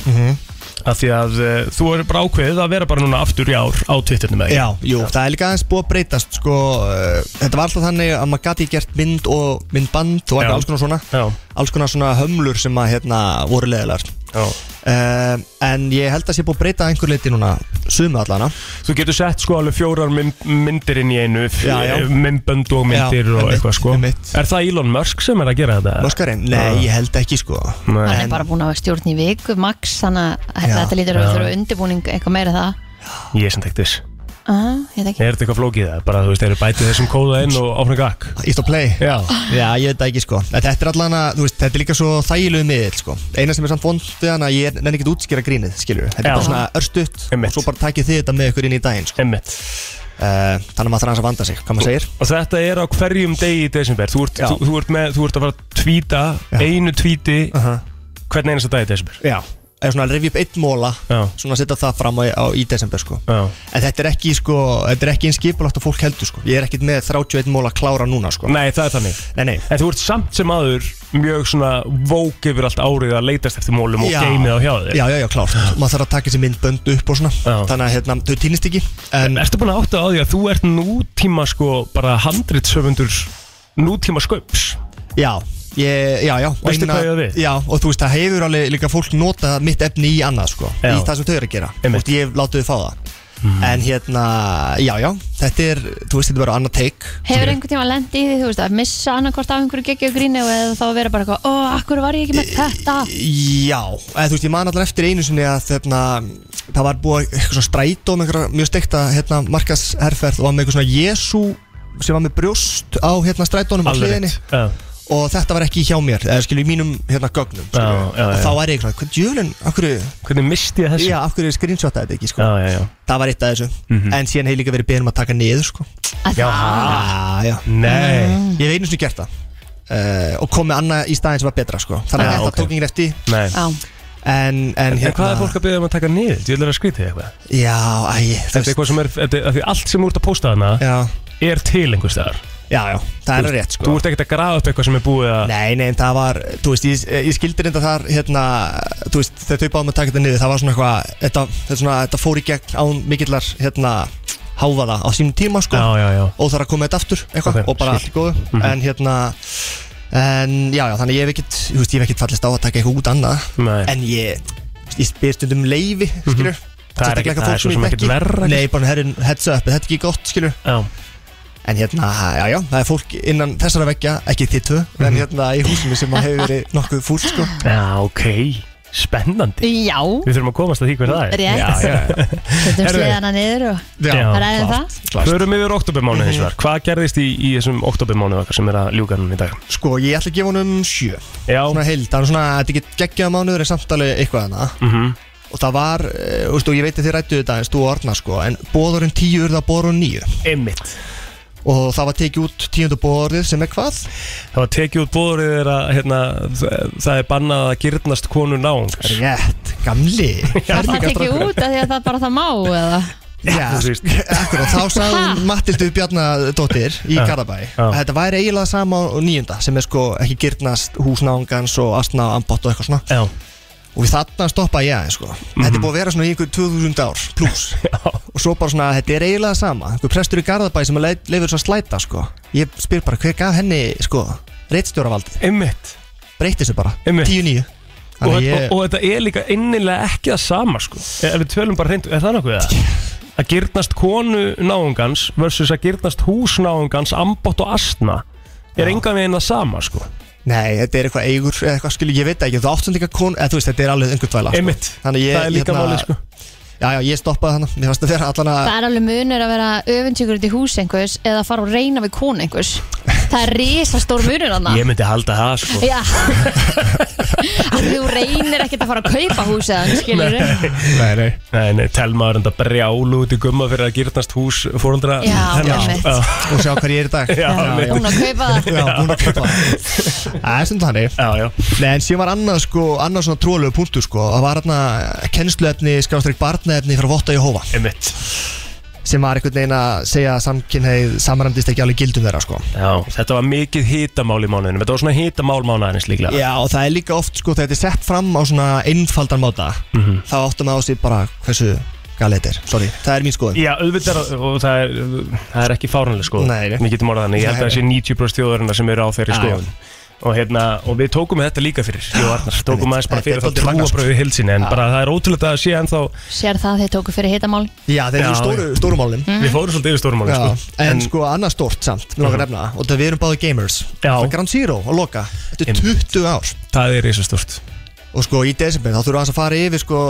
Speaker 1: að því að uh, þú er bara ákveðið að vera bara núna aftur í ár á Twitternum eða ekki?
Speaker 10: Já, jú, það er líka aðeins búið að breytast sko, uh, Þetta var alltaf þannig að maður gati gert mynd og myndband og
Speaker 1: Já.
Speaker 10: alls konar svona
Speaker 1: Já.
Speaker 10: alls konar svona hömlur sem að hérna, voru leðilegar
Speaker 1: Já.
Speaker 10: um, En ég held að sé búið að breyta að einhver leiti núna sumu allana
Speaker 1: Þú getur sett sko alveg fjórar mynd, myndir inn í einu
Speaker 10: Já, já.
Speaker 1: Myndbönd og myndir
Speaker 10: Já,
Speaker 1: og
Speaker 10: einmitt,
Speaker 1: eitthvað sko
Speaker 10: einmitt.
Speaker 1: Er það Elon Musk sem er að gera þetta? Ah.
Speaker 10: Moskarinn? Nei, ég held ekki sko
Speaker 2: Hann
Speaker 1: Nei.
Speaker 2: er bara búin að vera stjórn í viku, max Þannig að þetta-
Speaker 10: Já.
Speaker 2: þetta lítur að þurfa undirbúning eitthvað meira það
Speaker 1: Ég er sem tekt viss
Speaker 2: Aha, Ég veit ekki
Speaker 1: Er þetta eitthvað flókið það? Bara þú veist, eru bætið þessum kóða inn og áfram gakk
Speaker 10: Ítt á play
Speaker 1: Já
Speaker 10: Já, ég veit það ekki sko En Þetta er allan að, þú veist, þetta er líka svo þægilegu miðil sko Eina sem er samt vond við hana, ég er nefnir ekki útskýra grínið, skilur Þetta
Speaker 1: Já.
Speaker 10: er bara svona örstutt
Speaker 1: Einmitt.
Speaker 10: og svo bara takið þið þetta með ykkur inn í daginn sko
Speaker 1: Einmitt
Speaker 10: uh, Þannig að maður þarf aðeins að vanda sig, hvað maður segir
Speaker 1: Og þetta er á hverjum degi í desember Þú ert,
Speaker 10: Já.
Speaker 1: þú, þú ert, með, þú ert að fara að tvíta
Speaker 10: Já.
Speaker 1: Einu tvíti
Speaker 10: uh
Speaker 1: hvern einasta dag í desember
Speaker 10: Já Eða svona að rifja upp einn móla,
Speaker 1: Já.
Speaker 10: svona að setja það fram á, á í desember sko
Speaker 1: Já
Speaker 10: En þetta er ekki sko, þetta er ekki eins skipulagt og fólk heldur sko Ég er ekkit með 31 móla klára núna sko
Speaker 1: Nei, það er þannig
Speaker 10: Nei, nei
Speaker 1: En þú ert samt sem aður mjög svona vók yfir allt árið að leitast eftir mólum og geymið á hjá þér
Speaker 10: Já, já, já, klár Maður þarf að taka þessi myndbönd upp og svona
Speaker 1: Já.
Speaker 10: Þannig að hérna, þau týnist ekki En
Speaker 1: Ertu búin að átta á því að þú ert nútíma sko bara handritsöfundur nútíma sköps
Speaker 10: já, Ég, já, já og
Speaker 1: Veistu
Speaker 10: eina-
Speaker 1: hvað ég á við?
Speaker 10: Já, og þú veist, það hefur alveg líka fólk notað mitt efni í annað, sko
Speaker 1: Já.
Speaker 10: Í það sem þau eru að gera Þú
Speaker 1: Einmitt. Mhm.
Speaker 10: veist, ég látið þau fá það En hérna, já, já, þetta er, þú veist, þetta er bara annað take
Speaker 2: Hefur einhvern tíma lent í því, þú veist, að missa annarkvort af einhverju geggju grínu og eða þá að vera bara eitthvað, ó, akkur var ég ekki með þetta?
Speaker 10: Já, eða þú veist, ég man allan eftir einu sinni að þarna, það var búið eitthvað svona strætó með einhverja mjög steikta hérna, markasherferð og var með eitthvað svona Jésu sem var með brjóst á hérna strætónum á
Speaker 1: Alveg
Speaker 10: hliðinni
Speaker 1: rétt. Já.
Speaker 10: og þetta var ekki hjá mér, eða skilju í mínum hérna gögnum, skilju,
Speaker 1: Já, já,
Speaker 10: og
Speaker 1: já.
Speaker 10: þá var ég eitthvað, hvað djúlinn, af hverju,
Speaker 1: Hvernig misti ég þessu?
Speaker 10: já, af hverju screenshotaði þetta ekki, sko,
Speaker 1: já, Mhm. já, já.
Speaker 10: það var eitt af þessu, en síðan hef ég líka verið beðin um að taka niður, sko,
Speaker 2: Að
Speaker 1: Já,
Speaker 2: það,
Speaker 1: ha.
Speaker 10: ah, já,
Speaker 1: Nei,
Speaker 10: ég hef einu sinni gert það uh, og kom með annað í staðin sem var betra, sko, þannig
Speaker 1: Já,
Speaker 10: að þetta
Speaker 1: ok.
Speaker 10: tók yngir eftir,
Speaker 1: nei
Speaker 2: já,
Speaker 10: en, en,
Speaker 1: En hvað er fólk að byggja um að taka niður? Ég vil vera að skrýta eitthvað
Speaker 10: Já, æ, þú
Speaker 1: Þetta er
Speaker 10: veist
Speaker 1: eitthvað sem er, þetta er, af því allt sem þú ert að posta hana
Speaker 10: Já,
Speaker 1: er til einhvers staðar
Speaker 10: já, já, það er rétt
Speaker 1: Þú
Speaker 10: sko
Speaker 1: ert ekkert að grafa upp eitthvað sem er búið að
Speaker 10: Nei, nei, en það var, þú veist, ég, ég skildi reynda þar, hérna, þú veist, þegar þau báðum að taka þetta niður, það var svona eitthvað, þetta, þetta, svona, þetta fór í gegn án mikillar, hérna, háfaða á sínum tíma, sko,
Speaker 1: Já, já, já
Speaker 10: og þar að koma þetta aftur, eitthvað,
Speaker 1: Ok,
Speaker 10: og
Speaker 1: skil. Mhm.
Speaker 10: bara allt í góðu, en hérna, en já, já, þannig að ég hef ekkert, þú veist, ég hef ekkert fallist á að taka eitthvað út annað,
Speaker 1: Nei. Mhm.
Speaker 10: en ég, ég spyr stundum um leifi,
Speaker 1: Það
Speaker 10: skilur,
Speaker 1: er
Speaker 10: sérstaklega
Speaker 1: ekkert-
Speaker 10: eitthvað
Speaker 1: það er svo
Speaker 10: fólk sem
Speaker 1: sem
Speaker 10: ég
Speaker 1: ekkert
Speaker 10: þekki.
Speaker 1: verra,
Speaker 10: Nei, bara herrin, heads up, þetta er ekki gott, skilur,
Speaker 1: Já,
Speaker 10: En hérna, já, já, það er fólk innan þessara veggja, ekki þið tvö, en
Speaker 1: Mhm.
Speaker 10: hérna í húsinu sem að hefur verið nokkuð fúl, sko.
Speaker 1: já, ok Spennandi
Speaker 2: já,
Speaker 1: Við þurfum að komast að því hver það er
Speaker 2: rétt, setjum
Speaker 1: Herðu.
Speaker 2: sliðana niður og
Speaker 1: Já,
Speaker 2: ræðum
Speaker 10: klárt.
Speaker 2: það.
Speaker 1: Förum yfir oktobermánu hins vegar Hvað gerðist í, í þessum oktobermánu okkar sem er að ljúka hann í dag?
Speaker 10: Sko, ég ætla að gefa honum sjö,
Speaker 1: Já,
Speaker 10: svona heild, það er svona, þetta er ekki geggjaða mánuður en samtalið eitthvað hana.
Speaker 1: mhm,
Speaker 10: Og það var, eh, þú veist, og ég veit að þið rættu þetta eins, þú og Arna, sko, en bóðurinn tíu urða bóðurinn níu.
Speaker 1: einmitt
Speaker 10: Og það var tekið út tíundu bóðurinn sem er hvað?
Speaker 1: Það var tekið út bóðrið þegar að hérna, það, það er bannað að gyrnast konur náungs
Speaker 10: Rétt, gamli.
Speaker 2: Var það tekið út af því að það bara það má eða?
Speaker 10: Já,
Speaker 1: þú veist.
Speaker 10: akkur þá sagði hún Mattildu Bjarnadóttir í
Speaker 1: Já.
Speaker 10: Garabæ
Speaker 1: Já.
Speaker 10: að þetta væri eiginlega sama og nýjunda sem er sko ekki gyrnast húsnángans og astna ambott og eitthvað svona
Speaker 1: Já,
Speaker 10: og við þarna stoppa ég aðeins sko þetta
Speaker 1: Mhm.
Speaker 10: er búið að vera svona í einhver 2000 ár pluss og svo bara svona þetta er eiginlega sama einhver prestur í Garabæ sem að leifur svo að slæta sko ég spyr bara hver gaf henni sko reittstjóravaldi
Speaker 1: einmitt
Speaker 10: breytti þessu bara
Speaker 1: Einmitt.
Speaker 10: 10-9
Speaker 1: og,
Speaker 10: Þannig að
Speaker 1: og,
Speaker 10: ég
Speaker 1: og þetta er líka innilega ekki það sama sko. ef ef við tölum bara hreint, er það nokkuð það? að girnast konu náungans versus að girnast hús náungans ambott og astna er engan veginn það sama sko.
Speaker 10: Nei, þetta er eitthvað eigur eða eitthvað skilju, ég veit það ekki, þú áttum líka kon eða þú veist, þetta er alveg einhvern tvæla sko.
Speaker 1: einmitt,
Speaker 10: Þannig ég-
Speaker 1: það er líka
Speaker 10: hérna-
Speaker 1: málið sko.
Speaker 10: Já, já, ég stoppaði hana, mér fannst að vera allan að
Speaker 2: Það er alveg munur að vera öfundsjúkur út í hús einhvers eða fara og reyna við konu einhvers. Það er risastór munur hann.
Speaker 1: ég myndi halda það sko.
Speaker 2: Já Af því Þú reynir ekkert að fara að kaupa húsið hann, skilur
Speaker 10: Nei, nei
Speaker 1: nei, nei, telma er enda brjálu út í gumma fyrir að girnast hús sko. fórundra
Speaker 2: Já, einmitt.
Speaker 10: Og sjá hvað ég er í dag
Speaker 1: Já,
Speaker 10: já,
Speaker 2: Búin að kaupa það
Speaker 10: já, búin að kaupa það. Það er stundum þannig
Speaker 1: já, já,
Speaker 10: Nei, en síðan var annað sko, annað svona trúalögu punktur sko Það var hérna kennsluefni, skástrík barnaefni frá Votta Jóhófa
Speaker 1: einmitt
Speaker 10: Sem var einhvern veginn að segja að samkynneið samræmdist ekki alveg gildum þeirra sko
Speaker 1: já, þetta var mikið hitamál í mánuðinu þetta var svona hitamál mánuðarins líklega
Speaker 10: Já, og það er líka oft sko, þegar þetta er sett fram á svona einfaldan máta Þá áttum að á sig bara hversu galið þetta er Sorry, það er mín skoðun
Speaker 1: Já, auðvitað er, og það er, það er ekki fáránlega sko
Speaker 10: Nei, nei.
Speaker 1: Við getum orðað þannig, ég held að það sé 90% þjóðarinnar sem eru á þeirri
Speaker 10: Já,
Speaker 1: skoðun og, hérna, og við tókum þetta líka fyrir Jó Arnar, tókum aðeins
Speaker 10: einmitt.
Speaker 1: bara
Speaker 10: Þetta er
Speaker 1: fyrir það
Speaker 10: dálítið magnað, sko.
Speaker 1: trúabröðu hilsinni en bara það er ótrúlega að það sé ennþá
Speaker 2: Sér það að þeir tóku fyrir hitamál
Speaker 10: Já, þeir eru
Speaker 1: Já,
Speaker 10: stóru, stóru málum
Speaker 1: við fórum svolítið yfir stórmáli
Speaker 10: Mhm. Já,
Speaker 1: sko.
Speaker 10: en, sko annað stort samt Mér langar að nefna það Og það við erum báði gamers
Speaker 1: Já.
Speaker 10: Það er Ground Zero og Loka Þetta er 20 ár
Speaker 1: það er eins og stort
Speaker 10: Og sko í desember þá þurfum við aðeins að fara yfir sko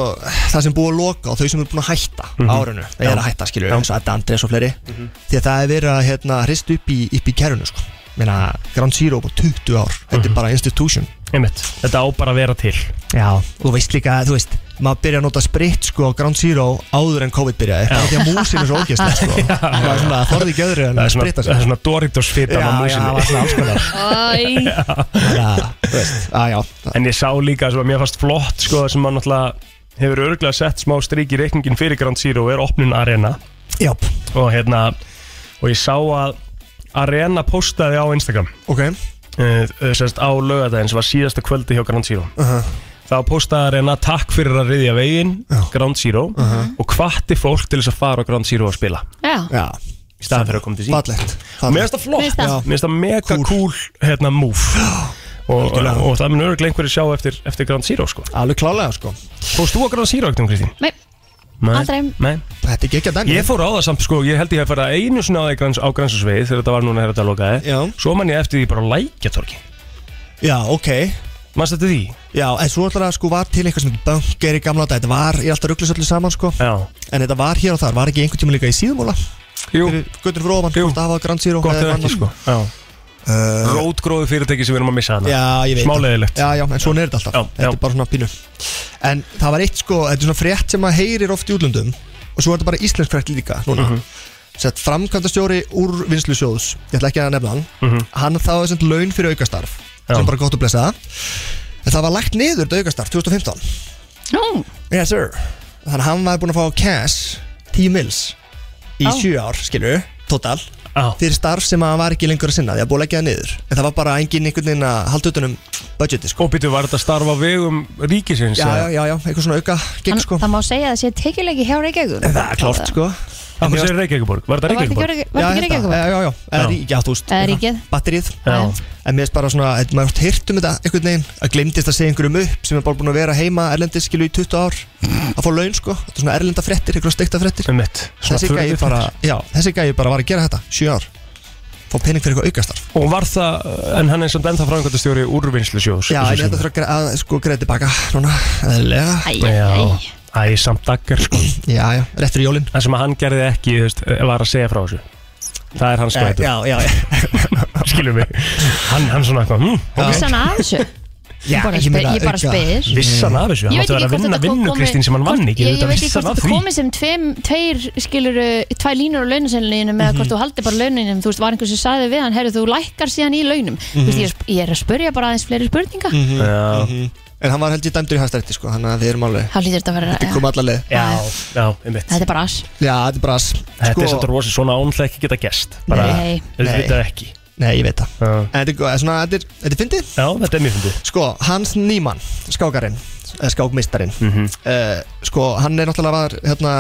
Speaker 10: Það sem búið að loka og þau sem eru búin að hætta mm -hmm. árinu Það er að hætta skilur eins og Edda Andrés og fleiri Því að það er verið að hérna hristu upp í, upp í kerfinu sko Meina Ground Zero bara 20 ár Þetta er bara institution
Speaker 1: Einmitt, þetta á bara að vera til
Speaker 10: Já Og þú veist líka þú veist Maður byrja að nota spritt sko á Ground Zero áður en COVID byrjaði Það er því að músin er svo ógæslega sko Það er svona þorði ekki öðru en
Speaker 1: Það
Speaker 10: að
Speaker 1: er svona,
Speaker 10: spritta
Speaker 1: það
Speaker 10: sig
Speaker 1: er svona Doritos fitan á músinni
Speaker 10: svona alls konar
Speaker 2: Æ,
Speaker 10: Já, þú veist, að já
Speaker 1: En ég sá líka sem að mér fannst flott sko, sem maður náttúrulega hefur örgulega sett smá strik í reikningin fyrir Grand Zero er opnun arena
Speaker 10: Já,
Speaker 1: og, hérna, og ég sá að arena postaði á Instagram
Speaker 10: ok uh-huh.
Speaker 1: uh, uh, sérst, á lögadaginn sem var síðasta kvöldi hjá Ground Zero þá postaði reyna takk fyrir að riðja veginn Ground Zero og hvatti fólk til þess að fara á Ground Zero að spila
Speaker 2: já,
Speaker 10: Já,
Speaker 1: í staðan fyrir að koma til sín
Speaker 10: fallegt
Speaker 1: mér finnst það flott,
Speaker 2: Mér finnst það.
Speaker 1: mér finnst það mega cool,
Speaker 10: Cool.
Speaker 1: hérna move og, og,
Speaker 10: Algjörlega.
Speaker 1: það mun örgulega einhverju sjá eftir, eftir Grand Zero sko.
Speaker 10: Alveg klálega sko
Speaker 1: Fórst þú á Grand Zero ekkert um Kristín?
Speaker 2: Nei, aldrei.
Speaker 1: Nei.
Speaker 10: Þetta er ekki að dæmi
Speaker 1: Ég fór á það samt sko, ég held ég hef farið einu sinna á það í Grans- á Gransarsveið þegar þetta var núna þegar þetta lokaði
Speaker 10: Já.
Speaker 1: Svo man ég eftir því bara á lækjatorki
Speaker 10: Já, ok
Speaker 1: Manst þetta því?
Speaker 10: Já, en svo alltaf sko var til eitthvað sem heitir bankgeir í gamla dag Þetta var, ég er alltaf rugglis öllu saman sko
Speaker 1: Já
Speaker 10: En þetta var hér og þar, var ekki einhvern tíma líka í síðumóla
Speaker 1: Jú,
Speaker 10: Fyrir göttur fyrir ofan,
Speaker 1: Jú.
Speaker 10: hvort það hafa Grand Zero
Speaker 1: gott
Speaker 10: eða
Speaker 1: eða ekki
Speaker 10: annað.
Speaker 1: sko Já
Speaker 10: Uh,
Speaker 1: Rótgróðu fyrirtæki sem við erum að missa hana
Speaker 10: Já, ég veit það.
Speaker 1: Smáleiðilegt
Speaker 10: Já, já, en svona er þetta alltaf
Speaker 1: Já,
Speaker 10: Þetta
Speaker 1: já.
Speaker 10: er bara svona pínu En það var eitt sko, þetta er svona frétt sem maður heyrir oft í útlöndum Og svo er þetta bara íslensk frétt líka núna mm Sett framkvæmdastjóri úr vinslusjóðs Ég ætla ekki að nefna hann Hann þá er sem laun fyrir aukastarf
Speaker 1: Já.
Speaker 10: Sem bara gott að blessa En það var lagt niður þetta aukastarf 2015
Speaker 2: Nú,
Speaker 10: Yes sir Þannig að hann var búin að fá cash 10 mils Í
Speaker 2: Á.
Speaker 10: 7 ár, skilur Total
Speaker 1: Já.
Speaker 10: fyrir starf sem að hann var ekki lengur að sinna því að búið að leggja það niður en það var bara engin einhvern veginn að halda utan um budgeti sko.
Speaker 1: Og býtu, var þetta starf á vegum ríkisins?
Speaker 10: já, já, já, já, eitthvað svona auka gig
Speaker 2: hann,
Speaker 10: sko.
Speaker 2: það má segja að það sé tekjuleiki hjá Reykjavík
Speaker 10: það er klárt sko
Speaker 1: Það var sér Reykjavíkborg, var þetta
Speaker 2: Það var þetta
Speaker 1: Reykjavíkborg?
Speaker 2: ekki- var þetta ekki
Speaker 10: Já, hérna,
Speaker 2: Reykjavík
Speaker 10: já, já, já, eða
Speaker 1: Já.
Speaker 10: rí- já, þú veist
Speaker 2: Eða
Speaker 10: eitthvað,
Speaker 2: ríkið.
Speaker 10: batterið
Speaker 1: Já.
Speaker 10: en mér er bara svona, eða maður hort hirt um þetta einhvern veginn, að glemdist að segja einhverjum upp sem er bara búin að vera heima erlendis skilu í 20 ár að fá laun sko, þetta er svona erlenda frettir einhverjum steikta frettir,
Speaker 1: Einmitt. Svona
Speaker 10: þessi gæði
Speaker 1: furðufréttir.
Speaker 10: bara já, þessi gæði bara var að gera þetta, 7 ár fá pening fyrir eitthvað sko. aukastarf
Speaker 1: Og var það, en hann er samt ennþá framkvæmdastjóri úrvinnslu sjós
Speaker 10: Já, en ég ætla að þurfa að sko greið tilbaka núna, eðlilega
Speaker 2: Æ,
Speaker 1: Já,
Speaker 2: æ,
Speaker 1: æ, samt daggar sko
Speaker 10: Já, já, rétt fyrir jólinn
Speaker 1: Það sem að hann gerði ekki, þú veist, var að segja frá þessu Það er hans
Speaker 10: Já,
Speaker 1: glætur,
Speaker 10: já, Eh, já,
Speaker 1: skilum við Hann, hann svona eitthvað, hm,
Speaker 2: æ. Vissi hann af þessu?
Speaker 10: já
Speaker 2: Bara
Speaker 10: ég
Speaker 2: spe-
Speaker 10: meina
Speaker 2: ég bara
Speaker 10: auka-
Speaker 2: spyr.
Speaker 1: vissan af þessu, hann
Speaker 2: Ég veit
Speaker 1: átti að
Speaker 2: ekki
Speaker 1: vera að
Speaker 2: hvort
Speaker 1: vinna
Speaker 2: þetta
Speaker 1: vinnu
Speaker 2: komi-
Speaker 1: Kristín sem hann vann
Speaker 2: Ég,
Speaker 1: ekki,
Speaker 2: ég
Speaker 1: þetta
Speaker 2: veit ekki
Speaker 1: vissan
Speaker 2: hvort
Speaker 1: af
Speaker 2: þetta
Speaker 1: því
Speaker 2: komið sem tveim, tveir skilur tvær línur á launaselininu með
Speaker 1: Mhm.
Speaker 2: hvort þú haldi bara launinum þú veist, var einhver sem sagði við hann, herru, þú lækkar síðan í launum þú veist,
Speaker 1: Mhm.
Speaker 2: ég, er- ég er að spurja bara aðeins fleiri spurninga
Speaker 1: Já,
Speaker 10: En hann var held ég dæmdur í hæstarétti sko Þannig að við erum alveg
Speaker 2: þá hlýtur þetta að vera
Speaker 10: Þetta
Speaker 2: já.
Speaker 10: kom alla leið
Speaker 1: já, já, einmitt
Speaker 2: þetta er bara ass
Speaker 10: Já, þetta er bara ass.
Speaker 1: Þetta er
Speaker 10: Sko-
Speaker 1: svolítið rosa, svona ánlega ekki geta gest Bara,
Speaker 2: Nei.
Speaker 1: auðvitað ekki Já,
Speaker 10: Nei, ég veit það En þetta er, go- eða svona, þetta er, þetta er fyndið
Speaker 1: þetta er mjög fyndið
Speaker 10: Sko, Hans Nýmann, skákarinn eða Skákmeistarinn mm Sko, hann er náttúrulega var hérna,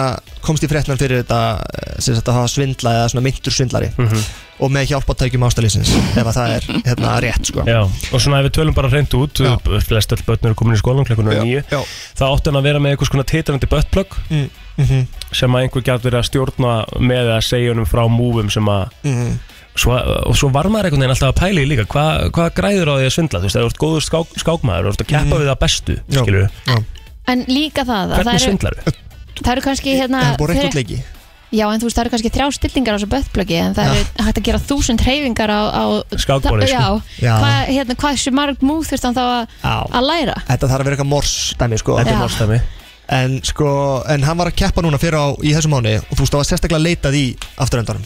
Speaker 10: Komst í fréttnar fyrir þetta eh, Sem þetta hafa svindla eða svona myndur svindlari
Speaker 1: Mhm.
Speaker 10: Og með hjálpatækjum ástælísins Ef að það er hérna rétt sko
Speaker 1: Já, og svona ef við tölum bara hreint út
Speaker 10: Já.
Speaker 1: b- flest öll börn eru komin í skólan klukkuna
Speaker 10: Já,
Speaker 1: nýju
Speaker 10: já.
Speaker 1: þá átti hann að vera með eitthvað svona titrandi buttplug
Speaker 10: Mm, mhm.
Speaker 1: sem að einhver gæti verið að stjórna með að segja honum frá múfum sem að
Speaker 10: Mhm.
Speaker 1: svo, og svo var maður einhvern veginn alltaf að pæla í líka Hva, hvað græður á því að svindla, þú veist, það þú ert góður skák, skákmaður þú ert að keppa við það bestu,
Speaker 10: Mm. Já.
Speaker 1: skilur
Speaker 10: Já.
Speaker 2: en líka það, að það
Speaker 1: hvernig
Speaker 2: eru,
Speaker 1: svindlar við?
Speaker 2: það eru kannski hérna,
Speaker 10: Það er búið
Speaker 2: þeir-
Speaker 10: rétt útleiki
Speaker 2: já, en þú veist, það eru kannski þrjá stillingar á þessu böttblöki en það
Speaker 10: Já.
Speaker 2: eru hægt að gera þúsund hreyfingar á, á
Speaker 1: Ah. Skákborðið,
Speaker 2: já,
Speaker 1: sko.
Speaker 10: Já.
Speaker 2: hvað, hérna, hvað sem marg múð þurft hann þá að, að læra
Speaker 10: Þetta þarf að vera eitthvað mors dæmi sko
Speaker 1: Þetta er
Speaker 2: Já.
Speaker 1: mórstæmi
Speaker 10: en, sko, en hann var að keppa núna fyrir á í þessum mánu og þú veist það var sérstaklega leitað í afturöndanum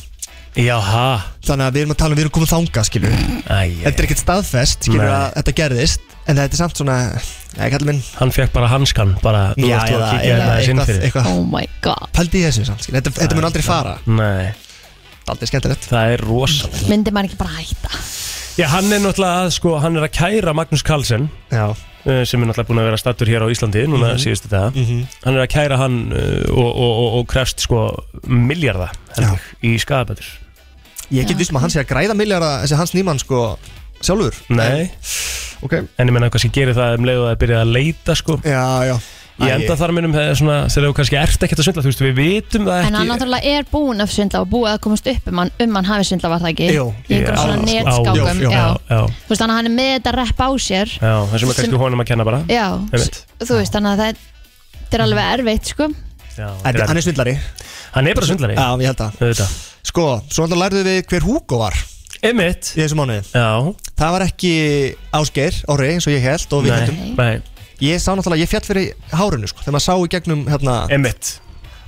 Speaker 1: Jaha,
Speaker 10: Þannig að við erum að tala um, við erum komið þanga skilur Þetta
Speaker 1: æj,
Speaker 10: er ekkert staðfest skilur
Speaker 1: Mm, Nei.
Speaker 10: að þetta gerðist En þetta er samt svona, ég kallar minn
Speaker 1: hann fekk bara hanskan bara, nú
Speaker 10: Já,
Speaker 1: ertu að
Speaker 10: eða,
Speaker 1: kíkja
Speaker 10: eða
Speaker 1: þetta aðeins inn
Speaker 10: eitthvað,
Speaker 1: fyrir
Speaker 10: eitthvað
Speaker 2: oh my god,
Speaker 10: Pældi í þessu samt skilur, þetta, þetta mun aldrei fara
Speaker 1: Nei,
Speaker 10: Þetta er Aldrei skemmtilegt
Speaker 1: það er rosalega
Speaker 2: myndi maður ekki bara hætta
Speaker 1: Já, hann er náttúrulega að, sko, hann er að kæra Magnús Carlsen
Speaker 10: Já,
Speaker 1: eh, sem er náttúrulega búin að vera stattur hér á Íslandi núna
Speaker 10: Mhm.
Speaker 1: síðustu daga hann er að kæra hann eh, og, og, og, og krefst sko miljarda
Speaker 10: Já.
Speaker 1: heldur, í skadabætur
Speaker 10: ég get vissum að hann sé að græða miljarda þessi hans nýmann sko sjálfur
Speaker 1: Nei,
Speaker 10: Ok
Speaker 1: en ég menna kannski gerir það um leið og það er byrjað að leita sko
Speaker 10: Já, já
Speaker 1: Ég enda þar minnum þegar svona, þegar þú kannski ert ekkert að svindla, þú veist, við vitum það
Speaker 2: En hann
Speaker 1: ekki
Speaker 2: náttúrulega er búinn að svindla og búið að komast upp um hann, um hann hafi svindla var það ekki
Speaker 10: Jú,
Speaker 2: Í einhverjum
Speaker 1: já,
Speaker 2: svona
Speaker 1: sko.
Speaker 2: netskákum
Speaker 10: Jú, jú,
Speaker 2: já.
Speaker 1: Já, já,
Speaker 2: Þú veist þannig að hann er með þetta rep á sér
Speaker 1: já, það sem er kannski honum að kenna bara
Speaker 2: Já,
Speaker 1: Einmitt.
Speaker 2: s- þú veist þannig að það þetta er alveg erfitt sko
Speaker 1: já,
Speaker 10: En
Speaker 1: þetta
Speaker 10: hann er svindlari
Speaker 1: hann er bara svindlari,
Speaker 10: Já, ég held að
Speaker 1: auðvitað
Speaker 10: Sko, svo alltaf lærðu við hver Hugo var í
Speaker 1: Emmitt,
Speaker 10: þessum mánuði
Speaker 1: já,
Speaker 10: Það var ekki ásgeir ári eins og ég held og við
Speaker 1: nei,
Speaker 10: hættum
Speaker 1: nei,
Speaker 10: Ég sá náttúrulega, ég fjall fyrir hárinu sko Þegar maður sá í gegnum hérna
Speaker 1: Emmitt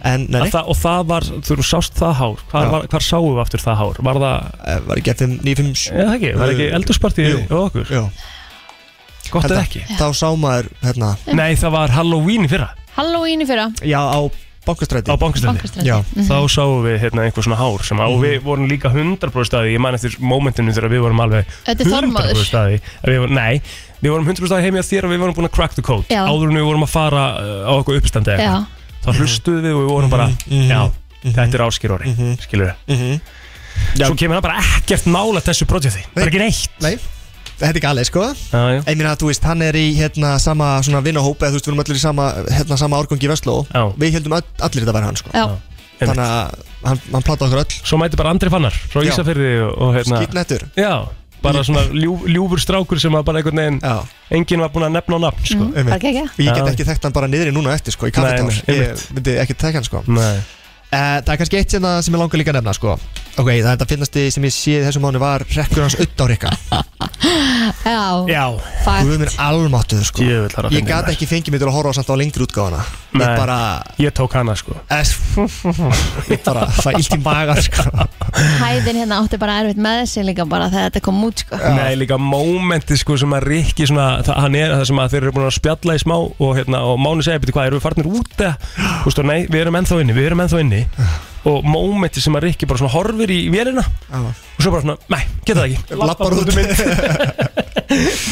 Speaker 10: En nei, nei,
Speaker 1: það, Og það var, þú sást það hár Hvar,
Speaker 10: Já.
Speaker 1: var, hvar sáum við aftur það hár? Var það,
Speaker 10: eh, var ekki FM 957
Speaker 1: já það ekki, var ekki
Speaker 10: Jú.
Speaker 1: eldurspartið
Speaker 10: Jú.
Speaker 1: á okkur?
Speaker 10: Jú,
Speaker 1: Gott
Speaker 10: held
Speaker 1: eða
Speaker 10: að.
Speaker 1: ekki?
Speaker 10: Þá sá maður hérna
Speaker 1: Nei, það var Halloween í fyrra
Speaker 2: Halloween í fyrra,
Speaker 10: Já, á
Speaker 1: á
Speaker 10: bankastræti
Speaker 1: bankastræti
Speaker 2: bankastrændi
Speaker 10: Já.
Speaker 1: Þá sáum við hérna einhver svona hár sem, að-
Speaker 2: Mhm.
Speaker 1: og við vorum líka 100% að því, ég man eftir mómentinu þegar við vorum alveg
Speaker 2: Þetta er
Speaker 1: að
Speaker 2: Þormóður.
Speaker 1: því að við vorum, nei, við vorum 100% að því heim hjá þér og við vorum búin að crack the code
Speaker 2: Já.
Speaker 1: áður en við vorum að fara uh, á okkur uppstandi eða
Speaker 2: Já, Mhm.
Speaker 1: eitthvað. þá hlustuðu við og við vorum bara já, þetta er áskýr orði,
Speaker 2: Mhm.
Speaker 1: skilur við
Speaker 10: Já.
Speaker 1: svo kemur það bara ekkert nála þessu projekti, bara ekki neitt
Speaker 10: Nei, þetta er galið sko
Speaker 1: Já, já.
Speaker 10: Ég meina, þú veist, hann er í hérna sama svona vinnahópa eða þú veist, við erum allir í sama, hérna, sama árgangi í Vestló
Speaker 1: Já.
Speaker 10: Við heldum öll, allir þetta væri hann sko
Speaker 2: Já,
Speaker 1: Einmitt.
Speaker 10: Þannig að hann, hann plata okkur öll
Speaker 1: Svo mæti bara Andri Fannar frá
Speaker 10: Já.
Speaker 1: Ísafirði og, og hérna
Speaker 10: Skýtnettur
Speaker 1: Já, bara svona ljúf, ljúfur strákur sem að bara einhvern veginn
Speaker 10: Já,
Speaker 1: Enginn var búinn að nefna á nafn, sko
Speaker 10: einmitt.
Speaker 2: bara gegja
Speaker 10: Og ég
Speaker 1: Já.
Speaker 10: get ekki þekkt hann bara niðri núna eftir sko,
Speaker 1: Nei,
Speaker 10: í kaffetál
Speaker 1: nei,
Speaker 10: Ég
Speaker 1: einmitt.
Speaker 10: myndi ekki þekkt hann sko
Speaker 2: Mhm.
Speaker 1: Nei,
Speaker 10: Uh, það er kannski eitt sem, sem ég langar líka að nefna sko. Ok, það er þetta finnast sem ég sé í þessum mánu var rekkur hans utt á rikka
Speaker 2: Já,
Speaker 1: Já,
Speaker 10: Þú
Speaker 2: fakt
Speaker 10: erum minn almáttuð sko.
Speaker 1: Djöfull, það er að
Speaker 10: Ég
Speaker 1: fyndið
Speaker 10: gat
Speaker 1: maður.
Speaker 10: ekki fengið mig til að horfa á samt á lengri útgáfana Ég
Speaker 1: Nei.
Speaker 10: bara,
Speaker 1: ég tók hana, sko
Speaker 10: es, ég bara fæ illt í magan sko.
Speaker 2: Hæðin hérna átti bara erfitt með sig líka bara þegar þetta kom út sko
Speaker 1: Nei, líka mómenti, sko, sem að Rikki svona, það, hann er það sem að þeir eru búin að spjalla í smá og, hérna, og Máni segja, betur hvað, erum við farnir út eða?" Þú veist, og nei, við erum ennþá inni, við erum ennþá inni og mómenti sem að Rikki bara svona horfir í vélina
Speaker 10: Já.
Speaker 1: og svo bara svona, nei, geta það ekki um
Speaker 10: Lappar út um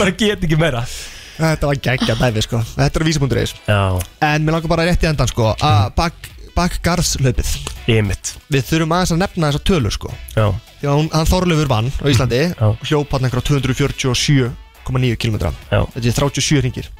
Speaker 1: bara get ekki meira
Speaker 10: Þetta var geggja dæfi sko. Þetta er vísi.is
Speaker 1: Já,
Speaker 10: En mér langar bara rétt í endan sko, að
Speaker 1: Mm.
Speaker 10: bak, bakgarðslaupið
Speaker 1: ymmit
Speaker 10: Við þurfum aðeins að nefna þessa tölur sko.
Speaker 1: Já,
Speaker 10: Því að hún, hann Þorleifur vann á Íslandi
Speaker 1: Mm, Já.
Speaker 10: Hljóp hann einhverja 247,9 km
Speaker 1: já,
Speaker 10: Þetta er 37 ringir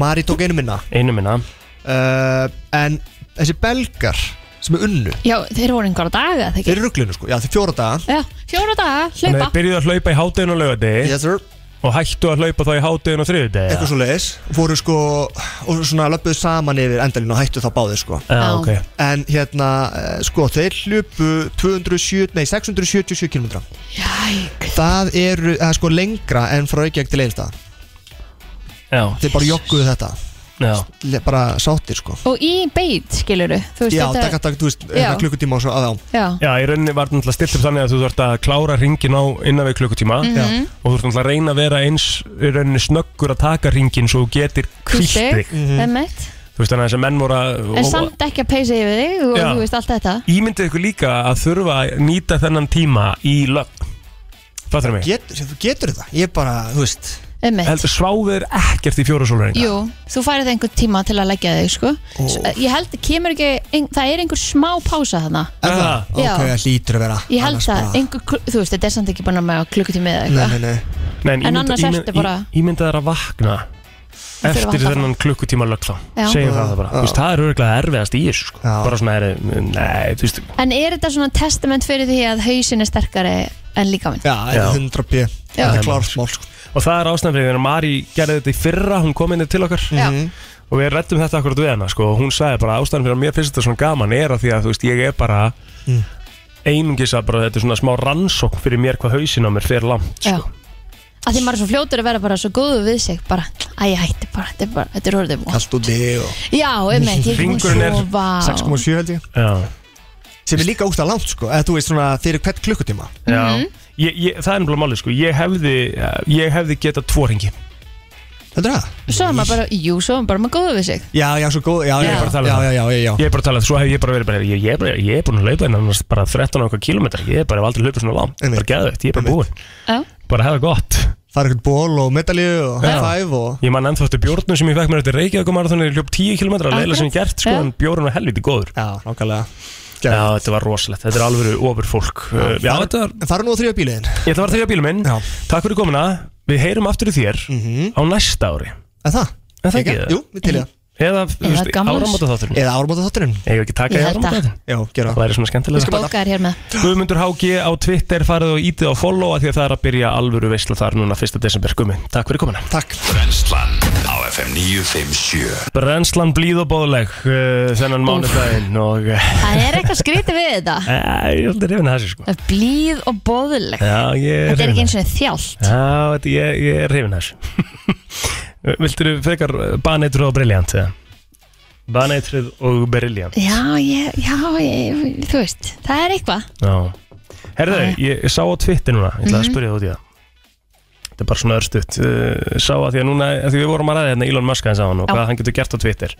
Speaker 10: Mari tók einu minna
Speaker 1: einu minna
Speaker 10: uh, En þessi belgar sem er unnu
Speaker 2: Já, þeir voru einhverja daga, þegar
Speaker 10: Þeir
Speaker 2: ekki
Speaker 10: eru ruglunu sko, já þeir fjóra daga
Speaker 2: Já, fjóra daga,
Speaker 1: Þannig að
Speaker 2: hlaupa
Speaker 1: þeir byrjuðu að hlaupa í hátæðin og lögadegi
Speaker 10: Yes sir
Speaker 1: og hættu að hlaupa þá í hátæðin og þriðudegi
Speaker 10: Eitthvað svo leiðis Fóru sko og svona löpuðu saman yfir endalinn og hættu þá báðið sko
Speaker 1: Já, ok
Speaker 10: En hérna eh, sko þeir hlupu 270, nei 677 km
Speaker 2: Jæk,
Speaker 10: Það eru eh, sko lengra en frá Reykjavík til Eilstað
Speaker 1: Já,
Speaker 10: Þeir bara jogguðu þetta
Speaker 1: já,
Speaker 10: Le- Bara sáttir sko
Speaker 2: og í beit skiluru Þú veist
Speaker 10: Já,
Speaker 2: þetta
Speaker 10: takk að takk, þú veist, eitthvað klukkutíma og svo aðá
Speaker 2: Já,
Speaker 1: já, í rauninni var náttúrulega stilt upp þannig að þú þurft að klára ringin á innan við klukkutíma
Speaker 10: Mhm.
Speaker 1: og þú þurft náttúrulega að reyna að vera eins í rauninni snöggur að taka ringin svo þú getir
Speaker 2: Hvílt
Speaker 1: kvílt
Speaker 2: þig.
Speaker 1: þig
Speaker 2: emmett
Speaker 1: Þú veist þannig að þessi menn voru að
Speaker 2: En
Speaker 1: og-
Speaker 2: samt ekki að peysa yfir þig og
Speaker 1: Já.
Speaker 2: þú veist allt þetta
Speaker 1: Ímyndið ykkur líka að þurfa að nýta þennan tíma í lögn Fattur mig?
Speaker 10: Get, Þú getur þetta, ég bara, þú veist
Speaker 2: Emmett
Speaker 1: Heldur sváður ekkert í fjóra sólurringa
Speaker 2: Jú, þú færið einhver tíma til að leggja þig sko S- Ég held, kemur ekki ein, Það er einhver smá pása þarna
Speaker 10: Er það?
Speaker 1: Ah.
Speaker 10: Ok,
Speaker 2: Já.
Speaker 10: það lítur að vera
Speaker 2: Ég held
Speaker 10: Annars
Speaker 2: það,
Speaker 10: bara-
Speaker 2: einhver, kl- þú veist, þetta er samt ekki bara með klukkutími eða
Speaker 10: Nei,
Speaker 2: eitthvað
Speaker 10: nei, nei
Speaker 1: Nei, en
Speaker 2: En
Speaker 1: ímynda-
Speaker 2: annars
Speaker 1: ímynd-
Speaker 2: ertu bara-
Speaker 1: í- Ímyndað er að vakna
Speaker 2: þurfa að
Speaker 1: eftir
Speaker 2: halda
Speaker 1: þennan klukkutíma lögn þá
Speaker 2: Já.
Speaker 1: segjum það það bara,
Speaker 10: Já.
Speaker 1: þú veist, það er örgulega erfiðast í þessu sko.
Speaker 10: Já.
Speaker 1: bara svona er, nei, þú veist
Speaker 2: En er þetta svona testament fyrir því að hausin er sterkari en líka minn?
Speaker 10: Já, þetta er 100 p Þetta er klart mál sko.
Speaker 1: og það er ástæðanfrið, þegar Mari gerði þetta í fyrra hún kom inn til okkar
Speaker 2: Já.
Speaker 10: Mhm.
Speaker 1: og við reddum þetta akkurat við hana, sko, og hún sagði bara ástæðan fyrir að mér finnst þetta svona gaman er að því að þú veist, ég er bara
Speaker 10: Mm.
Speaker 1: einungis að bara, þetta er svona smá rannsókn fyrir mér hvað hausin á mér fer langt
Speaker 2: Já.
Speaker 1: sko.
Speaker 2: Að því maður er svo fljótur að vera bara svo góður við sig bara, æ, ég hætti bara, þetta er bara, þetta er orðið búið.
Speaker 10: Allt og dig og
Speaker 2: Já, einmitt, ég er búin
Speaker 1: Hringurinn er
Speaker 2: að sofa.
Speaker 10: 6,7 held ég
Speaker 1: Já.
Speaker 10: Sem er líka ógst að langt sko Eða þú veist svona fyrir hvert klukkutíma
Speaker 1: Já.
Speaker 10: Mhm.
Speaker 1: Ég, ég, það er náttúrulega máli, sko, ég hefði ég hefði getað tvo ringi
Speaker 10: Þetta er það?
Speaker 2: Svo er maður bara, jú, svo er maður bara með góður við sig.
Speaker 10: Já, já, svo góð Já,
Speaker 2: Ég
Speaker 10: já,
Speaker 2: er bara
Speaker 1: að tala um
Speaker 10: já,
Speaker 1: það.
Speaker 10: já, já, já, já.
Speaker 1: Ég er bara að tala, svo hef ég bara verið bara, ég, ég, er bara, ég er búin að laupa innan bara 13 okkar kilometrar, ég er bara hef aldrei hlaupið svona langt,
Speaker 10: Einmitt.
Speaker 1: bara geðvægt, ég er bara búin
Speaker 2: Já,
Speaker 1: bara hefða gott,
Speaker 10: Það er eitthvað ból og medalju og high
Speaker 1: Já.
Speaker 10: five og
Speaker 1: ég man ennþá eftir bjórnum sem ég fekk mér eftir Reykjavík og maður þannig hljóp 10 kilometrar, leila sem ég gert sko,
Speaker 2: Já.
Speaker 1: en bjórnum var helviti góður
Speaker 10: Já, nákvæmlega
Speaker 1: Já, þetta var rosalegt, þetta er alveg ofur fólk Já, Já
Speaker 10: Far-
Speaker 1: þetta var,
Speaker 10: En fara nú á þrjóða bíliðin
Speaker 1: ég ætla að fara þegar bílum minn
Speaker 10: Já.
Speaker 1: Takk fyrir komuna, við heyrum aftur í þér á næsta ári,
Speaker 10: Er það?
Speaker 1: Mhm. Er það
Speaker 10: Ekki?
Speaker 1: ekki? Mhm.
Speaker 10: Jú, við til í það
Speaker 1: eða, þú
Speaker 2: Eða
Speaker 1: veist,
Speaker 2: gamlárs.
Speaker 1: áramóta þátturinn
Speaker 10: Eða áramóta þátturinn
Speaker 1: Eða ekki taka í
Speaker 2: Ég held
Speaker 1: áramóta
Speaker 2: að.
Speaker 1: þátturinn
Speaker 10: Já, gera
Speaker 1: Það
Speaker 10: það
Speaker 1: væri svona skemmtilega
Speaker 2: bókar hér með.
Speaker 1: Guðmundur HG á Twitter farið og ítið á follow að því að það er að byrja alvöru veisla þar núna 1. desember gummi. Takk fyrir komuna.
Speaker 10: Takk
Speaker 5: Brennslan á FM 957
Speaker 1: Brennslan blíð og bóðleg uh, þennan mánudaginn og uh,
Speaker 2: Það er eitthvað skrítið við þetta.
Speaker 1: ég er aldrei reyfin að þessu sko.
Speaker 2: Það er Blíð og bóðuleg.
Speaker 1: Já, ég er
Speaker 2: Þetta er
Speaker 1: hrifinn af
Speaker 2: ekki eins og þjált.
Speaker 1: þessu. Já, þetta, ég, ég er reyfin að þessu. Viltu frekar baneitrið og brilljant eða? Baneitrið og brilljant.
Speaker 2: Já, ég, já, ég, þú veist, það er eitthvað.
Speaker 1: Já. Herðu, ég sá á Twitter núna, ég ætla
Speaker 2: Mhm.
Speaker 1: að spyrja það út í það. Þetta er bara svona örstuðt. Sá að því að núna, að því við vorum að ræða hérna Elon Musk aðeins á hann og
Speaker 2: Já.
Speaker 1: hvað hann getur gert á Twitter.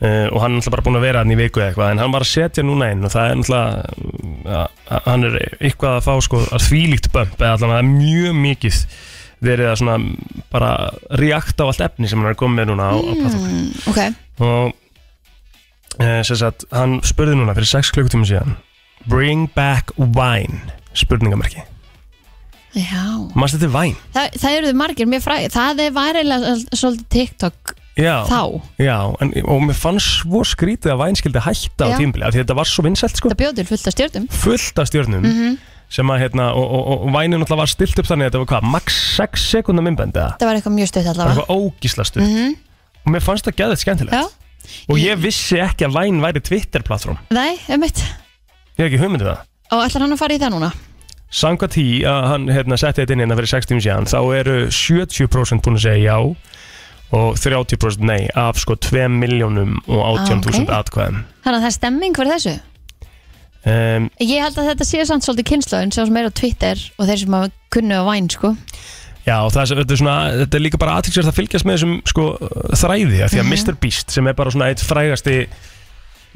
Speaker 1: Uh, og hann er alltaf bara búin að vera hann í viku eða eitthvað en hann var að setja núna inn og það er alltaf uh, hann er eitthvað að fá sko að þvílíkt bömp eða allavega mjög mikið verið að svona bara reakta á allt efni sem hann er komið með núna á, á plattform
Speaker 2: Mm, ok,
Speaker 1: og e, sem sagt, hann spurði núna fyrir 6 klukkutíma síðan Bring back wine spurningamarki
Speaker 2: Já.
Speaker 1: Manstu þetta væn?
Speaker 2: Það, það eru margir mjög fræði Það er værilega svolítið TikTok
Speaker 1: Já,
Speaker 2: Þá.
Speaker 1: já en, og mér fannst svo skrítið að væn skildi hætta
Speaker 2: Já.
Speaker 1: á tímbili af því þetta var svo vinsælt sko
Speaker 2: Það bjóður fullt af stjórnum
Speaker 1: fullt af stjórnum
Speaker 2: Mhm.
Speaker 1: sem að hérna og, og, og, og vænin alltaf var stilt upp þannig að þetta var hvað max 6 sekundar myndbandi eða?
Speaker 2: Það var eitthvað mjög stutt
Speaker 1: það var
Speaker 2: allavega
Speaker 1: eitthvað ógísla stutt og mér fannst það gæðið skemmtilegt
Speaker 2: Ah. Mhm. Já,
Speaker 1: og ég vissi ekki að væn væri Twitter plattform
Speaker 2: nei, um eitt
Speaker 1: ég hef ekki hugmyndið það
Speaker 2: Og ætlar hann að fara í það núna?
Speaker 1: Samkvæmt því að hann hérna, setti þetta inn hérna fyrir 60 síðan þá eru 70% búin að segja já og 30% nei af sko 2 miljónum og 18.000
Speaker 2: Ah,
Speaker 1: atkvæðum
Speaker 2: Þannig að það er stemming fyrir þessu
Speaker 1: um,
Speaker 2: Ég held að þetta sé samt svolítið kynslaðun Sá sem er á Twitter og þeir sem hafa kunnu á væn sko.
Speaker 1: Já, og það, er- þetta, er svona, þetta er líka bara aðtilsverð að fylgjast með þessum sko, þræði af því að
Speaker 2: Mhm.
Speaker 1: Mr. Beast sem er bara svona eitt frægasti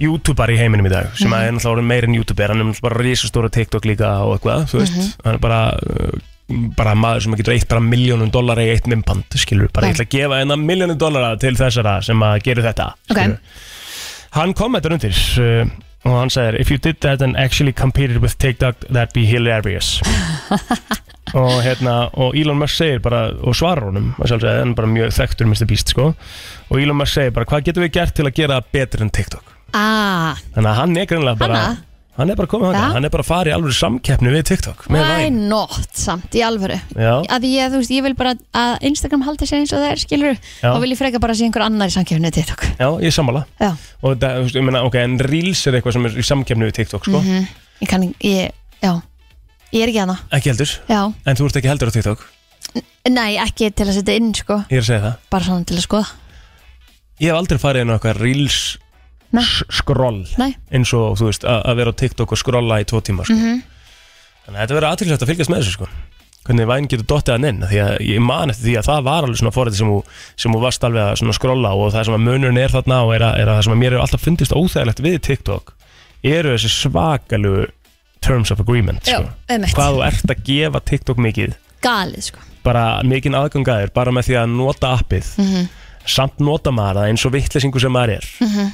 Speaker 1: YouTuber í heiminum í dag sem
Speaker 2: Mhm.
Speaker 1: mm -hmm. er náttúrulega orðinn meira en YouTuber hann er náttúrulega bara risastóra TikTok líka og eitthvað þú veist,
Speaker 2: Mhm.
Speaker 1: hann er bara uh, bara maður sem getur eitt bara miljónum dólar í eitt mimpand, skilur, bara ég
Speaker 2: Já.
Speaker 1: ætla að gefa hennar miljónum dólara til þessara sem að gera þetta
Speaker 2: Ok.
Speaker 1: skilurðu. hann kom þetta undir uh, og hann segir if you did that and actually competed with TikTok that'd be hilarious og hérna og Elon Musk segir bara og svarar honum að sjálfsögðu, hann er bara mjög þekktur Mr. Beast sko og Elon Musk segir bara hvað getum við gert til að gera það betur en TikTok
Speaker 2: Ah,
Speaker 1: þannig að hann er greinlega bara
Speaker 2: Hanna?
Speaker 1: hann er bara komið hann
Speaker 2: Ja.
Speaker 1: hann er bara að fara í alveg samkeppni við TikTok með
Speaker 2: why
Speaker 1: væn
Speaker 2: not samt, í alvöru
Speaker 1: Já.
Speaker 2: að ég, þú veist, ég vil bara að Instagram haldi sér eins og það er, skilur
Speaker 1: Já.
Speaker 2: og vil ég freka bara að sé einhver annar í samkjöfni TikTok
Speaker 1: Já, ég sammála
Speaker 2: Já,
Speaker 1: og það, þú veist, ég meina, ok, en Reels er eitthvað sem er í samkeppni við TikTok sko
Speaker 2: ég kann, ég, já Ég er ekki hana,
Speaker 1: ekki heldur,
Speaker 2: já
Speaker 1: en þú ert ekki heldur á TikTok
Speaker 2: Nei, ekki til að setja inn, sko
Speaker 1: ég er að segja það,
Speaker 2: Bara svona til að skoða
Speaker 1: ég hef aldrei farið inn á eitthvað Reels
Speaker 2: Nei.
Speaker 1: s- scroll
Speaker 2: Nei,
Speaker 1: eins og, þú veist, að að vera á TikTok og scrolla í tvo tíma sko.
Speaker 2: Mhm.
Speaker 1: þannig að þetta verður aðtilsvægt að fylgjast með þessu sko. hvernig væn getur dottið hann inn því að ég man eftir því að það var alveg svona forrið sem þú, sem þú varst alveg að svona skrolla og það sem að munurinn er þarna og er að, er að það sem að mér er alltaf fundist óþægilegt við TikTok eru þessi svakalu terms of agreement
Speaker 2: já,
Speaker 1: sko.
Speaker 2: einmitt
Speaker 1: hvað þú ert að gefa TikTok mikið
Speaker 2: Galið, sko
Speaker 1: bara mikinn aðgangaðir bara með því að nota appið samt nota maður það eins og vittlesingu sem maður er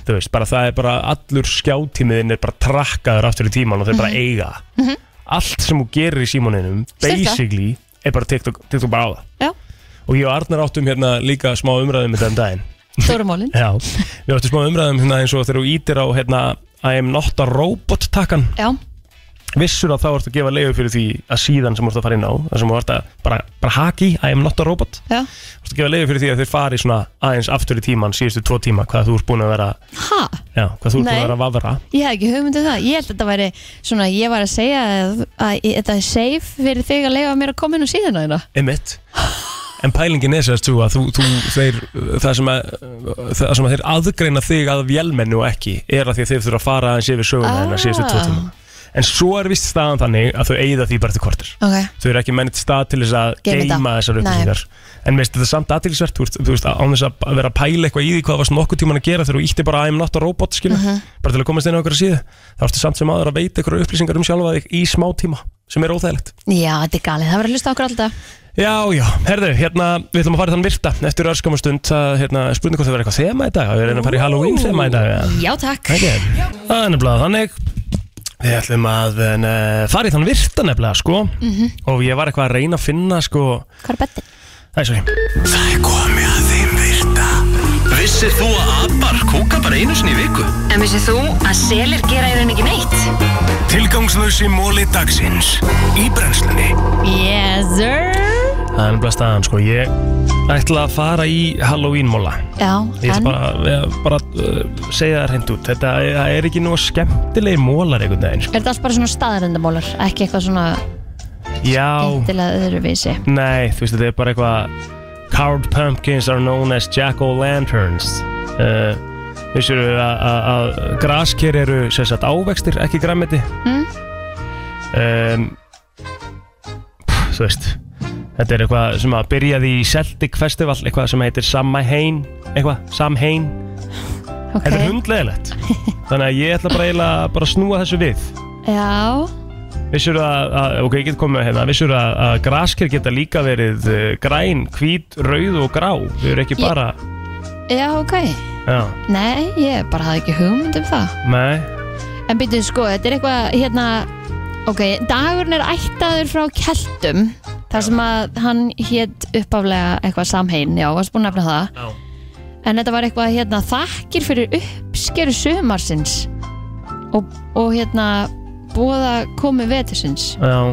Speaker 1: þú veist, bara það er bara allur skjátímiðin er bara trakkaður aftur í tíman og þeir bara eiga það. allt sem þú gerir í símoninum
Speaker 2: Styrta.
Speaker 1: basically er bara TikTok, TikTok bara á það
Speaker 2: Já,
Speaker 1: og ég og Arnar áttum hérna líka smá umræðum þetta um daginn
Speaker 2: stórumólin
Speaker 1: Já, við áttum smá umræðum hérna eins og þegar þú ítir á hérna I am not a robot takkan
Speaker 2: Já,
Speaker 1: vissur að þá ertu að gefa leiðu fyrir því að síðan sem þú ert að fara inn á þar sem þú ert að bara, bara haki, I am not a robot
Speaker 2: já,
Speaker 1: þú ert að gefa leiðu fyrir því að þeir fari svona aðeins aftur í tíman, síðustu tvo tíma hvað þú ert búin að vera,
Speaker 2: ha
Speaker 1: já, hvað þú ert búin að
Speaker 2: Nei.
Speaker 1: vera að vafra
Speaker 2: Ég hef ekki hugmyndið það, ég held að þetta væri svona, ég var að segja að, að þetta er safe fyrir þig að leifa mér að koma inn á síðuna þína
Speaker 1: emitt en pælingin er sérst þú að þú, þú þeir, það sem að það sem að þeir aðgreina þig að vélmennu og ekki er að því að þeir þurfa að fara aðeins yfir söguna ah.
Speaker 2: Ah.
Speaker 1: síðustu tvo tíma en svo er vist staðan þannig að þau eigða því bara til kortir
Speaker 2: Ok,
Speaker 1: þau eru ekki mennit stað til þess að
Speaker 2: Geyma þetta.
Speaker 1: geima þessar
Speaker 2: Nei.
Speaker 1: upplýsingar en veist þetta er samt aðtilsvert þú, ert- þú veist án þess að vera að pæla eitthvað í því hvað það varst nokkuð tíman að gera þegar þú ítti bara I'm not a robot skilu,
Speaker 2: Mhm.
Speaker 1: bara til að komast inn á okkur síðu þá ertu samt sem aður að veita eitthvað upplýsingar um sjálfa þig í smá tíma sem er óþægilegt
Speaker 2: já, þetta er galið, það verður að hlusta á okkur alltaf
Speaker 1: Já, já, herðu, hérna, við ætlum að fara í þann virta eftir örskamma stund, það, hérna, spurning hvort það verður eitthvað þema í dag, við erum að fara í Halloween þema í dag ja.
Speaker 2: Já, takk
Speaker 1: Ekki? Það er nefnilega þannig Við ætlum að ne, fara í þann virta nefnilega sko
Speaker 2: Mhm.
Speaker 1: og ég var eitthvað að reyna að finna sko
Speaker 2: Hvað er bettin?
Speaker 1: Það er svo
Speaker 5: Það er komið að þeim virta Vissir þú að abar kúka bara einu sinni í viku?
Speaker 9: En vissið þú að selir gera í rauninni ekki neitt?
Speaker 5: Tilgangslösi móli dagsins Í brennslunni
Speaker 2: Yes, sir
Speaker 1: Það er nefnilega staðan sko Ég ætla að fara í Halloween-móla
Speaker 2: Já,
Speaker 1: Ég ætla
Speaker 2: en,
Speaker 1: bara, ég, bara uh, segja það hreint út Þetta það er ekki nú skemmtilegi mólar einhvern veginn sko.
Speaker 2: er þetta allt bara svona staðarendamólar, ekki eitthvað svona
Speaker 1: Já,
Speaker 2: gentilega öðruvísi
Speaker 1: nei, þú veist þetta er bara eitthvað Carved pumpkins are known as jack-o'-lanterns uh, Vissur við að- að að grasker eru sem sagt ávextir, ekki græmiti
Speaker 2: Mm.
Speaker 1: um, pff, Þú veist Þetta er eitthvað sem að byrjaði í Celtic Festival, eitthvað sem heitir Samhain, eitthvað, Samhain
Speaker 2: Ok,
Speaker 1: Þetta er hundlegilegt Þannig að ég ætla bara eiginlega bara að snúa þessu við
Speaker 2: já,
Speaker 1: Vissur að, að ok, ég get komið hérna Vissur að, að grasker geta líka verið uh, græn, hvít, rauð og grá Þau eru ekki
Speaker 2: Ég-
Speaker 1: bara
Speaker 2: já, ok
Speaker 1: Já,
Speaker 2: Nei, ég bara hafði ekki hugmynd um það
Speaker 1: nei,
Speaker 2: En byrjuðu sko, þetta er eitthvað hérna Ok, dagurinn er ættaður frá keltum þar sem að hann hétt uppaflega eitthvað samhein, já, varst búin að nefna það
Speaker 1: Já.
Speaker 2: en þetta var eitthvað hérna þakkir fyrir uppskeru sumarsins og, og hérna búða komi vetursins
Speaker 1: Já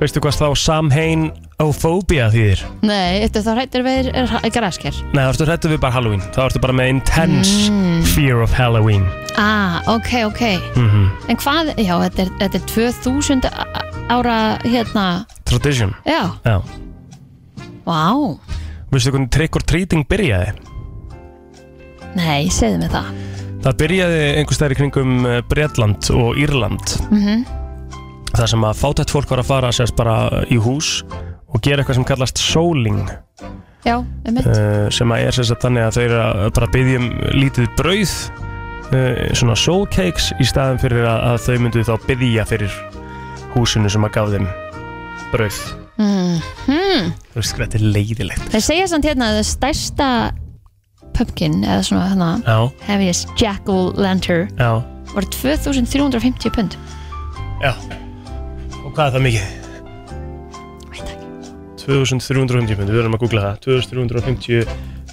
Speaker 1: Veistu hvað þá samhein Ophobia þýðir?
Speaker 2: Nei, eftir þá hrættir við er, er græsker
Speaker 1: Nei, þá ertu hrættu við bara Halloween Þá ertu bara með intense fear of Halloween
Speaker 2: Ah, ok, ok
Speaker 1: mm
Speaker 2: En hvað, já, þetta er, þetta er 2000 á- ára, hérna
Speaker 1: Tradition
Speaker 2: Já,
Speaker 1: Já
Speaker 2: vá
Speaker 1: Veistu hvernig trick or treating byrjaði?
Speaker 2: Nei, segðu mig það
Speaker 1: Það byrjaði einhvers stær í kringum eh, Bretland og Írland
Speaker 2: mm
Speaker 1: þar sem að fátætt fólk var að fara sérst bara í hús og gera eitthvað sem kallast souling
Speaker 2: Já, einmitt
Speaker 1: uh, sem að er sem sagt þannig að þau eru að bara byggjum lítið brauð uh, svona soul cakes í staðum fyrir að, að þau myndu þá byggja fyrir húsinu sem að gaf þeim brauð
Speaker 2: mm
Speaker 1: þú veist hvað þetta er leiðilegt
Speaker 2: Þeir segja samt hérna að það stærsta pumpkin eða svona hérna
Speaker 1: já,
Speaker 2: heaviest jack-o'-lantern
Speaker 1: já,
Speaker 2: var 2350 pund
Speaker 1: já og hvað er það mikið?
Speaker 2: Veit ekki.
Speaker 1: 2350 pund, við verðum að googla það 2350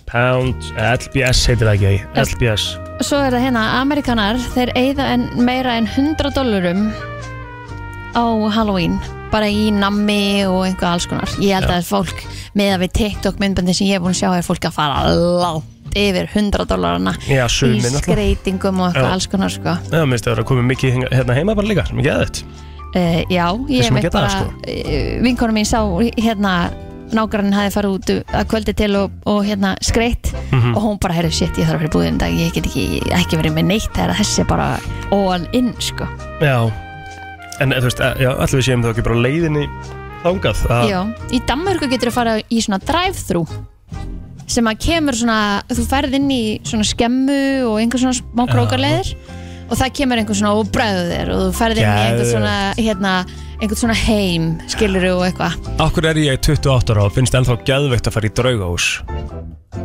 Speaker 1: pound LBS heitir það ekki,
Speaker 2: L-
Speaker 1: LBS
Speaker 2: og svo er það hérna að Amerikanar þeir eigða en meira en 100 dollurum á Halloween bara í nammi og einhvað alls konar ég held
Speaker 1: Já.
Speaker 2: að fólk með að við TikTok myndbandi sem ég er búin að sjá er fólk að fara látt yfir 100 dollarana
Speaker 1: já,
Speaker 2: í
Speaker 1: sumið náttúrulega
Speaker 2: skreitingum
Speaker 1: Já.
Speaker 2: og eitthvað alls konar sko
Speaker 1: Já, minnst það eru að koma mikið hinga- hérna heima bara líka, sem ekki aðeitt
Speaker 2: Uh, já, ég
Speaker 1: sem að geta
Speaker 2: bara,
Speaker 1: það, sko.
Speaker 2: uh, vinkonum mín sá hérna nágrann hafi farið út eh, að kvöldi til og, og hérna skreitt
Speaker 1: Mhm.
Speaker 2: og hún bara, herru, shit, ég þarf að fyrir búðin dag, ég get ekki, ekki verið með neitt þegar þessi er bara all in, sko
Speaker 1: Já En eh, þú veist, eh, já, allir við séum þá ekki bara á leiðinni þangað að,
Speaker 2: Já, í Danmörku getur þú farið í svona drive-thru sem að kemur svona, þú ferð inn í svona skemmu og einhver svona smá
Speaker 1: Já.
Speaker 2: krókarleðir og það kemur einhver svona og bræður þér og þú ferð inn í einhver svona, hérna, einhver svona heim, skilur og eitthvað
Speaker 1: Akkur er ég 28 ára og finnst ennþá geðveikt að fara í draugahús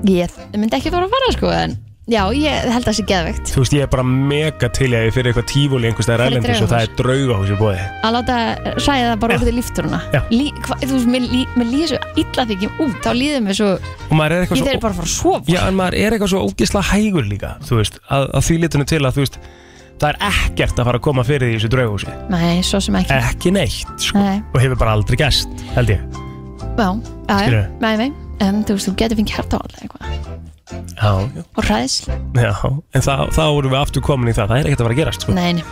Speaker 2: Ég myndi ekki fara að fara sko en já, ég held að það sé geðveikt
Speaker 1: Þú veist, ég er bara mega til ég fyrir eitthvað tífúli einhvers staðar
Speaker 2: Fara í
Speaker 1: erlendis og það er draugahús í bóði
Speaker 2: að láta sæða það bara úr því lífturuna
Speaker 1: Já.
Speaker 2: Lí, hva, þú veist, mér, lí, mér líður svo illa því ekki út þá líður mér svo,
Speaker 1: Og maður er
Speaker 2: ég
Speaker 1: eitthvað
Speaker 2: þeir
Speaker 1: svo
Speaker 2: bara að fara að sofa
Speaker 1: Já, en maður er eitthvað svo ógislega hægur líka Þú veist, að, að því litunum til að þú veist Það er ekkert að fara að koma fyrir því í þessu draugahúsi
Speaker 2: nei, svo sem ekki
Speaker 1: Ekki neitt, sko
Speaker 2: nei,
Speaker 1: Og hefur bara aldrei gæst, held ég
Speaker 2: já, já, já,
Speaker 1: Skilurðu?
Speaker 2: nei, nei um, þú veist, þú getur fengið hjartál eða eitthvað
Speaker 1: Já, já,
Speaker 2: og hræðsl,
Speaker 1: já En þá, þá vorum við aftur komin í það Það er ekkert að fara að gerast, sko
Speaker 2: nei, nei,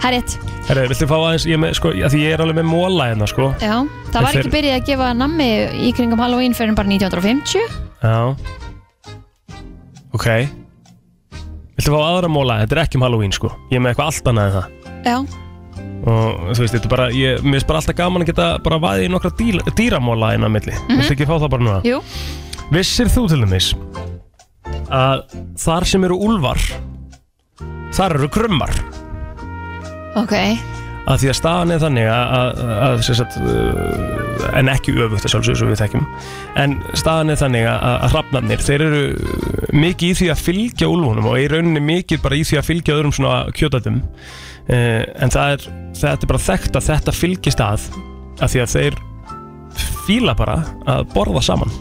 Speaker 2: það er rétt
Speaker 1: Herru, viltu fá aðeins, ég er með, sko, að því ég er alveg með móla hérna, sko.
Speaker 2: já, það var
Speaker 1: Þeir-
Speaker 2: ekki byrjað að gefa nammi í kringum Halloween fyrir bara 1950
Speaker 1: Já. Ok. Viltu fá aðra móla, þetta er ekki um Halloween, sko. Ég er með eitthvað allt annað en það.
Speaker 2: já,
Speaker 1: Og þú veist, þetta er bara, ég, mér finnst bara alltaf gaman að geta bara vaðið í nokkra dýl, dýramóla hérna á milli. Viltu ekki fá það bara núna?
Speaker 2: jú,
Speaker 1: Vissir þú til dæmis að þar sem eru úlfar, þar eru krummar.
Speaker 2: ok
Speaker 1: að því að staðan er þannig að, að, að sem sagt, uh, en ekki öfugt að sjálfsögur sem við þekkjum en staðan er þannig að, að hrafnarnir þeir eru uh, mikið í því að fylgja úlfunum og í rauninni mikið bara í því að fylgja öðrum svona kjötatum uh, en það er, þetta er bara þekkt að þetta fylgist að að því að þeir fíla bara að borða saman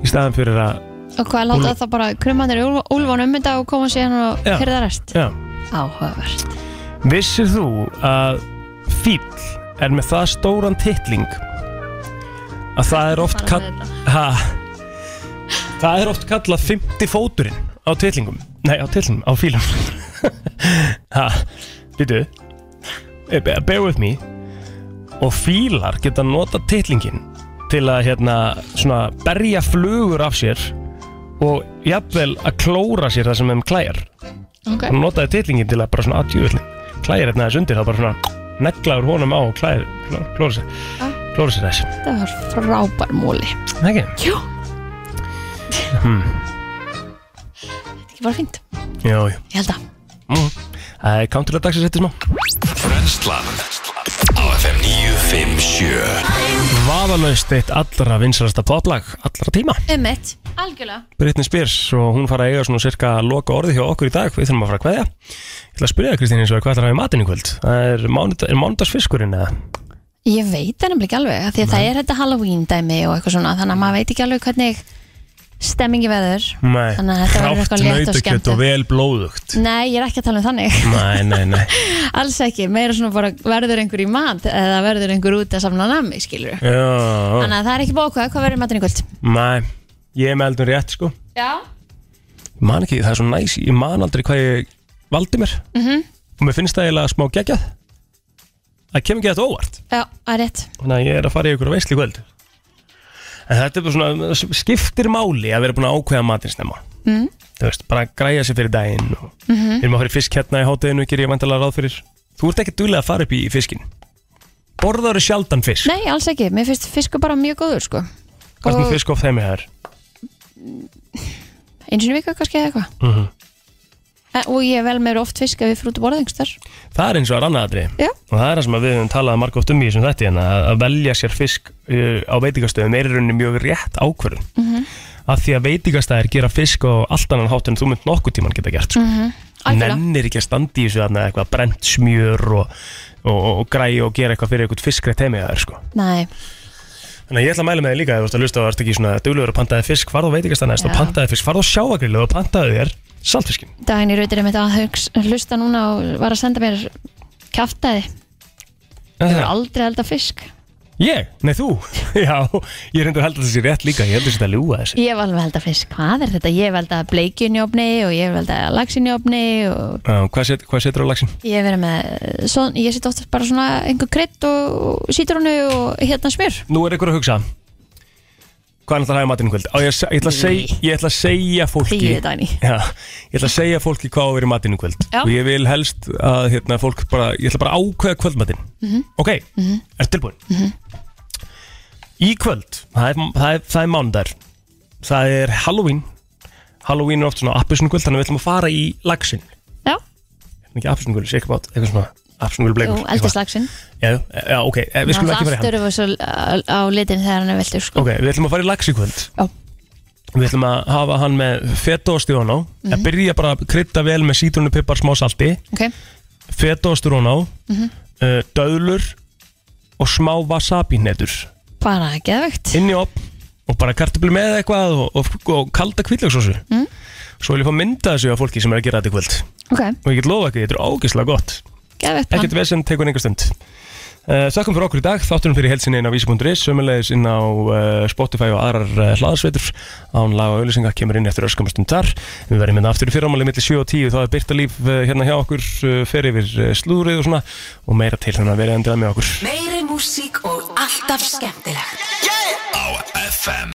Speaker 1: í staðan fyrir að
Speaker 2: og hvað láta
Speaker 1: Úlf-
Speaker 2: það bara krummandir úlfan um þetta og koma síðan og
Speaker 1: Já.
Speaker 2: hyrða rest
Speaker 1: já,
Speaker 2: áhugavert
Speaker 1: Vissir þú að fíll er með það stóran titling að það er oft kall... Ha, það er oft kallað 50 fóturinn á titlingum Nei, á titlingum, á fílum Ha, býtu Eh, be- Bear with me Og fílar geta nota titlingin til að hérna svona berja flugur af sér og jafnvel að klóra sér það sem þeim klæjar
Speaker 2: Ok.
Speaker 1: hann notaði titlingin til að bara svona aðjöðli klæðir hérna þess undir, þá bara svona neglaður honum á og klæðir, kló- klóra sér
Speaker 2: Já.
Speaker 1: klóra sér þess
Speaker 2: Þetta var frábær múli
Speaker 1: ekki?
Speaker 2: Jú
Speaker 1: Hmm.
Speaker 2: Þetta er ekki bara fínt
Speaker 1: Jú, jú
Speaker 2: Ég held að
Speaker 1: Mm. Það er counterlega dagsins eftir smá
Speaker 5: Brennslan á FM 957
Speaker 1: Vafalaust eitt allra vinsalasta poplag allra tíma
Speaker 2: Um mitt Algjörlega
Speaker 1: Britney Spears og hún fara að eiga svona cirka loka orði hjá okkur í dag við þurfum að fara að kveðja Ég ætla að spyrja það Kristín eins og hvað ætlar að hafa í matinn í kvöld Það er, mánudag, er mánudagsfiskurinn eða?
Speaker 2: Ég veit það nefnilega ekki alveg af Því að það er þetta Halloween dæmi og eitthvað svona Þannig að maður veit ekki alveg hvernig stemmingi verður
Speaker 1: Nei,
Speaker 2: Þannig að þetta verður
Speaker 1: hrátt
Speaker 2: eitthvað létt og
Speaker 1: nautakjöt og
Speaker 2: skemmt
Speaker 1: vel blóðugt
Speaker 2: Nei, ég er ekki að tala um þannig
Speaker 1: Nei, nei, nei
Speaker 2: Alls ekki, meira svona bara verður einhver í mat eða verður einhver út að samla nammi, skilur
Speaker 1: Já,
Speaker 2: Þannig að það er ekki bókuð, hvað verður í matinn í kvöld?
Speaker 1: nei Ég er með eldum rétt sko
Speaker 2: Já
Speaker 1: Ég man ekki, það er svo næs Ég man aldrei hvað ég valdi mér
Speaker 2: Mhm.
Speaker 1: Og mér finnst það eiginlega smá geggjað Það kemur ekki þetta óvart
Speaker 2: Já, það er rétt
Speaker 1: Þannig að ég er að fara í ykkur veisli kvöld En þetta er bara svona það Skiptir máli að vera búin að ákveða matinn snemma
Speaker 2: mm.
Speaker 1: Þú veist, bara græja sér fyrir daginn og...
Speaker 2: Mhm.
Speaker 1: Við erum að fara í fisk hérna í hátæðinu Ger ég vandalega ráð fyrir Þú ert ekki duðlega að fara upp í fiskin Borðar er sjaldan fisk
Speaker 2: Nei, alls ekki, mér finnst fiskur bara mjög góður, sko
Speaker 1: Hvað er fisk of þeim er?
Speaker 2: Eins og vika kannski eða eitthvað
Speaker 1: Mm
Speaker 2: Eh, Og ég er vel meira oft fisk ef við frútu borðingstar
Speaker 1: Það er eins og að rannaðatri
Speaker 2: Já.
Speaker 1: og það er það sem að við höfum talað margótt um í þessum þætti en að að velja sér fisk uh, á veitingastöðum er í rauninni mjög rétt ákvörðun mm
Speaker 2: Mhm.
Speaker 1: af því að veitingastæðir gera fisk á allt annan hátt en þú mynd nokkuð tíman geta gert sko.
Speaker 2: Mhm. Algjörlega.
Speaker 1: nennir ekki að standa í þessu þarna eitthvað brent smjör og, og, og, og græi og gera eitthvað fyrir eitthvað fiskreitt heimi að það er sko
Speaker 2: Nei,
Speaker 1: Þannig að ég ætla að mæla með þig líka ef þú ert að lusta og ert ekki svona duglegur og pantaði fisk, farðu á veitingastæðnæst og
Speaker 2: Já.
Speaker 1: pantaði fisk, farðu á sjáagrillu og pantaði þér saltfiskin
Speaker 2: daginn í rautir er mitt að hugs, hlusta núna og var að senda mér kjaftaði Ég hefur aldrei elda fisk
Speaker 1: Ég? Nei þú? Já, ég reyndur held að það sé rétt líka, ég held að þetta ljúa þessi
Speaker 2: Ég hef alveg elda fisk, hvað er þetta? Ég hef elda bleikinjófni og ég hef elda laxinjófni og
Speaker 1: Já, hvað, set, hvað setur á lagsin?
Speaker 2: ég hef verið með svo, ég set oftast bara svona einhver krydd og sítrónu og hérna smjör
Speaker 1: Nú er einhver að hugsa Hvað er alltaf að hafa í matinn í kvöld? Á, ég, að se- ég, ætla að seg, ég ætla að segja fólki
Speaker 2: Þýði, Dagný.
Speaker 1: Já, Ég ætla að segja fólki hvað á að vera í matinn í kvöld
Speaker 2: Já.
Speaker 1: Og ég vil helst að hérna, fólk bara Ég ætla bara að ákveða kvöldmatinn
Speaker 2: Mhm.
Speaker 1: Ok, mm -hmm. er tilbúin?
Speaker 2: Mhm.
Speaker 1: Í kvöld, það er, það er, það er mándar Það er Halloween Halloween er oft svona appisnugvöld Þannig að við ætlum að fara í lagsin
Speaker 2: Já.
Speaker 1: Ekki appisnugvöld, sé eitthvað bát, eitthvað svona Appisnugvöld
Speaker 2: Jú,
Speaker 1: bleikur
Speaker 2: eldist laxinn
Speaker 1: Já, já, ok, eh, við skulum ekki fara í hann
Speaker 2: Alltaf svo á, á litin þegar hann er veldur sko.
Speaker 1: Ok, við ætlum að fara í lax í kvöld
Speaker 2: Já.
Speaker 1: Við ætlum að hafa hann með fetaostur ofan á mm
Speaker 2: Mhm.
Speaker 1: Að byrja bara að krydda vel með sítrunu, pipar, smá salti
Speaker 2: Ok.
Speaker 1: Fetaostur ofan á
Speaker 2: Mhm.
Speaker 1: uh, Döðlur Og smá wasabi hnetur
Speaker 2: Bara geðvegt
Speaker 1: Inn í opn Og bara kartabli með eitthvað Og, og, og kalda kvillegssósu
Speaker 2: Mhm.
Speaker 1: Svo vil ég fá mynda þessu á fólki sem er að gera þetta í kvöld
Speaker 2: Ok,
Speaker 1: Og ég get lofa ekki, þetta er ógeðslega gott
Speaker 2: geðvegt plan
Speaker 1: Ekkert vesen, tekur einhver stund uh, Þakkum fyrir okkur í dag, þátturum fyrir helsinni inn á vísi.is Sömmulegis inn á uh, Spotify og aðrar uh, hlaðarsveitur Án laga og auðlýsinga kemur inn eftir öskamastund þar Við verðum inn aftur í fyrramáli millir 7 og 10 Þá er Byrta Líf uh, hérna hjá okkur uh, Fer yfir uh, slúrið og svona Og meira til þannig að verið endilega með okkur
Speaker 9: Meiri músík og alltaf skemmtilegt
Speaker 5: á FM